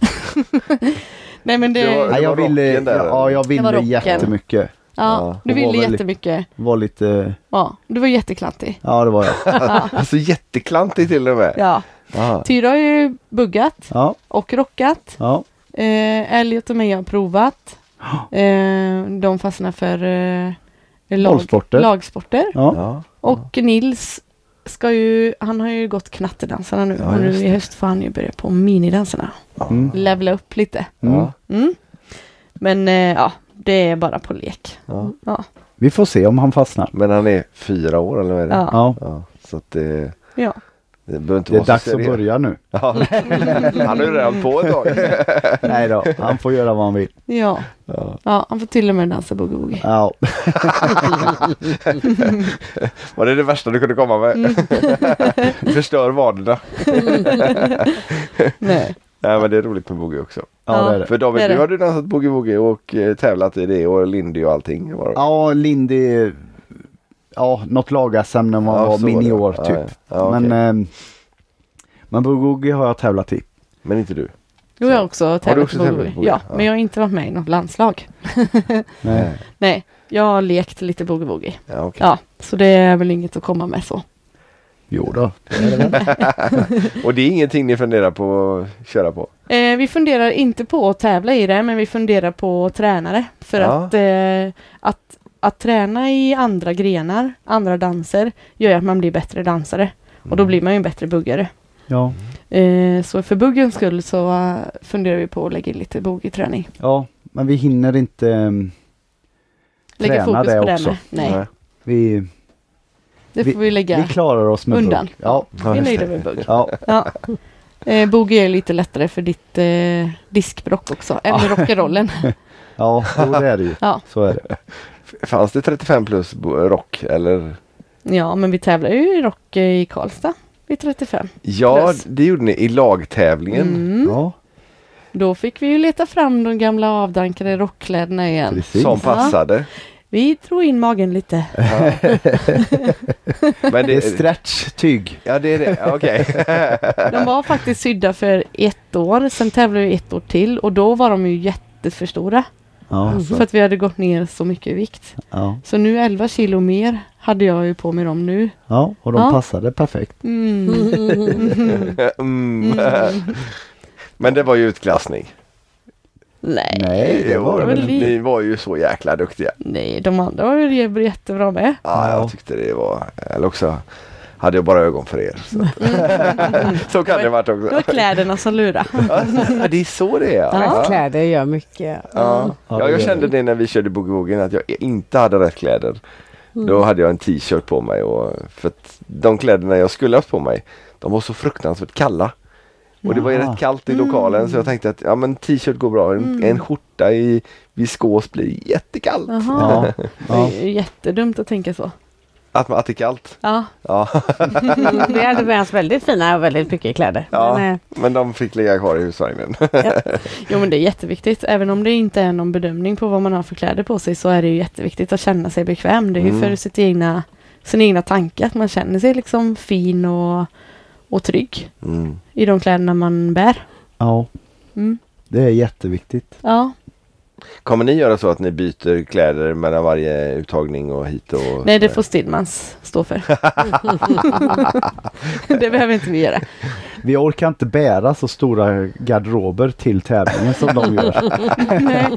Speaker 5: Nej men det,
Speaker 1: Det var-
Speaker 6: Ja, jag
Speaker 1: rocken
Speaker 6: ville,
Speaker 1: där, eller?
Speaker 6: ja, jag
Speaker 5: Det var
Speaker 6: ville
Speaker 5: rocken.
Speaker 6: jättemycket.
Speaker 5: ja,
Speaker 6: det
Speaker 5: du
Speaker 6: var
Speaker 5: ville
Speaker 6: väl-
Speaker 5: jättemycket.
Speaker 6: Var lite,
Speaker 5: Ja, du var jätteklantig.
Speaker 6: ja det var jag.
Speaker 1: alltså jätteklantig till och med.
Speaker 5: Ja.
Speaker 1: Ja.
Speaker 5: Tyra har ju buggat
Speaker 6: Ja,
Speaker 5: och rockat.
Speaker 6: ja.
Speaker 5: Eh, Elliot och mig har provat. Eh, de fastnar för eh, lag,
Speaker 6: Bollsporter.
Speaker 5: lagsporter.
Speaker 6: ja.
Speaker 1: Ja.
Speaker 5: Och Nils ska ju, han har ju gått knattedansarna nu
Speaker 1: Ja,
Speaker 5: och nu
Speaker 1: just
Speaker 5: i höst får han ju börja på minidansarna.
Speaker 6: Mm.
Speaker 5: Levla upp lite.
Speaker 6: Mm.
Speaker 1: Ja.
Speaker 5: Mm. Men eh, ja, det är bara på lek.
Speaker 1: Ja.
Speaker 5: Ja,
Speaker 6: Vi får se om han fastnar.
Speaker 1: Men han är fyra år eller vad är det?
Speaker 5: ja,
Speaker 6: Ja,
Speaker 1: Ja, så att eh, det,
Speaker 5: ja.
Speaker 1: det behöver inte
Speaker 6: det är
Speaker 1: vara så
Speaker 6: dags att
Speaker 1: seriöst.
Speaker 6: börja nu.
Speaker 1: Ja. Han har ju redan hållit på ett tag.
Speaker 6: Nej då, han får göra vad han vill.
Speaker 5: ja.
Speaker 1: Ja.
Speaker 5: ja han får till och med dansa boogie-woogie.
Speaker 6: Ja,
Speaker 1: Var det det värsta du kunde komma med? Förstör vanorna.
Speaker 5: Nej.
Speaker 1: Nej men det är roligt med boogie också.
Speaker 6: ja det är det.
Speaker 1: För David,
Speaker 5: Det är
Speaker 1: du
Speaker 5: det.
Speaker 1: har du dansat boogie-woogie och eh, tävlat i det och Lindy och allting. Var det?
Speaker 6: Ja, Lindy. Ja, något lagarsämne när man
Speaker 1: Ja,
Speaker 6: var
Speaker 1: så var det.
Speaker 6: minior
Speaker 1: Ja,
Speaker 6: typ.
Speaker 1: ja. Ja, okej.
Speaker 6: Men, ehm, men boogie har jag tävlat i.
Speaker 1: Men inte du?
Speaker 5: Jo, jag har också tävlat
Speaker 1: också
Speaker 5: i
Speaker 1: tävlat i
Speaker 5: boogie-woogie.
Speaker 1: boogie-woogie?
Speaker 5: Ja,
Speaker 1: Ja.
Speaker 5: men jag har inte varit med i något landslag.
Speaker 6: Nej.
Speaker 5: Nej, jag har lekt lite boogie-woogie.
Speaker 1: Ja, okej.
Speaker 5: Ja, så det är väl inget att komma med så.
Speaker 6: Jo då.
Speaker 1: Och det är ingenting ni funderar på att köra på?
Speaker 5: Eh, vi funderar inte på att tävla i det, men vi funderar på tränare. För
Speaker 1: Ja.
Speaker 5: att, eh, att, att träna i andra grenar, andra danser, gör ju att man blir bättre dansare. Och
Speaker 1: Mm.
Speaker 5: då blir man ju en bättre buggare.
Speaker 6: Ja,
Speaker 5: Eh, så för buggens skull så eh, funderar vi på att lägga in lite boogie-träning.
Speaker 6: ja men vi hinner inte. ehm,
Speaker 5: Lägga
Speaker 6: Träna
Speaker 5: fokus
Speaker 6: det
Speaker 5: på
Speaker 6: också.
Speaker 5: det med. Nej,
Speaker 6: Vi,
Speaker 5: det får vi, lägga.
Speaker 6: vi klarar oss med
Speaker 5: undan.
Speaker 6: bugg. Ja,
Speaker 5: Vi är nöjda med bugg.
Speaker 6: ja,
Speaker 5: Ja. Eh, boogie är lite lättare för ditt eh, diskbrock också, eller rock'n'rollen.
Speaker 6: ja jo, det är det ju.
Speaker 5: Ja.
Speaker 6: Så är det.
Speaker 1: Fanns det 35 plus bo- rock eller?
Speaker 5: Ja, men vi tävlar ju i rock eh, i Karlstad vid 35.
Speaker 1: Ja,
Speaker 5: Plus.
Speaker 1: det gjorde ni i lagtävlingen.
Speaker 5: Mm.
Speaker 6: Ja,
Speaker 5: Då fick vi ju leta fram de gamla avdankade rockkläderna igen.
Speaker 6: precis.
Speaker 1: Som passade.
Speaker 5: Vi drog in magen lite.
Speaker 1: Men
Speaker 6: Det är stretchtyg.
Speaker 1: Ja, det är det. Ja, Okej.
Speaker 5: De var faktiskt sydda för ett år, sen tävlade vi ett år till och då var de ju jätteförstora.
Speaker 6: Ja,
Speaker 5: För att vi hade gått ner så mycket i vikt.
Speaker 6: ja,
Speaker 5: Så nu 11 kilo mer hade jag ju på mig dem nu.
Speaker 6: ja, och de
Speaker 5: Ja.
Speaker 6: passade perfekt.
Speaker 5: Mm.
Speaker 1: Mm. Men det var ju utklassning.
Speaker 5: Nej,
Speaker 6: Nej, det var det
Speaker 5: väl
Speaker 6: väl
Speaker 5: vi.
Speaker 1: Ni var ju så jäkla duktiga.
Speaker 5: nej, de andra var ju jättebra med.
Speaker 1: Ja,
Speaker 6: Ja.
Speaker 1: jag tyckte det var... Eller också hade jag bara ögon för er. Så,
Speaker 5: Mm.
Speaker 1: så kan det varit
Speaker 5: Det
Speaker 1: också.
Speaker 5: var kläderna som lurade.
Speaker 1: Ja, det är så det är.
Speaker 2: Rätt
Speaker 1: Ja.
Speaker 2: kläder gör mycket.
Speaker 1: Ja.
Speaker 6: Ja,
Speaker 1: ja,
Speaker 6: det
Speaker 1: jag
Speaker 6: gör
Speaker 1: kände det när vi körde boogie-woogien att jag inte hade rätt kläder.
Speaker 5: Mm.
Speaker 1: Då hade jag en t-shirt på mig och för att de kläderna jag skulle haft på mig de var så fruktansvärt kalla. Och det var ju
Speaker 6: Jaha.
Speaker 1: rätt kallt
Speaker 5: Mm.
Speaker 1: i lokalen så jag tänkte att ja men t-shirt går bra, en, en skjorta i viskos blir jättekallt.
Speaker 5: Jaha.
Speaker 6: Ja,
Speaker 5: Det
Speaker 6: ja.
Speaker 5: är ju jättedumt att tänka så.
Speaker 1: Att, man- att det är kallt.
Speaker 5: Ja,
Speaker 1: Ja,
Speaker 2: Vi hade med oss väldigt fina och väldigt mycket kläder.
Speaker 1: Ja.
Speaker 2: Men, eh,
Speaker 1: men de fick ligga kvar i husvagnen.
Speaker 5: Jo men det är jätteviktigt, även om det inte är någon bedömning på vad man har för kläder på sig så är det ju jätteviktigt att känna sig bekväm. Det är ju
Speaker 1: Mm.
Speaker 5: för sitt egna, sin egna tanke att man känner sig liksom fin och, och trygg
Speaker 1: Mm.
Speaker 5: i de kläderna man bär.
Speaker 6: ja,
Speaker 5: Mm.
Speaker 6: det är jätteviktigt.
Speaker 5: Ja.
Speaker 1: Kommer ni göra så att ni byter kläder mellan varje uttagning och hit och
Speaker 5: Nej det får Stillmans stå för. det behöver inte vi göra.
Speaker 6: Vi orkar inte bära så stora garderober till tävlingen som de gör.
Speaker 5: Nej.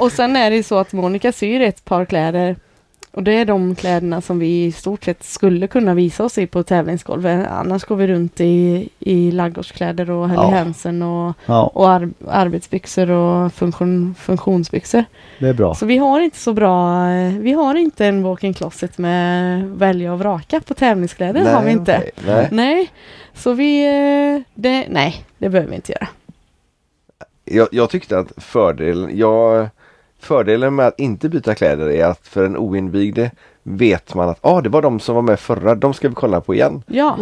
Speaker 5: Och sen är det ju så att Monica syr ett par kläder Och det är de kläderna som vi i stort sett skulle kunna visa oss i på tävlingsgolvet. Annars går vi runt i, i laggårdskläder och Helly
Speaker 6: Ja.
Speaker 5: Hansen och,
Speaker 6: Ja,
Speaker 5: och ar, arbetsbyxor och funktion, funktionsbyxor.
Speaker 6: det är bra.
Speaker 5: Så vi har inte så bra, eh, vi har inte en walk-in closet med välja och vraka på tävlingskläder. har vi inte.
Speaker 1: okej. Nej.
Speaker 5: Nej, så vi, eh, det, nej, det behöver vi inte göra.
Speaker 1: Jag, jag tyckte att fördelen, jag, fördelen med att inte byta kläder är att för en oinvigde vet man att ah, det var de som var med förra, de ska vi kolla på igen.
Speaker 5: Ja,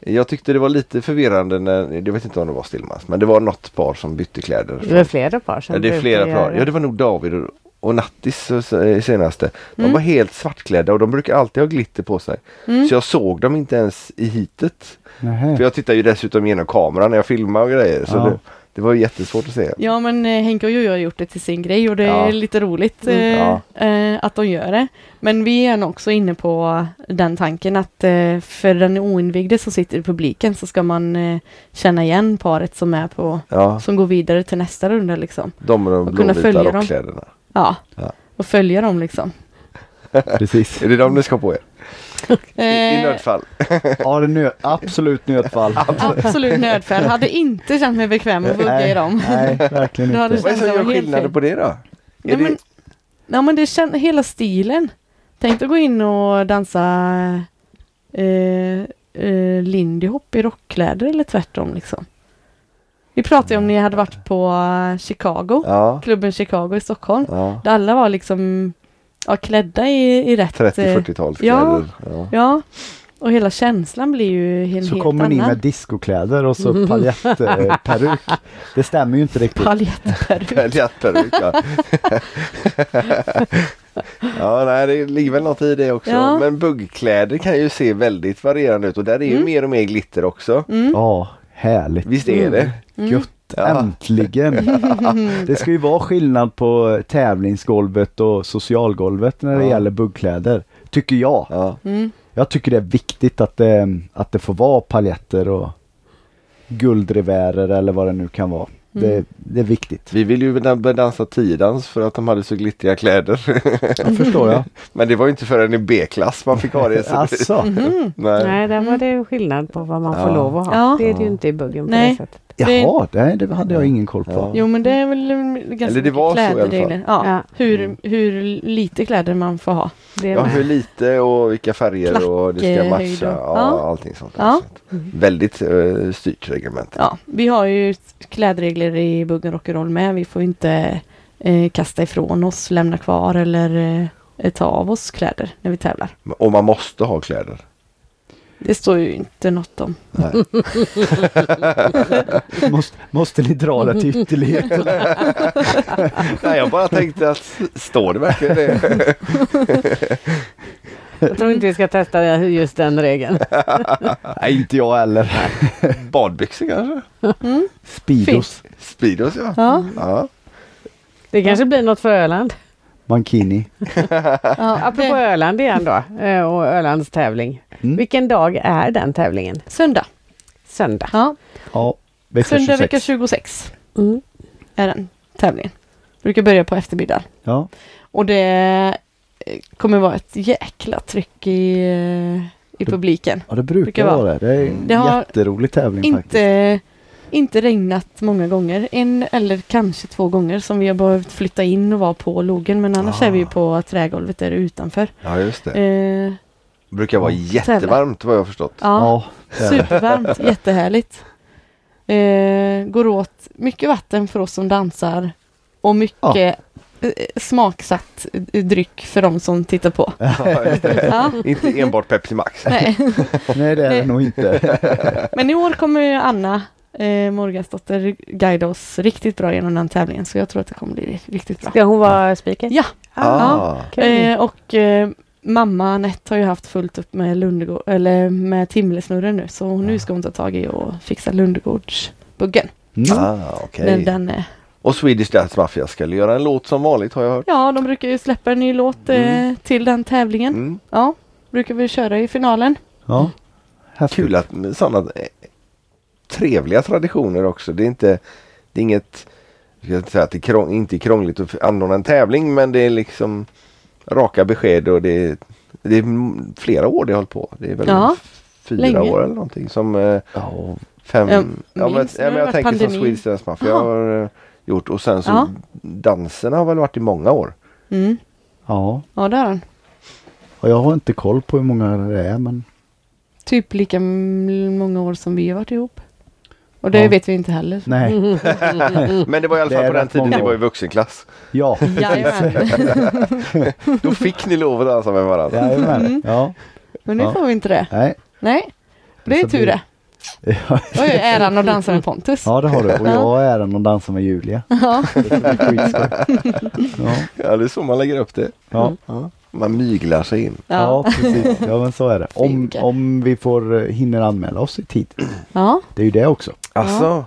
Speaker 1: Jag tyckte det var lite förvirrande när, jag vet inte om det var Stillmans, men det var något par som bytte kläder.
Speaker 2: Det är flera par som
Speaker 1: Ja, det är
Speaker 2: brukar
Speaker 1: flera
Speaker 2: göra
Speaker 1: par. Ja, det var nog David och, och Nattis så- så- eh, senaste. De var helt svartklädda och de brukar alltid ha glitter på sig. Så jag såg dem inte ens i hitet.
Speaker 6: Nähä.
Speaker 1: För jag tittar ju dessutom genom kameran när jag filmar och grejer. Så
Speaker 6: Mm. Ja.
Speaker 1: det, det var ju jättesvårt att se.
Speaker 5: ja men eh, Henke och Jojo har gjort det till sin grej och det
Speaker 1: Ja. Mm,
Speaker 5: är lite roligt eh, eh, att de gör det. Men vi är nog också inne på den tanken att eh, för den oinvigde som sitter i publiken så ska man eh, känna igen paret som är på,
Speaker 1: Ja,
Speaker 5: som går vidare till nästa runda liksom.
Speaker 1: de och de
Speaker 5: Och kunna
Speaker 1: blåvita
Speaker 5: följa dem.
Speaker 1: rockkläderna.
Speaker 5: Ja,
Speaker 1: Ja.
Speaker 5: och följa dem liksom.
Speaker 6: Precis.
Speaker 1: Är det de ni ska på er? I, i
Speaker 5: Eh,
Speaker 1: nödfall.
Speaker 6: Ja, det är nö- absolut nödfall.
Speaker 5: absolut nödfärd. Hade inte känt mig bekväm att bugga i dem.
Speaker 6: Eh, Nej, verkligen
Speaker 5: Då hade
Speaker 6: inte.
Speaker 5: det
Speaker 1: Vad är det som gör
Speaker 5: känts som helt fel.
Speaker 1: skillnaden på det då? Är
Speaker 5: Nej,
Speaker 1: det-
Speaker 5: men, nej men det känns, hela stilen. Tänk att gå in och dansa eh, eh, lindy hop i rockkläder eller tvärtom liksom. Vi pratade ju om ni hade varit på eh, Chicago,
Speaker 1: Ja,
Speaker 5: klubben Chicago i Stockholm.
Speaker 1: ja.
Speaker 5: Där alla var liksom ja, klädda i, i rätt... eh,
Speaker 1: 30-40-talskläder. Ja.
Speaker 5: Ja, och hela känslan blir ju en helt
Speaker 6: Så kommer ni
Speaker 5: annan. Mm.
Speaker 6: med diskokläder och så paljettperuk. Det stämmer ju inte riktigt.
Speaker 5: paljettperuk.
Speaker 1: Jätteruk, ja. ja, nej, det ligger väl något i det också.
Speaker 5: Ja.
Speaker 1: Men buggkläder kan ju se väldigt varierande ut och där är ju
Speaker 5: Mm.
Speaker 1: mer och mer glitter också.
Speaker 6: Ja, härligt.
Speaker 1: Visst
Speaker 5: Mm.
Speaker 1: är det?
Speaker 6: Gött,
Speaker 1: Ja.
Speaker 6: äntligen! Det ska ju vara skillnad på tävlingsgolvet och socialgolvet när det
Speaker 1: Ja.
Speaker 6: gäller buggkläder. Tycker jag.
Speaker 1: Ja.
Speaker 5: Mm.
Speaker 6: Jag tycker det är viktigt att det, att det får vara paljetter och guldrevärer eller vad det nu kan vara.
Speaker 5: Mm.
Speaker 6: Det, det är viktigt.
Speaker 1: Vi ville ju börja dansa tidans för att de hade så glittriga kläder.
Speaker 6: Jag förstår jag.
Speaker 1: Men det var ju inte förrän i B-klass man fick ha det. Så
Speaker 6: Alltså,
Speaker 1: nej.
Speaker 2: Nej, där var det ju skillnad på vad man får
Speaker 1: Ja.
Speaker 2: lov att ha.
Speaker 5: Ja.
Speaker 2: Det är det ju inte i buggen på
Speaker 5: Nej.
Speaker 2: det sättet.
Speaker 6: jaha, det, det hade jag ingen koll på.
Speaker 5: Jo men det är väl ganska
Speaker 1: Eller det
Speaker 5: mycket
Speaker 1: var så i alla fall. Mm.
Speaker 5: klädregler. Ja,
Speaker 2: Ja.
Speaker 5: Hur, hur lite kläder man får ha.
Speaker 2: Det är
Speaker 1: Ja,
Speaker 2: med.
Speaker 1: hur lite och vilka färger och det ska
Speaker 5: Plackhöjd
Speaker 1: matcha.
Speaker 5: och-
Speaker 1: Ja,
Speaker 5: Ja.
Speaker 1: allting sånt. där.
Speaker 5: Ja.
Speaker 1: Så att, Väldigt eh, styrt reglemente.
Speaker 5: Ja, vi har ju klädregler i Buggen Rock'n'Roll med. Vi får inte eh, kasta ifrån oss, lämna kvar eller eh, ta av oss kläder när vi tävlar.
Speaker 1: Och man måste ha kläder.
Speaker 5: Det står ju inte något om.
Speaker 1: Nej.
Speaker 6: Måste, måste ni dra det till ytterligheterna?
Speaker 1: Nej, jag bara tänkte att står det verkligen det?
Speaker 2: Jag tror inte vi ska testa just den regeln.
Speaker 6: Nej, inte jag heller.
Speaker 1: Badbyxor kanske?
Speaker 6: Speedos,
Speaker 1: Speedos ja.
Speaker 5: Mm, Ja,
Speaker 1: ja.
Speaker 2: Det kanske blir något för Öland.
Speaker 6: mankini.
Speaker 5: ja
Speaker 2: Apropå
Speaker 5: det-
Speaker 2: Öland igen då eh, och Ölands tävling.
Speaker 6: Mm.
Speaker 2: Vilken dag är den tävlingen?
Speaker 5: Söndag.
Speaker 2: Söndag.
Speaker 5: Ja,
Speaker 6: Ja, vecka
Speaker 5: söndag vecka
Speaker 6: 26.
Speaker 5: 26
Speaker 2: Mm.
Speaker 5: är den tävlingen. Brukar börja på eftermiddagen.
Speaker 6: Ja,
Speaker 5: Och det eh, kommer vara ett jäkla tryck i, eh, i publiken.
Speaker 6: ja det brukar vara det. Det är en
Speaker 5: Det har
Speaker 6: jätterolig tävling faktiskt.
Speaker 5: Inte, inte regnat många gånger. En eller kanske två gånger som vi har behövt flytta in och vara på logen. Men annars
Speaker 1: Ah.
Speaker 5: är vi ju på trägolvet där utanför.
Speaker 1: ja, just det.
Speaker 5: Eh,
Speaker 1: Brukar vara jättevarmt vad jag har förstått.
Speaker 5: ja,
Speaker 6: Ja, det är det.
Speaker 5: supervarmt. jättehärligt. Eh, går åt mycket vatten för oss som dansar. Och mycket eh, smaksatt eh, dryck för de som tittar på.
Speaker 1: Ja, Ah, just det.
Speaker 5: Ja,
Speaker 1: Inte enbart Pepsi Max.
Speaker 5: nej.
Speaker 6: Nej, det är det
Speaker 5: Det-
Speaker 6: nog inte. Mm.
Speaker 5: Men i år kommer ju Anna eh, Morgansdotter guida oss riktigt bra genom den tävlingen. Så jag tror att det kommer bli riktigt bra.
Speaker 2: Ska hon vara speaker?
Speaker 5: Ja.
Speaker 1: Ah.
Speaker 2: Kul.
Speaker 5: Eh, och eh, mamma Anette har ju haft fullt upp med, Lundegård, eller med Timlesnurren nu. Så nu ska hon ta tag i och fixa Lundegårdsbuggen.
Speaker 6: Mm.
Speaker 1: Ah,
Speaker 5: När
Speaker 1: okej.
Speaker 5: den är...
Speaker 1: Och Swedish Dance Mafia ska göra en låt som vanligt har jag hört.
Speaker 5: Ja, de brukar ju släppa en ny låt eh, till den tävlingen.
Speaker 1: Mm.
Speaker 5: Ja, brukar vi köra i finalen.
Speaker 6: Ja, häftigt.
Speaker 1: Kul att sådana eh, trevliga traditioner också. Det är inte, det är inget, jag ska inte säga att det är krång, inte är krångligt att anordna en tävling men det är liksom raka besked och det är, det är m- flera år det har hållit på. Det är väl
Speaker 5: Ja,
Speaker 1: fyra
Speaker 5: länge.
Speaker 1: år eller någonting som eh,
Speaker 6: Ja,
Speaker 1: fem...
Speaker 5: Jag
Speaker 1: ja, men,
Speaker 5: minns när
Speaker 1: ja, men
Speaker 5: det
Speaker 1: jag
Speaker 5: var
Speaker 1: tänker som
Speaker 5: pandemi.
Speaker 1: Swedish Dance Mafia
Speaker 5: Aha.
Speaker 1: har eh, gjort och sen så
Speaker 5: Ja.
Speaker 1: danserna har väl varit i många år.
Speaker 5: Mm.
Speaker 6: ja.
Speaker 5: Ja, det har han.
Speaker 6: Och jag har inte koll på hur många det är men
Speaker 5: Typ lika m- många år som vi har varit ihop. Och det
Speaker 6: Ja.
Speaker 5: vet vi inte heller.
Speaker 6: nej.
Speaker 5: Mhm. Mm.
Speaker 1: Men det var i alla
Speaker 6: Det
Speaker 1: fall
Speaker 6: är
Speaker 1: på den
Speaker 6: rätt
Speaker 1: tiden
Speaker 6: många
Speaker 1: ni var
Speaker 6: år.
Speaker 1: i vuxenklass.
Speaker 6: Ja,
Speaker 5: Jajamän.
Speaker 1: Då fick ni lov att dansa med varandra.
Speaker 5: Mm.
Speaker 6: jajamän. Ja,
Speaker 5: Men nu
Speaker 6: Ja.
Speaker 5: får vi inte det.
Speaker 6: nej.
Speaker 5: Nej, det är
Speaker 6: Så
Speaker 5: tur det.
Speaker 6: Ja,
Speaker 5: Då är jag äran att dansa med Pontus.
Speaker 6: ja det har du. Och jag har äran att dansa med Julia.
Speaker 5: Ja.
Speaker 6: Det ska bli skitskoj. Ja,
Speaker 1: Ja, det är så man lägger upp det.
Speaker 6: ja.
Speaker 1: Man myglar sig in.
Speaker 6: ja,
Speaker 5: Ja.
Speaker 6: precis. Ja men så är det. Om,
Speaker 5: Finka.
Speaker 6: om vi får, eh, hinner anmäla oss i tid.
Speaker 5: ja.
Speaker 6: Det är ju det också.
Speaker 1: Alltså,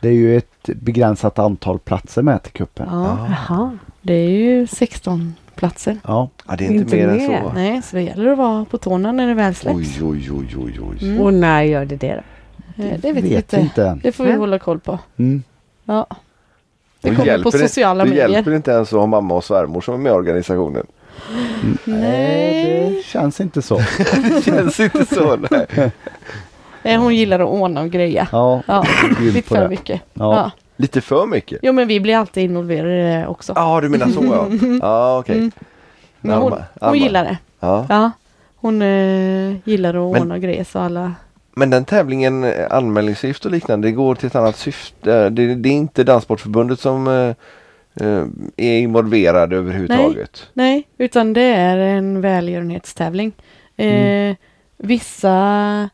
Speaker 6: Det är ju ett begränsat antal platser med till kuppen.
Speaker 5: Ja, jaha. Det är ju 16 platser.
Speaker 6: Ja,
Speaker 1: ja. det är inte,
Speaker 2: Inte
Speaker 1: mer än
Speaker 2: mer.
Speaker 1: så.
Speaker 5: Nej, så det gäller att vara på tårna när det väl släpps.
Speaker 1: Oj, oj, oj, oj, oj.
Speaker 5: Mm.
Speaker 2: Och när gör det det då?
Speaker 5: Eh,
Speaker 6: det
Speaker 5: Det vet vi
Speaker 6: vet vi
Speaker 5: inte.
Speaker 6: inte än.
Speaker 5: Det får vi
Speaker 2: Nej.
Speaker 5: hålla koll på.
Speaker 6: Mm.
Speaker 5: Ja. Det
Speaker 1: Då
Speaker 5: kommer
Speaker 1: hjälper
Speaker 5: på
Speaker 1: det-
Speaker 5: sociala
Speaker 1: Det
Speaker 5: medier.
Speaker 1: hjälper inte ens att ha mamma och svärmor som är med i organisationen.
Speaker 6: Nej,
Speaker 5: Nej.
Speaker 6: det känns inte så.
Speaker 1: Det känns inte så. Nej.
Speaker 5: Nej, hon gillar att ordna och greja.
Speaker 6: Ja,
Speaker 5: Ja,
Speaker 6: grym
Speaker 5: lite
Speaker 6: på
Speaker 5: för
Speaker 6: det.
Speaker 5: mycket.
Speaker 6: ja.
Speaker 5: Ja.
Speaker 1: Lite för mycket.
Speaker 5: Jo, men vi blir alltid involverade i det också.
Speaker 1: Ja, du menar så ja. Ja, okej.
Speaker 5: Mm. Men hon, hon gillar det.
Speaker 1: Ja.
Speaker 5: Ja. Hon eh, gillar att
Speaker 1: Men-
Speaker 5: ordna och greja så alla...
Speaker 1: Men den tävlingen, eh, anmälningsavgift och liknande, det går till ett annat syfte. Eh, Det, det är inte Danssportförbundet som eh, eh, är involverad överhuvudtaget.
Speaker 5: Nej, utan det är en välgörenhetstävling. Eh,
Speaker 6: Mm.
Speaker 5: Vissa...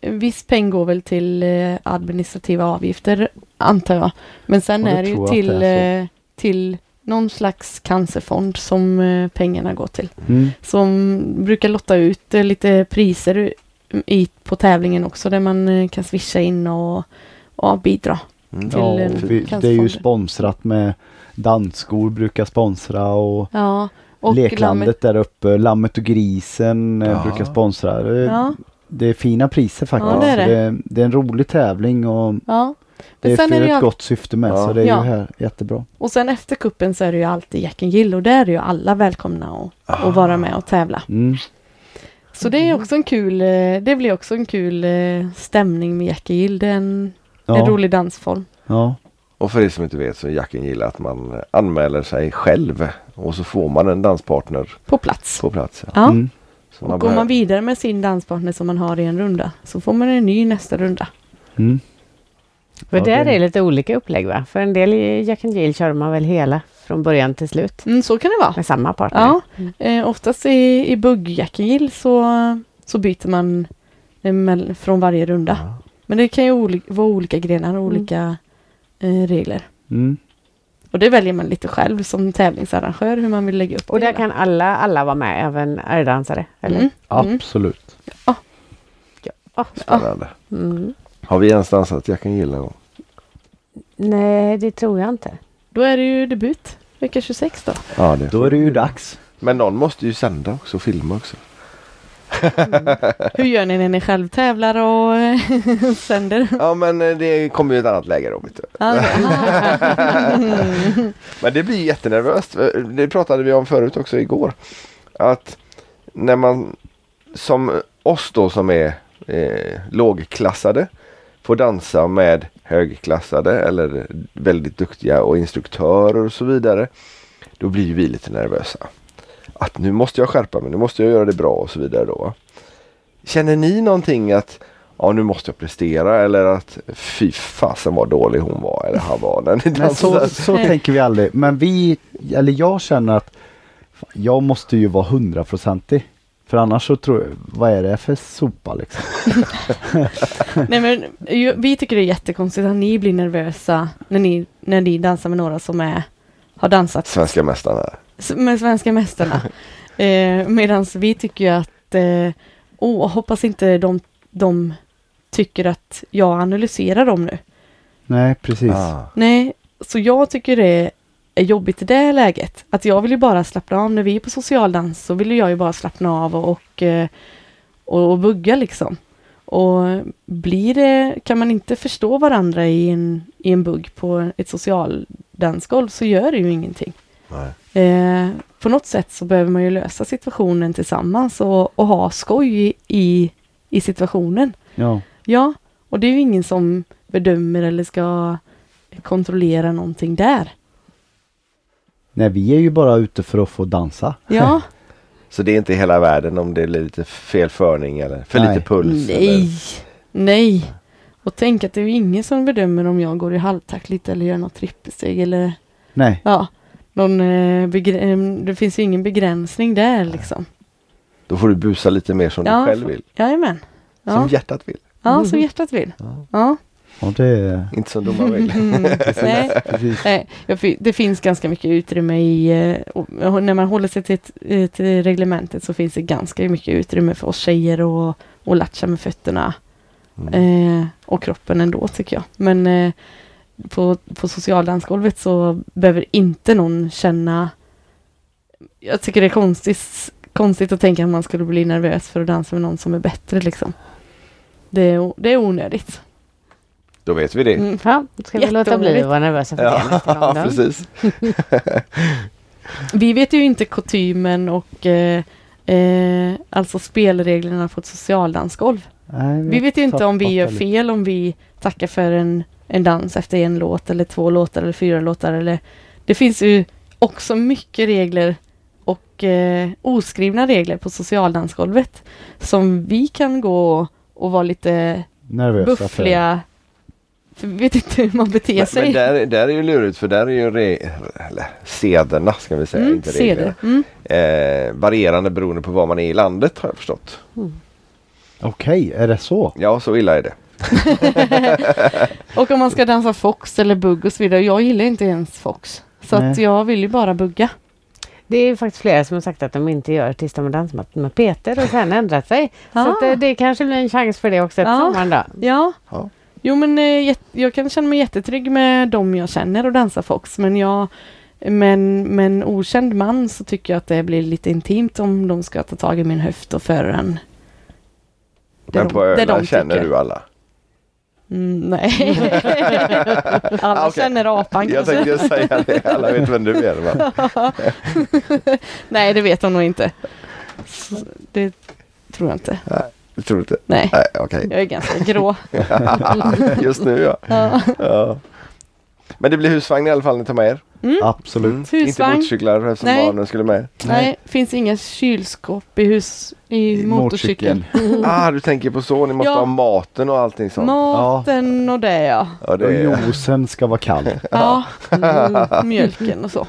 Speaker 5: Viss peng går väl till eh, administrativa avgifter, antar jag. Men sen
Speaker 6: Ja, det
Speaker 5: är det ju
Speaker 6: tror jag att
Speaker 5: till,
Speaker 6: det är
Speaker 5: eh, till någon slags cancerfond som eh, pengarna går till.
Speaker 6: Mm.
Speaker 5: som brukar lotta ut eh, lite priser i, på tävlingen också där man eh, kan swisha in och, och bidra.
Speaker 1: Mm.
Speaker 6: Ja,
Speaker 5: Till, eh,
Speaker 6: och vi, det är ju
Speaker 5: cancerfonden.
Speaker 6: sponsrat med dansskor brukar sponsra och,
Speaker 5: Ja, och
Speaker 6: Leklandet
Speaker 5: lammet-
Speaker 6: där uppe, Lammet och grisen eh,
Speaker 1: Ja.
Speaker 6: brukar sponsra. Det,
Speaker 5: Ja,
Speaker 6: det är fina priser faktiskt.
Speaker 5: Ja, det är
Speaker 6: Så det, det är en rolig tävling och
Speaker 5: ja.
Speaker 6: det
Speaker 5: Men
Speaker 6: är
Speaker 5: sen
Speaker 6: för
Speaker 5: är det ju
Speaker 6: ett
Speaker 5: all-
Speaker 6: gott syfte med
Speaker 1: Ja.
Speaker 6: så det är
Speaker 5: Ja.
Speaker 6: ju här jättebra.
Speaker 5: och sen efter kuppen så är det ju alltid Jack and Jill och där är ju alla välkomna och, och vara med och tävla.
Speaker 6: Mm.
Speaker 5: Så det är också en kul, eh, det blir också en kul eh, stämning med Jack and Jill. Det är en, en
Speaker 6: Ja,
Speaker 5: rolig dansform.
Speaker 6: ja,
Speaker 1: Och för er som inte vet så är Jacken gillar att man eh, anmäler sig själv och så får man en danspartner
Speaker 5: På plats.
Speaker 1: på plats.
Speaker 5: Ja.
Speaker 6: Mm.
Speaker 1: Så
Speaker 5: Och går
Speaker 1: behöver-
Speaker 5: man vidare med sin danspartner som man har i en runda så får man en ny i nästa runda.
Speaker 6: Mm.
Speaker 2: För
Speaker 6: Ja,
Speaker 2: där
Speaker 6: det-
Speaker 2: är det lite olika upplägg va? För en del i Jack and Jill kör man väl hela från början till slut
Speaker 5: Mm, så kan det vara.
Speaker 2: med samma partner?
Speaker 5: Ja, eh, oftast i, i buggjackgill så, så byter man eh, mell- från varje runda. Men det kan ju oli- vara olika grenar och olika eh, regler.
Speaker 6: Mm.
Speaker 5: Och det väljer man lite själv som tävlingsarrangör hur man vill lägga upp
Speaker 2: Och
Speaker 5: det
Speaker 2: där
Speaker 5: hela.
Speaker 2: kan alla, alla vara med, även R-dansare? Eller?
Speaker 5: Mm.
Speaker 6: Absolut.
Speaker 1: Spännande.
Speaker 2: Mm.
Speaker 1: Har vi ens dansat Jacken Jill någon gång?
Speaker 2: Nej, det tror jag inte.
Speaker 5: Då är det ju debut, vecka 26 då.
Speaker 1: Ja, det.
Speaker 6: Då är det ju dags.
Speaker 1: Men någon måste ju sända också och filma också.
Speaker 5: Hur gör ni när ni själv tävlar och eh, sänder?
Speaker 1: Ja men eh, det kommer ju ett annat läge då. vet du.
Speaker 5: Ja,
Speaker 1: Men det blir jättenervöst. Eh, Det pratade vi om förut också igår. Att när man som oss då som är eh, lågklassade får dansa med högklassade eller väldigt duktiga och instruktörer och så vidare. Då blir ju vi lite nervösa. Att nu måste jag skärpa mig, nu måste jag göra det bra och så vidare då. va. Känner ni någonting att ja nu måste jag prestera eller att fy fasen vad dålig hon var eller han var när ni
Speaker 6: Men så,
Speaker 1: dansade?
Speaker 6: så tänker vi aldrig. Men vi, eller jag känner att fan, jag måste ju vara hundraprocentig. För annars så tror jag, vad är det för sopa liksom?
Speaker 5: Nej men ju, vi tycker det är jättekonstigt att ni blir nervösa när ni, när ni dansar med några som är, har dansat
Speaker 1: Svenska mästarna.
Speaker 5: S- med svenska mästarna. eh, Medan vi tycker ju att, eh, åh, hoppas inte de, de tycker att jag analyserar dem nu.
Speaker 6: Nej, precis.
Speaker 1: Ah.
Speaker 5: Nej, så jag tycker det är jobbigt i det läget. Att jag vill ju bara slappna av. När vi är på socialdans så vill ju jag ju bara slappna av och, och, eh, och, och bugga liksom. Och blir det, kan man inte förstå varandra i en, i en bugg på ett socialdansgolv så gör det ju ingenting.
Speaker 1: Nej.
Speaker 5: Eh, på något sätt så behöver man ju lösa situationen tillsammans och, och ha skoj i, i situationen.
Speaker 6: Ja.
Speaker 5: Ja, och det är ju ingen som bedömer eller ska kontrollera någonting där.
Speaker 6: Nej, vi är ju bara ute för att få dansa.
Speaker 5: Ja,
Speaker 1: Så det är inte hela världen om det blir lite fel förning eller för
Speaker 6: Nej.
Speaker 1: lite puls.
Speaker 5: nej, nej. Och tänk att det är ju ingen som bedömer om jag går i halvtackligt eller gör något trippelsteg eller
Speaker 6: Nej,
Speaker 5: ja, någon, eh, begre- eh, det finns ju ingen begränsning där liksom.
Speaker 1: Då får du busa lite mer som
Speaker 5: Ja,
Speaker 1: du själv
Speaker 5: får-
Speaker 1: vill.
Speaker 5: Jajamän. Ja,
Speaker 1: Som hjärtat vill.
Speaker 5: ja, som hjärtat vill. Ja.
Speaker 6: och det...
Speaker 1: Inte som domaren vill.
Speaker 5: Nej.
Speaker 6: Precis.
Speaker 5: Nej, jag fi- det finns ganska mycket utrymme i, eh, och när man håller sig till, ett, eh, till reglementet så finns det ganska mycket utrymme för oss tjejer och, och latcha med fötterna eh, och kroppen ändå tycker jag. Men eh, på, på socialdansgolvet så behöver inte någon känna, jag tycker det är konstigt, konstigt att tänka att man skulle bli nervös för att dansa med någon som är bättre liksom. Det är, o- det är onödigt.
Speaker 1: Då vet vi det.
Speaker 5: Mm.
Speaker 2: Ja, ska vi låta bli
Speaker 5: Jätteonödigt.
Speaker 2: att vara nervösa för det
Speaker 1: Ja,
Speaker 2: nästa gång då?
Speaker 1: precis.
Speaker 5: Vi vet ju inte kutymen och eh, eh, alltså spelreglerna på ett socialdansgolv.
Speaker 6: Nej,
Speaker 5: Vi vet ju inte om vi
Speaker 6: tappat
Speaker 5: gör
Speaker 6: det
Speaker 5: fel om vi tackar för en, en dans efter en låt eller två låtar eller fyra låtar eller Det finns ju också mycket regler och eh, oskrivna regler på socialdansgolvet som vi kan gå och vara lite
Speaker 6: lite. Nervösa för-
Speaker 5: buffliga för vi vet inte hur man beter
Speaker 1: Men,
Speaker 5: sig.
Speaker 1: men där, där är ju lurigt för där är ju re, eller, sederna ska vi säga,
Speaker 5: mm,
Speaker 1: inte
Speaker 5: ser
Speaker 1: reglerna.
Speaker 5: det. Mm.
Speaker 1: Eh, varierande beroende på var man är i landet har jag förstått.
Speaker 6: Okej, är det så?
Speaker 5: Mm.
Speaker 1: Ja, så illa är det.
Speaker 5: Och om man ska dansa fox eller bugg och så vidare. Jag gillar inte ens fox. Så att
Speaker 6: Nej.
Speaker 5: jag vill ju bara bugga.
Speaker 2: Det är ju faktiskt flera som har sagt att de inte gör Tysta med dansmatten med Peter och sen ändrat sig.
Speaker 5: Ah.
Speaker 2: Så att, eh, det kanske blir en chans för det också till
Speaker 5: Ja.
Speaker 2: sommaren då.
Speaker 5: Ja.
Speaker 1: Ja.
Speaker 5: Jo men eh, jät- jag kan känna mig jättetrygg med dem jag känner och dansa fox. Men jag men med en okänd man så tycker jag att det blir lite intimt om de ska ta tag i min höft och föra den. Det
Speaker 1: Men
Speaker 5: de-
Speaker 1: på
Speaker 5: det de
Speaker 1: Öland känner
Speaker 5: tycker.
Speaker 1: du alla.
Speaker 5: Mm, nej. Alla
Speaker 1: Ah, okej.
Speaker 5: känner apan
Speaker 1: Jag
Speaker 5: kanske.
Speaker 1: tänkte just säga det, alla vet vem du är. Va?
Speaker 5: Nej det vet de nog inte. Så, det tror jag inte.
Speaker 1: Jag tror inte.
Speaker 5: Nej.
Speaker 1: Nej, okej.
Speaker 5: Jag är ganska grå.
Speaker 1: Just nu ja.
Speaker 5: Ja.
Speaker 1: ja. Men det blir husvagn i alla fall när ni tar med er. Mm.
Speaker 6: Absolut.
Speaker 1: Inte
Speaker 5: Husvagn.
Speaker 1: motorcyklar eftersom
Speaker 5: Nej.
Speaker 1: barnen skulle med.
Speaker 5: Nej, finns inga kylskåp i hus i motorcykeln.
Speaker 1: Ah, du tänker på så, ni måste
Speaker 5: Mm. Ja.
Speaker 1: ha maten och allting sånt.
Speaker 5: Maten och det ja.
Speaker 1: ja, det
Speaker 6: Och
Speaker 1: är...
Speaker 6: juicen ska vara kall.
Speaker 5: Ja, mm, mjölken och så.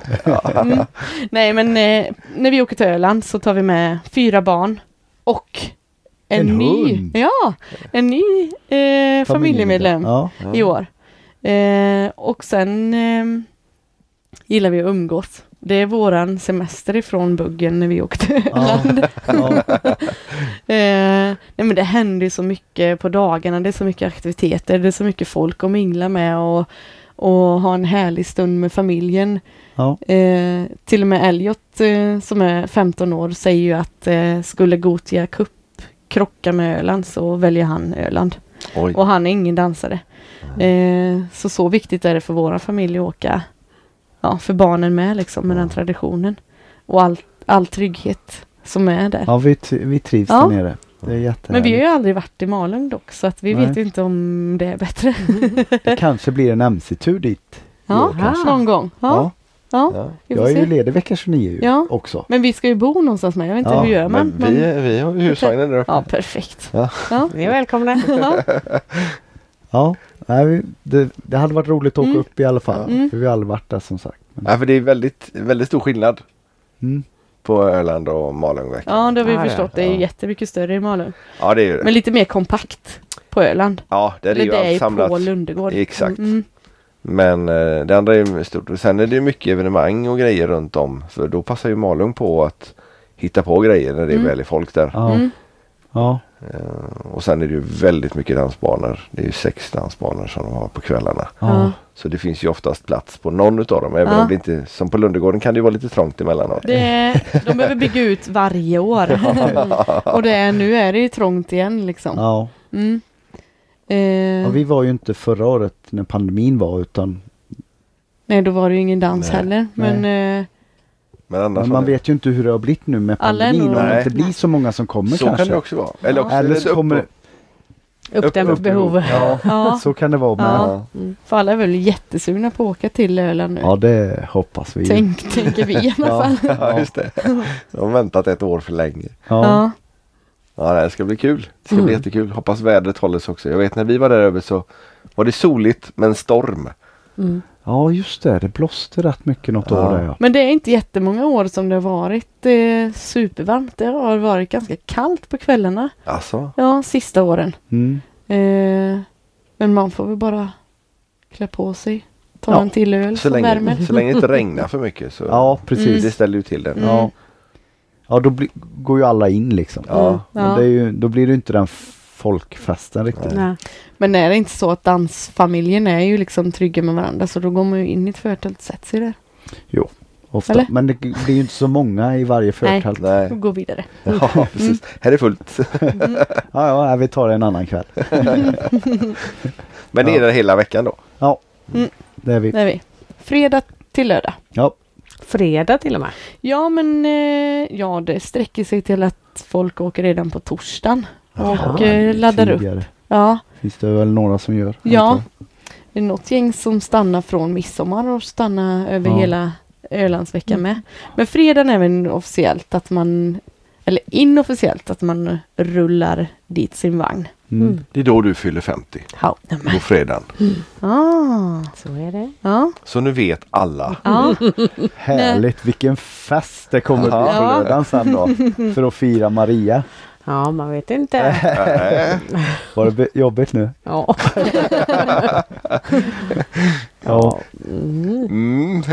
Speaker 5: Mm. Nej men eh, när vi åker till Öland så tar vi med fyra barn och en,
Speaker 6: En
Speaker 5: ny,
Speaker 6: hund.
Speaker 5: Ja, en ny eh, familjemedlem
Speaker 6: Ja.
Speaker 5: i år. Eh, och sen ehm, gillar vi att umgås. Det är våran semester ifrån buggen när vi åker till
Speaker 6: Ja.
Speaker 5: Öland.
Speaker 6: ja.
Speaker 5: Eh, nej men det händer ju så mycket på dagarna, det är så mycket aktiviteter, det är så mycket folk att mingla med och, och ha en härlig stund med familjen.
Speaker 6: ja.
Speaker 5: Eh, till och med Elliot eh, som är 15 år säger ju att eh, skulle Gotia Cup krocka med Öland så väljer han Öland.
Speaker 1: Oj.
Speaker 5: Och han är ingen dansare. Eh, så så viktigt är det för våra familj att åka, ja för barnen med liksom med den traditionen. Och all, all trygghet som är där.
Speaker 6: ja vi, t- vi trivs
Speaker 5: Ja.
Speaker 6: där nere. Det är
Speaker 5: Men
Speaker 6: jättehärligt.
Speaker 5: vi har ju aldrig varit i Malung dock så att vi
Speaker 6: Nej.
Speaker 5: vet ju inte om det är bättre.
Speaker 6: Det kanske blir en MC-tur dit.
Speaker 5: Ja, någon gång. Ja, ja.
Speaker 1: Ja.
Speaker 5: vi får
Speaker 6: Jag är ju
Speaker 5: se.
Speaker 6: ledig vecka 29 ju
Speaker 5: Ja.
Speaker 6: också.
Speaker 5: Men vi ska ju bo någonstans med. Jag vet inte
Speaker 6: Ja,
Speaker 5: hur gör man?
Speaker 1: Men vi, vi har ju husvagnen där uppe.
Speaker 5: Ja, perfekt.
Speaker 1: Ja.
Speaker 5: Ja.
Speaker 2: Ni är välkomna.
Speaker 5: Ja.
Speaker 6: Ja, nej, vi- det, det hade varit roligt att åka
Speaker 5: Mm.
Speaker 6: upp i alla fall.
Speaker 5: Mm.
Speaker 6: För vi har aldrig varit där som sagt. Men,
Speaker 1: Ja, för det är väldigt, väldigt stor skillnad
Speaker 6: mm.
Speaker 1: på Öland och Malung. verkligen.
Speaker 5: ja, det har vi
Speaker 2: Ja, det är-
Speaker 5: förstått. Det är ju
Speaker 1: ja.
Speaker 5: jättemycket större i Malung.
Speaker 1: ja, det är ju det.
Speaker 5: Men lite mer kompakt på Öland.
Speaker 1: Ja, där är
Speaker 5: Eller
Speaker 1: ju
Speaker 5: det är
Speaker 1: allt
Speaker 5: ju
Speaker 1: samlat.
Speaker 5: på Lundegård.
Speaker 1: Exakt.
Speaker 5: Mm.
Speaker 1: Men eh, det andra är ju stort. Och sen är det ju mycket evenemang och grejer runt om. Så då passar ju Malung på att hitta på grejer när det
Speaker 5: Mm.
Speaker 1: är väl är folk där.
Speaker 6: Ja.
Speaker 5: Mm.
Speaker 6: ja,
Speaker 1: Och sen är det ju väldigt mycket dansbanor. Det är ju sex dansbanor som de har på kvällarna.
Speaker 5: Ja.
Speaker 6: ja.
Speaker 1: Så det finns ju oftast plats på någon utav dem. Även
Speaker 5: Ja.
Speaker 1: om det inte, som på Lundegården kan det ju vara lite trångt emellanåt.
Speaker 5: Det är, de behöver bygga ut varje år. Och det är, nu är det ju trångt igen liksom.
Speaker 6: ja.
Speaker 5: Mm.
Speaker 6: ja.
Speaker 5: Eh,
Speaker 6: Vi var ju inte förra året när pandemin var utan
Speaker 5: Nej, då var det ju ingen dans
Speaker 1: Nej.
Speaker 5: heller. Men eh,
Speaker 1: Men annars
Speaker 6: Men
Speaker 1: har
Speaker 6: man
Speaker 1: det-
Speaker 6: vet ju inte hur det har blivit nu med
Speaker 5: Alla är
Speaker 6: pandemin. Om
Speaker 5: nog-
Speaker 6: det
Speaker 1: Nej.
Speaker 6: inte blir så många som kommer
Speaker 1: Så
Speaker 6: kanske.
Speaker 1: kan det också vara. Eller också
Speaker 6: Eller
Speaker 1: är det
Speaker 6: så
Speaker 1: upp-
Speaker 6: kommer
Speaker 2: Uppdämt
Speaker 1: Upp- upp-
Speaker 2: behov.
Speaker 6: Ja,
Speaker 5: Ja,
Speaker 6: så kan det vara. Men, ja.
Speaker 5: Ja. för alla är väl jättesugna på att åka till Öland nu.
Speaker 6: det hoppas vi.
Speaker 5: Tänk, tänker vi i alla fall.
Speaker 6: ja,
Speaker 1: Ja, just det. De har väntat ett år för länge.
Speaker 6: ja.
Speaker 5: Ja.
Speaker 1: Ja, det här ska bli kul. Det ska
Speaker 5: Mm.
Speaker 1: bli jättekul. Hoppas vädret håller sig också. Jag vet när vi var där över så var det soligt men storm.
Speaker 6: ja, just det. Det blåste rätt mycket något
Speaker 1: Ja.
Speaker 6: år där ja.
Speaker 5: Men det är inte jättemånga år som det har varit eh, supervarmt. Det har varit ganska kallt på kvällarna.
Speaker 1: Alltså,
Speaker 5: Ja, sista åren.
Speaker 6: Mm.
Speaker 5: Eh, men man får väl bara klä på sig. Ta
Speaker 6: Ja,
Speaker 5: en till öl
Speaker 1: så
Speaker 5: som värmer.
Speaker 1: länge, så länge det inte regnar för mycket så
Speaker 6: Ja, precis.
Speaker 1: det ställer ju till det.
Speaker 5: Mm.
Speaker 6: Ja. ja, då bli, går ju alla in liksom.
Speaker 5: Mm.
Speaker 1: Ja.
Speaker 6: Men det är ju, då blir det ju inte den f- folkfesten riktigt.
Speaker 2: Nej.
Speaker 5: Men är det inte så att dansfamiljen är ju liksom trygga med varandra så då går man ju in i ett förtält och sätter sig där
Speaker 6: Ofta.
Speaker 5: Eller?
Speaker 6: Men det g- blir ju inte så många i varje förtält. Ja,
Speaker 1: Nej.
Speaker 5: och går vidare.
Speaker 1: Ja, precis. Här är fullt.
Speaker 6: ja, nej, vi tar det en annan kväll.
Speaker 1: Men det är det hela veckan då.
Speaker 6: Ja,
Speaker 5: Mm.
Speaker 6: det är vi.
Speaker 5: Där är vi. Fredag till lördag.
Speaker 6: Ja,
Speaker 2: Fredag till och med.
Speaker 5: Ja men eh, ja det sträcker sig till att folk åker redan på torsdagen. Och eh, laddar upp.
Speaker 6: tidigare
Speaker 5: Ja,
Speaker 6: finns det väl några som gör.
Speaker 5: ja.
Speaker 6: antar
Speaker 5: Det är något gäng som stannar från midsommar och stannar över
Speaker 6: Ja.
Speaker 5: hela Ölandsveckan med. Men fredagen är väl officiellt att man eller inofficiellt att man rullar dit sin vagn.
Speaker 6: jag. Mm.
Speaker 1: Det är då du fyller 50.
Speaker 5: Ja, men.
Speaker 1: På fredagen.
Speaker 5: Ah,
Speaker 2: Så är det.
Speaker 5: ja,
Speaker 1: Så nu vet alla.
Speaker 5: ja.
Speaker 6: Härligt, vilken fest det kommer bli
Speaker 1: Ja.
Speaker 6: på lördagen sen då. För att fira Maria.
Speaker 2: Ja, man vet inte.
Speaker 1: Nej.
Speaker 6: Var det be- jobbigt nu?
Speaker 2: Ja.
Speaker 6: Ja.
Speaker 1: Mm.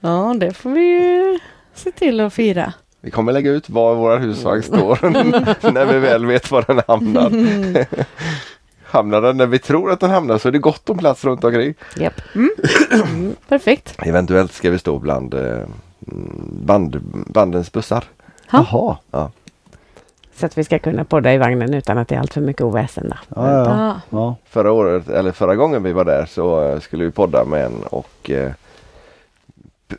Speaker 5: ja, det får vi ju se till att fira.
Speaker 1: Vi kommer lägga ut var våra husvagn står när vi väl vet var den hamnar. hamnar den när vi tror att den hamnar så är det gott om plats runt omkring.
Speaker 2: Japp.
Speaker 5: Perfekt.
Speaker 1: Eventuellt ska vi stå bland eh, mm, band, bandens bussar.
Speaker 6: Jaha.
Speaker 1: Ja.
Speaker 2: Så att vi ska kunna podda i vagnen utan att det är allt för mycket oväsen. då.
Speaker 6: Ja, ja.
Speaker 5: Ja.
Speaker 6: ja.
Speaker 1: Förra året, eller förra gången vi var där så eh, skulle vi podda med en och eh,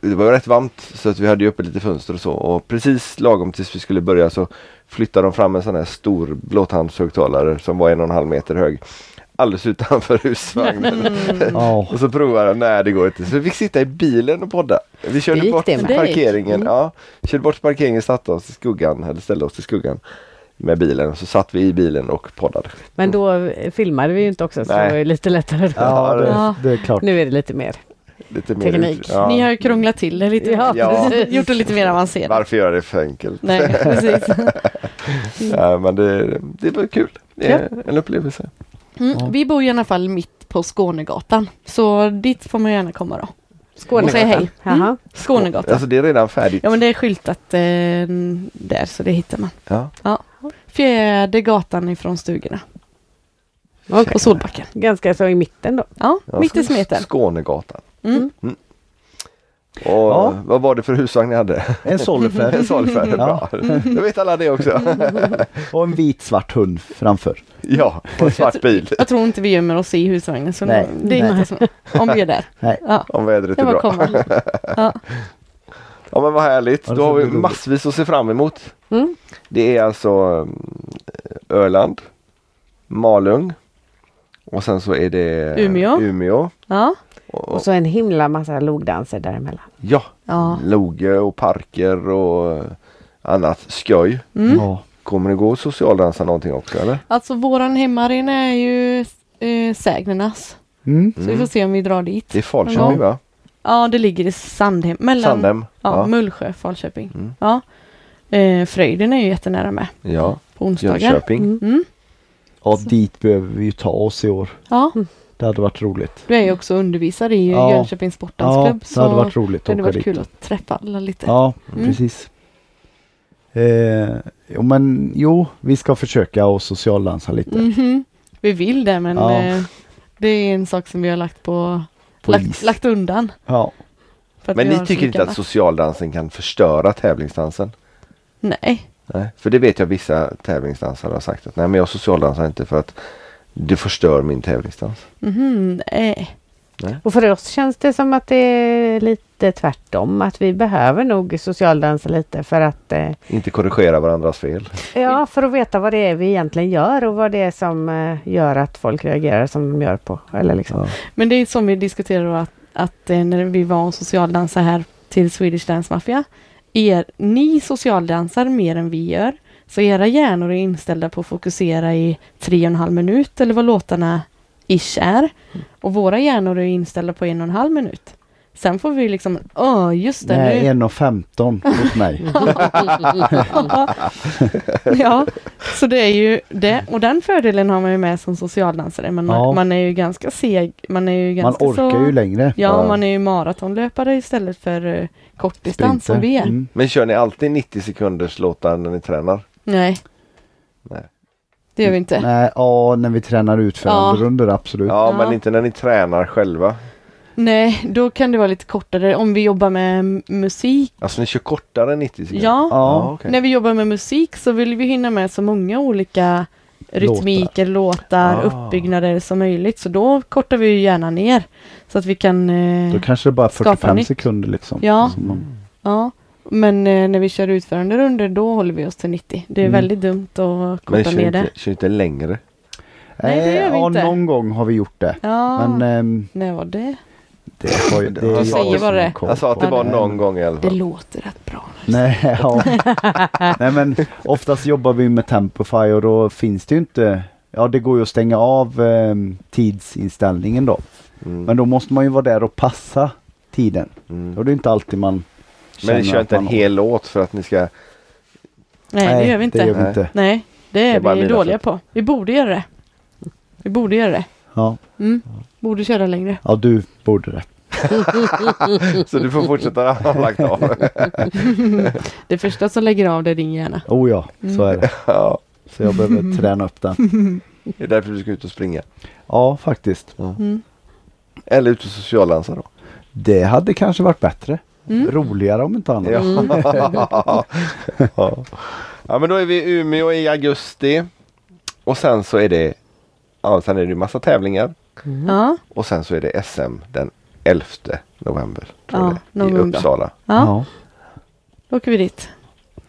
Speaker 1: det var ju rätt varmt så att vi hade ju uppe lite fönster och så och precis lagom tills vi skulle börja så flyttade de fram en sån här stor blåtandshögtalare som var en och en halv meter hög alldeles utanför husvagnen.
Speaker 5: Mm.
Speaker 6: Ja.
Speaker 1: Och så provade han, nej det går inte. Så vi fick sitta i bilen och podda. Vi
Speaker 2: Det
Speaker 1: körde
Speaker 2: gick
Speaker 1: bort
Speaker 2: det
Speaker 1: till
Speaker 2: med. Mm.
Speaker 1: parkeringen. Ja, körde bort till parkeringen, satte oss i skuggan, eller ställde oss i skuggan med bilen. Och så satt vi i bilen och poddade.
Speaker 2: Men då eh, filmade vi ju inte också så
Speaker 1: Nej.
Speaker 2: det var ju lite lättare. då.
Speaker 6: ja
Speaker 5: Ja.
Speaker 6: det, det är klart.
Speaker 2: Nu är det lite mer.
Speaker 1: Lite mer
Speaker 2: Teknik.
Speaker 1: ut- Ja.
Speaker 5: Ni har ju krånglat till det lite.
Speaker 2: Ja,
Speaker 1: Ja.
Speaker 2: precis.
Speaker 5: Gjort det lite mer avancerat.
Speaker 1: Varför göra det för enkelt?
Speaker 5: Nej, precis.
Speaker 1: Ja, men det, det var kul. Det är en upplevelse.
Speaker 6: Ja.
Speaker 5: Mm. Vi bor ju i alla fall mitt på Skånegatan. Så dit får man gärna komma då.
Speaker 2: Skånegatan.
Speaker 5: Och säga hej. Mm.
Speaker 2: Jaha.
Speaker 5: Skånegatan.
Speaker 1: Alltså det är redan färdigt.
Speaker 5: Ja men det är skyltat eh, där så det hittar man.
Speaker 1: Ja.
Speaker 5: Fjärde gatan ifrån stugorna.
Speaker 2: Okej.
Speaker 5: På Solbacken.
Speaker 2: Ganska så i mitten då.
Speaker 5: Ja,
Speaker 1: Ja,
Speaker 5: mitt i
Speaker 1: Sk-
Speaker 5: smeten.
Speaker 1: Skånegatan.
Speaker 5: Mm.
Speaker 1: Mm. Och
Speaker 6: Ja.
Speaker 1: vad var det för husvagn ni hade?
Speaker 6: En
Speaker 1: En
Speaker 6: solfer
Speaker 1: salufärd, bra.
Speaker 6: Ja.
Speaker 1: Då vet alla det också.
Speaker 6: och en vit svart hund framför.
Speaker 1: Ja, och en svart bil.
Speaker 5: Jag tror inte vi gömmer oss i husvagnen så
Speaker 6: Nej.
Speaker 5: det är inte så. Om vi är där.
Speaker 6: Nej.
Speaker 5: Ja,
Speaker 1: Om vädret
Speaker 5: det
Speaker 1: är
Speaker 5: var
Speaker 1: bra.
Speaker 5: komma.
Speaker 1: Ja men vad härligt.
Speaker 6: Ja, det
Speaker 1: Då har
Speaker 6: ska
Speaker 1: vi
Speaker 6: bli roligt.
Speaker 1: massvis att se fram emot.
Speaker 2: Mm.
Speaker 1: Det är alltså mm, Öland, Malung och sen så är det
Speaker 5: Umeå.
Speaker 1: Umeå.
Speaker 5: Ja.
Speaker 1: Och,
Speaker 2: Och så en himla massa logdanser däremellan.
Speaker 1: ja,
Speaker 5: Ja.
Speaker 1: Loge och parker och eh, annat skoj.
Speaker 5: Mm.
Speaker 6: Ja.
Speaker 1: Kommer det gå att socialdansa någonting också eller?
Speaker 5: Alltså våran hemmaarena är ju eh, Sägnernas.
Speaker 6: Mm.
Speaker 5: Så vi får se om vi drar dit.
Speaker 1: Det är Falköping
Speaker 5: Ja.
Speaker 1: va?
Speaker 5: Ja, det ligger i Sandhem. Mellan,
Speaker 1: Sandhem.
Speaker 5: Ja,
Speaker 1: Ja.
Speaker 5: Mullsjö, Falköping.
Speaker 1: Mm.
Speaker 5: Ja. Eh, Fröjden är ju jättenära med
Speaker 1: ja.
Speaker 5: på onsdagar.
Speaker 1: Jönköping.
Speaker 5: Mm.
Speaker 6: ja, dit behöver vi ju ta oss i år.
Speaker 5: Ja,
Speaker 6: Det hade varit roligt.
Speaker 5: du är ju också undervisare i
Speaker 6: Ja.
Speaker 5: Jönköpings
Speaker 6: Ja,
Speaker 5: sportdansklubb.
Speaker 6: det hade varit roligt
Speaker 5: det
Speaker 6: att
Speaker 5: hade
Speaker 6: åka
Speaker 5: varit
Speaker 6: dit.
Speaker 5: kul att träffa alla lite.
Speaker 6: Ja,
Speaker 5: Mm.
Speaker 6: precis. Eh, jo, men jo, vi ska försöka och socialdansa lite.
Speaker 5: Mhm. Vi vill det men
Speaker 6: Ja.
Speaker 5: eh, det är en sak som vi har lagt på,
Speaker 6: På
Speaker 5: lagt,
Speaker 6: is.
Speaker 5: lagt undan.
Speaker 6: Ja,
Speaker 5: för att
Speaker 1: Men
Speaker 5: vi har
Speaker 1: ni
Speaker 5: så
Speaker 1: tycker
Speaker 5: mycket
Speaker 1: inte att
Speaker 5: annat.
Speaker 1: socialdansen kan förstöra tävlingsdansen?
Speaker 5: Nej,
Speaker 1: Nej, för det vet jag vissa tävlingsdansare har sagt att nej men jag socialdansar inte för att det förstör min tävlingsdans.
Speaker 5: Mhm, nej.
Speaker 3: Nej.
Speaker 2: Och för oss känns det som att det är lite tvärtom. Att vi behöver nog socialdansa lite för att eh,
Speaker 1: Inte korrigera varandras fel.
Speaker 2: Ja, för att veta vad det är vi egentligen gör och vad det är som eh, gör att folk reagerar som de gör på. Eller liksom.
Speaker 5: Men det är som vi diskuterade då att, att eh, när vi var och socialdansade här till Swedish Dance Mafia. Er, ni socialdansar mer än vi gör. Så era hjärnor är inställda på att fokusera i tre och en halv minut eller vad låtarna ish är.
Speaker 6: Mm.
Speaker 5: Och våra hjärnor är inställda på en och en halv minut. Sen får vi liksom, åh just det. nu-
Speaker 6: Nej, 1,15 hos mig.
Speaker 5: ja, så det är ju det. Och den fördelen har man ju med som socialdansare. Men man,
Speaker 6: Ja.
Speaker 5: man är ju ganska seg. Man är ju
Speaker 6: Man
Speaker 5: ganska
Speaker 6: orkar
Speaker 5: så...
Speaker 6: ju längre.
Speaker 5: Ja, man är ju maratonlöpare istället för eh, kortdistans som vi är.
Speaker 6: Mm.
Speaker 1: Men kör ni alltid 90 sekunders låtar när ni tränar?
Speaker 5: Nej.
Speaker 1: Nej.
Speaker 5: Det gör vi inte. Nej,
Speaker 6: Nej, ja, när vi tränar utförande runder absolut.
Speaker 1: Ja,
Speaker 5: Ja.
Speaker 1: men inte när ni tränar själva.
Speaker 5: då kan det vara lite kortare. Om vi jobbar med m- musik.
Speaker 1: Alltså ni kör kortare än 90
Speaker 5: Ja,
Speaker 1: sekunder?
Speaker 6: Ah,
Speaker 1: Ja, okej.
Speaker 5: när vi jobbar med musik så vill vi hinna med så många olika rytmiker, låtar,
Speaker 1: Ah.
Speaker 5: uppbyggnader som möjligt. Så då kortar vi ju gärna ner. Så att vi kan... eh,
Speaker 6: Då kanske det bara är
Speaker 5: Skapa
Speaker 6: 45
Speaker 5: nytt.
Speaker 6: sekunder liksom.
Speaker 5: Ja.
Speaker 6: Som man-
Speaker 5: Ja, men eh, när vi kör utförande runder då håller vi oss till 90. Det är
Speaker 6: Mm.
Speaker 5: väldigt dumt att
Speaker 1: Men
Speaker 5: korta
Speaker 1: kör
Speaker 5: ner det.
Speaker 1: inte, kör inte längre?
Speaker 5: Nej, det gör vi
Speaker 6: Eh, ja,
Speaker 5: inte.
Speaker 6: någon gång har vi gjort det.
Speaker 5: Ja,
Speaker 6: Men ehm,
Speaker 5: när var det?
Speaker 6: det var ju... Det är
Speaker 1: Jag
Speaker 6: jag
Speaker 5: säger
Speaker 6: som
Speaker 5: bara det.
Speaker 6: har koll
Speaker 1: Jag sa att
Speaker 6: på
Speaker 1: det var någon gång i alla
Speaker 5: Det
Speaker 1: fall.
Speaker 5: låter rätt bra.
Speaker 6: Nej, ja. Nej men oftast jobbar vi med Tempify och då finns det ju inte Ja det går ju att stänga av ehm, tidsinställningen då.
Speaker 1: Mm.
Speaker 6: Men då måste man ju vara där och passa tiden.
Speaker 1: Mm.
Speaker 6: Och det är inte alltid man
Speaker 1: Men ni
Speaker 6: känner
Speaker 1: kör
Speaker 6: att
Speaker 1: inte en
Speaker 6: man-
Speaker 1: hel låt för att ni ska...
Speaker 5: Nej, det gör vi inte.
Speaker 6: Det gör vi
Speaker 1: Nej.
Speaker 6: inte.
Speaker 5: Nej, det
Speaker 1: är
Speaker 5: är,
Speaker 1: bara
Speaker 5: vi
Speaker 1: mina
Speaker 5: dåliga på. Vi borde göra det. Vi borde göra det.
Speaker 6: Ja.
Speaker 5: Mm. Borde köra längre.
Speaker 6: ja, du borde det.
Speaker 1: Så du får fortsätta ha lagt av.
Speaker 5: Det första som lägger av det är din hjärna.
Speaker 6: Oh ja,
Speaker 5: Mm.
Speaker 6: så är det.
Speaker 1: Ja.
Speaker 6: Så jag behöver träna upp den.
Speaker 1: Det är därför du ska ut och springa.
Speaker 6: Ja, faktiskt.
Speaker 1: Eller ut och socialdansa då.
Speaker 6: Det hade kanske varit bättre.
Speaker 5: Mm.
Speaker 6: Roligare om inte annat.
Speaker 1: Ja.
Speaker 6: Mm.
Speaker 1: ja. ja men då är vi i Umeå i augusti. Och sen så är det ja, sen är det ju massa tävlingar.
Speaker 5: Ja,
Speaker 1: Och sen så är det SM den 11 november. Tror
Speaker 5: Ja,
Speaker 1: jag det, är, I
Speaker 5: någon gång då.
Speaker 1: Uppsala.
Speaker 5: ja, då åker vi dit.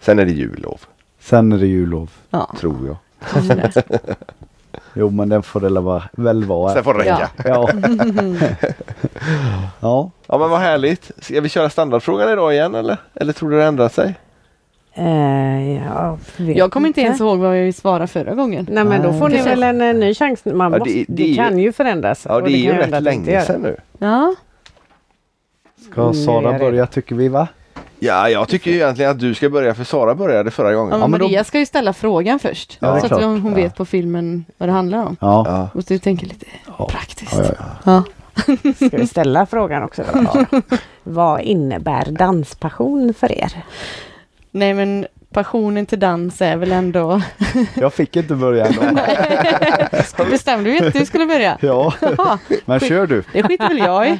Speaker 1: Sen är det jullov.
Speaker 6: Sen är det jullov.
Speaker 5: Ja,
Speaker 1: Tror jag.
Speaker 5: kanske det.
Speaker 6: Jo, men den får det la vara- väl vara.
Speaker 1: Sen får det räcka. Ja.
Speaker 6: Ja. ja.
Speaker 1: men vad härligt. Ska vi köra standardfrågan idag igen eller? Eller tror du det har ändrat sig?
Speaker 2: Eh, ja, vet
Speaker 5: Jag kommer inte ens ihåg vad vi svarade förra gången.
Speaker 2: Nej men då får ni väl en eh, ny chans. Man
Speaker 1: Ja,
Speaker 2: måste,
Speaker 1: det-
Speaker 2: det,
Speaker 1: det är ju-
Speaker 2: kan ju förändras.
Speaker 1: Ja
Speaker 2: och
Speaker 1: det är ju
Speaker 2: kan hända
Speaker 1: rätt
Speaker 2: att det inte gör
Speaker 1: länge sedan
Speaker 2: det.
Speaker 1: nu.
Speaker 5: Ja,
Speaker 6: Ska Sara börja tycker vi va?
Speaker 1: Ja jag tycker ju egentligen att du ska börja för Sara började förra gången.
Speaker 5: ja
Speaker 6: men
Speaker 5: men
Speaker 6: då-
Speaker 5: Maria ska ju ställa frågan först.
Speaker 6: Ja, det är
Speaker 5: så att
Speaker 6: klart.
Speaker 5: hon hon vet på filmen vad det handlar om.
Speaker 6: Ja.
Speaker 1: Ja.
Speaker 5: Måste ju tänka lite
Speaker 6: Ja.
Speaker 5: praktiskt.
Speaker 6: Ja, ja,
Speaker 5: Ja.
Speaker 2: Ska vi ställa frågan också? Då? Vad innebär danspassion för er?
Speaker 5: Nej men passionen till dans är väl ändå...
Speaker 6: Jag fick inte börja ändå.
Speaker 5: Bestämde vi att du skulle börja?
Speaker 6: Ja,
Speaker 5: Jaha,
Speaker 6: men kör du.
Speaker 5: det skiter väl jag i.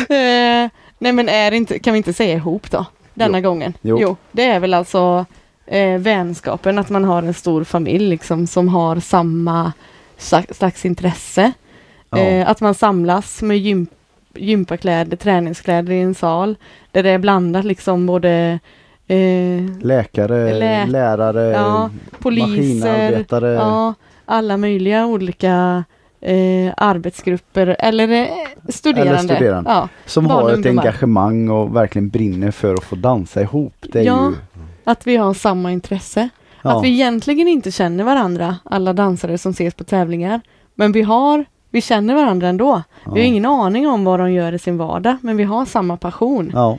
Speaker 5: Eh, nej men är det inte, kan vi inte säga ihop då? Denna gången.
Speaker 6: Jo.
Speaker 5: det är väl alltså eh, vänskapen, att man har en stor familj liksom som har samma sla- slags intresse.
Speaker 6: Ja.
Speaker 5: Eh, att man samlas med gym, gympakläder, träningskläder i en sal. Där det är blandat liksom både eh,
Speaker 6: Läkare,
Speaker 5: Lä-
Speaker 6: lärare,
Speaker 5: ja, poliser,
Speaker 6: Eh, maskinarbetare.
Speaker 5: ja, alla möjliga olika eh, arbetsgrupper eller eh, studerande.
Speaker 6: studerande.
Speaker 5: Ja,
Speaker 6: Som
Speaker 5: barn och
Speaker 6: har ett
Speaker 5: ungdomar.
Speaker 6: engagemang och verkligen brinner för att få dansa ihop. Det är
Speaker 5: Ja,
Speaker 6: ju,
Speaker 5: att vi har samma intresse.
Speaker 6: ja,
Speaker 5: Att vi egentligen inte känner varandra, alla dansare som ses på tävlingar. Men vi har, vi känner varandra ändå. Vi har
Speaker 6: Ja.
Speaker 5: ingen aning om vad de gör i sin vardag, men vi har samma passion.
Speaker 6: ja.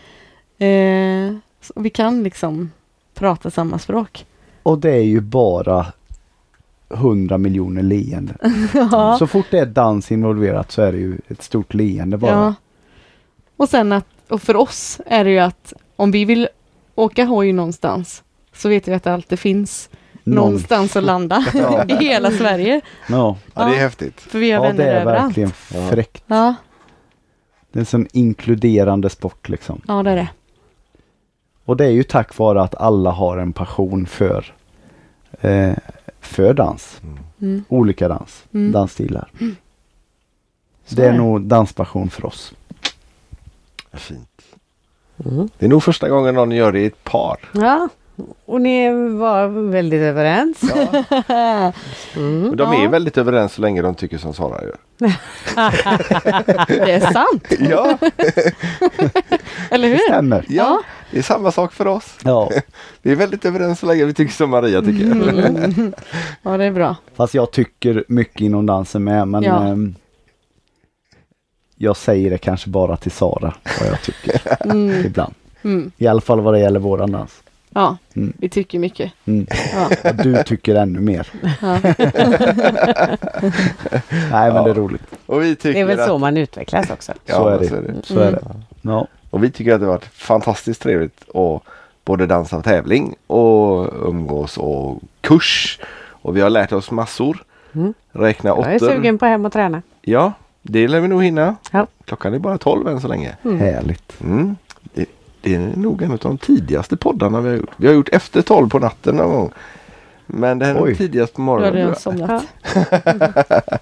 Speaker 5: Eh, så vi kan liksom prata samma språk.
Speaker 6: Och det är ju bara 100 miljoner leenden. Så fort det är dans involverat så är det ju ett stort leende bara.
Speaker 5: Ja. Och sen att, och för oss är det ju att om vi vill åka hoj någonstans så vet vi att det alltid finns
Speaker 6: Någon-
Speaker 5: någonstans att landa i hela Sverige.
Speaker 6: Ja,
Speaker 1: Ja, det är häftigt.
Speaker 5: För vi har
Speaker 6: ja det
Speaker 5: vänner
Speaker 6: är
Speaker 5: överallt.
Speaker 6: verkligen fräckt.
Speaker 5: Ja,
Speaker 6: Det är en sån inkluderande sport liksom.
Speaker 5: ja, det är det.
Speaker 6: Och det är ju tack vare att alla har en passion för, eh, för dans.
Speaker 5: Mm.
Speaker 6: Olika dans,
Speaker 5: Mm.
Speaker 6: dansstilar. det är nog danspassion för oss.
Speaker 1: Fint.
Speaker 2: Mm.
Speaker 1: Det är nog första gången någon gör det i ett par.
Speaker 2: Ja, och ni var väldigt överens. Mm.
Speaker 1: Och de är väldigt överens så länge de tycker som Sara gör.
Speaker 5: Det är sant,
Speaker 1: Ja,
Speaker 5: eller
Speaker 6: Det
Speaker 5: hur?
Speaker 6: stämmer.
Speaker 5: Ja.
Speaker 1: ja, det är samma sak för oss.
Speaker 6: Ja,
Speaker 1: Vi är väldigt överens så länge vi tycker som Maria tycker.
Speaker 2: Mm.
Speaker 5: Ja, det är bra.
Speaker 6: fast jag tycker mycket inom dansen med men
Speaker 5: Ja.
Speaker 6: ehm, jag säger det kanske bara till Sara vad jag tycker ibland.
Speaker 5: Mm.
Speaker 6: I alla fall vad det gäller våran dans.
Speaker 5: Ja,
Speaker 6: Mm.
Speaker 5: vi tycker mycket.
Speaker 6: Mm.
Speaker 5: Ja.
Speaker 6: Och du tycker ännu mer.
Speaker 5: Ja.
Speaker 6: Nej men det är roligt.
Speaker 1: Och vi tycker
Speaker 2: Det är väl
Speaker 1: att,
Speaker 2: så man utvecklas också.
Speaker 1: Ja,
Speaker 6: Så är det.
Speaker 1: Så är det. Mm.
Speaker 6: Så är det. Ja.
Speaker 1: Och vi tycker att det har varit fantastiskt trevligt att både dansa på tävling och umgås och kurs. Och vi har lärt oss massor.
Speaker 2: Mm.
Speaker 1: Räkna
Speaker 2: Jag är
Speaker 1: åttor.
Speaker 2: sugen på hem och träna.
Speaker 1: Ja, det lär vi nog hinna.
Speaker 2: Ja.
Speaker 1: Klockan är bara 12 än så länge.
Speaker 6: Härligt.
Speaker 1: Mm. Det, det är nog en av de tidigaste poddarna vi har gjort. Vi har gjort efter 12 på natten någon gång. Men det här är nog
Speaker 6: Oj.
Speaker 1: tidigast på
Speaker 5: Då
Speaker 1: morgonen.
Speaker 5: har
Speaker 1: tror
Speaker 5: jag
Speaker 1: jag.
Speaker 5: somnat.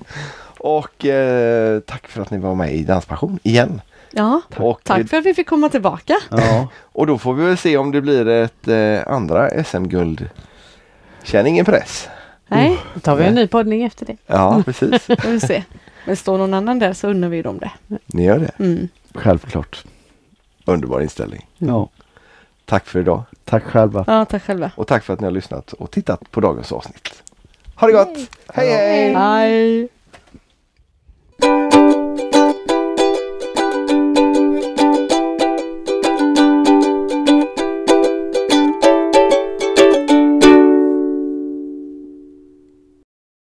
Speaker 1: Och eh, tack för att ni var med i Danspassion igen.
Speaker 5: Ja,
Speaker 1: Och,
Speaker 5: tack för att vi fick komma tillbaka.
Speaker 6: Ja.
Speaker 1: och då får vi väl se om det blir ett eh, andra SM-guld. Känn ingen press.
Speaker 5: Nej,
Speaker 2: Då tar vi en ny poddning efter det.
Speaker 1: Ja, precis.
Speaker 5: vi får se. Men står någon annan där så undrar vi dem det.
Speaker 1: Ni gör det.
Speaker 5: Mm.
Speaker 6: Självklart.
Speaker 1: Underbar inställning.
Speaker 6: Ja.
Speaker 1: Tack för idag.
Speaker 6: Tack själva.
Speaker 5: Ja, tack själva.
Speaker 1: Och tack för att ni har lyssnat och tittat på dagens avsnitt. Ha det gott! hej! hej.
Speaker 5: Hej!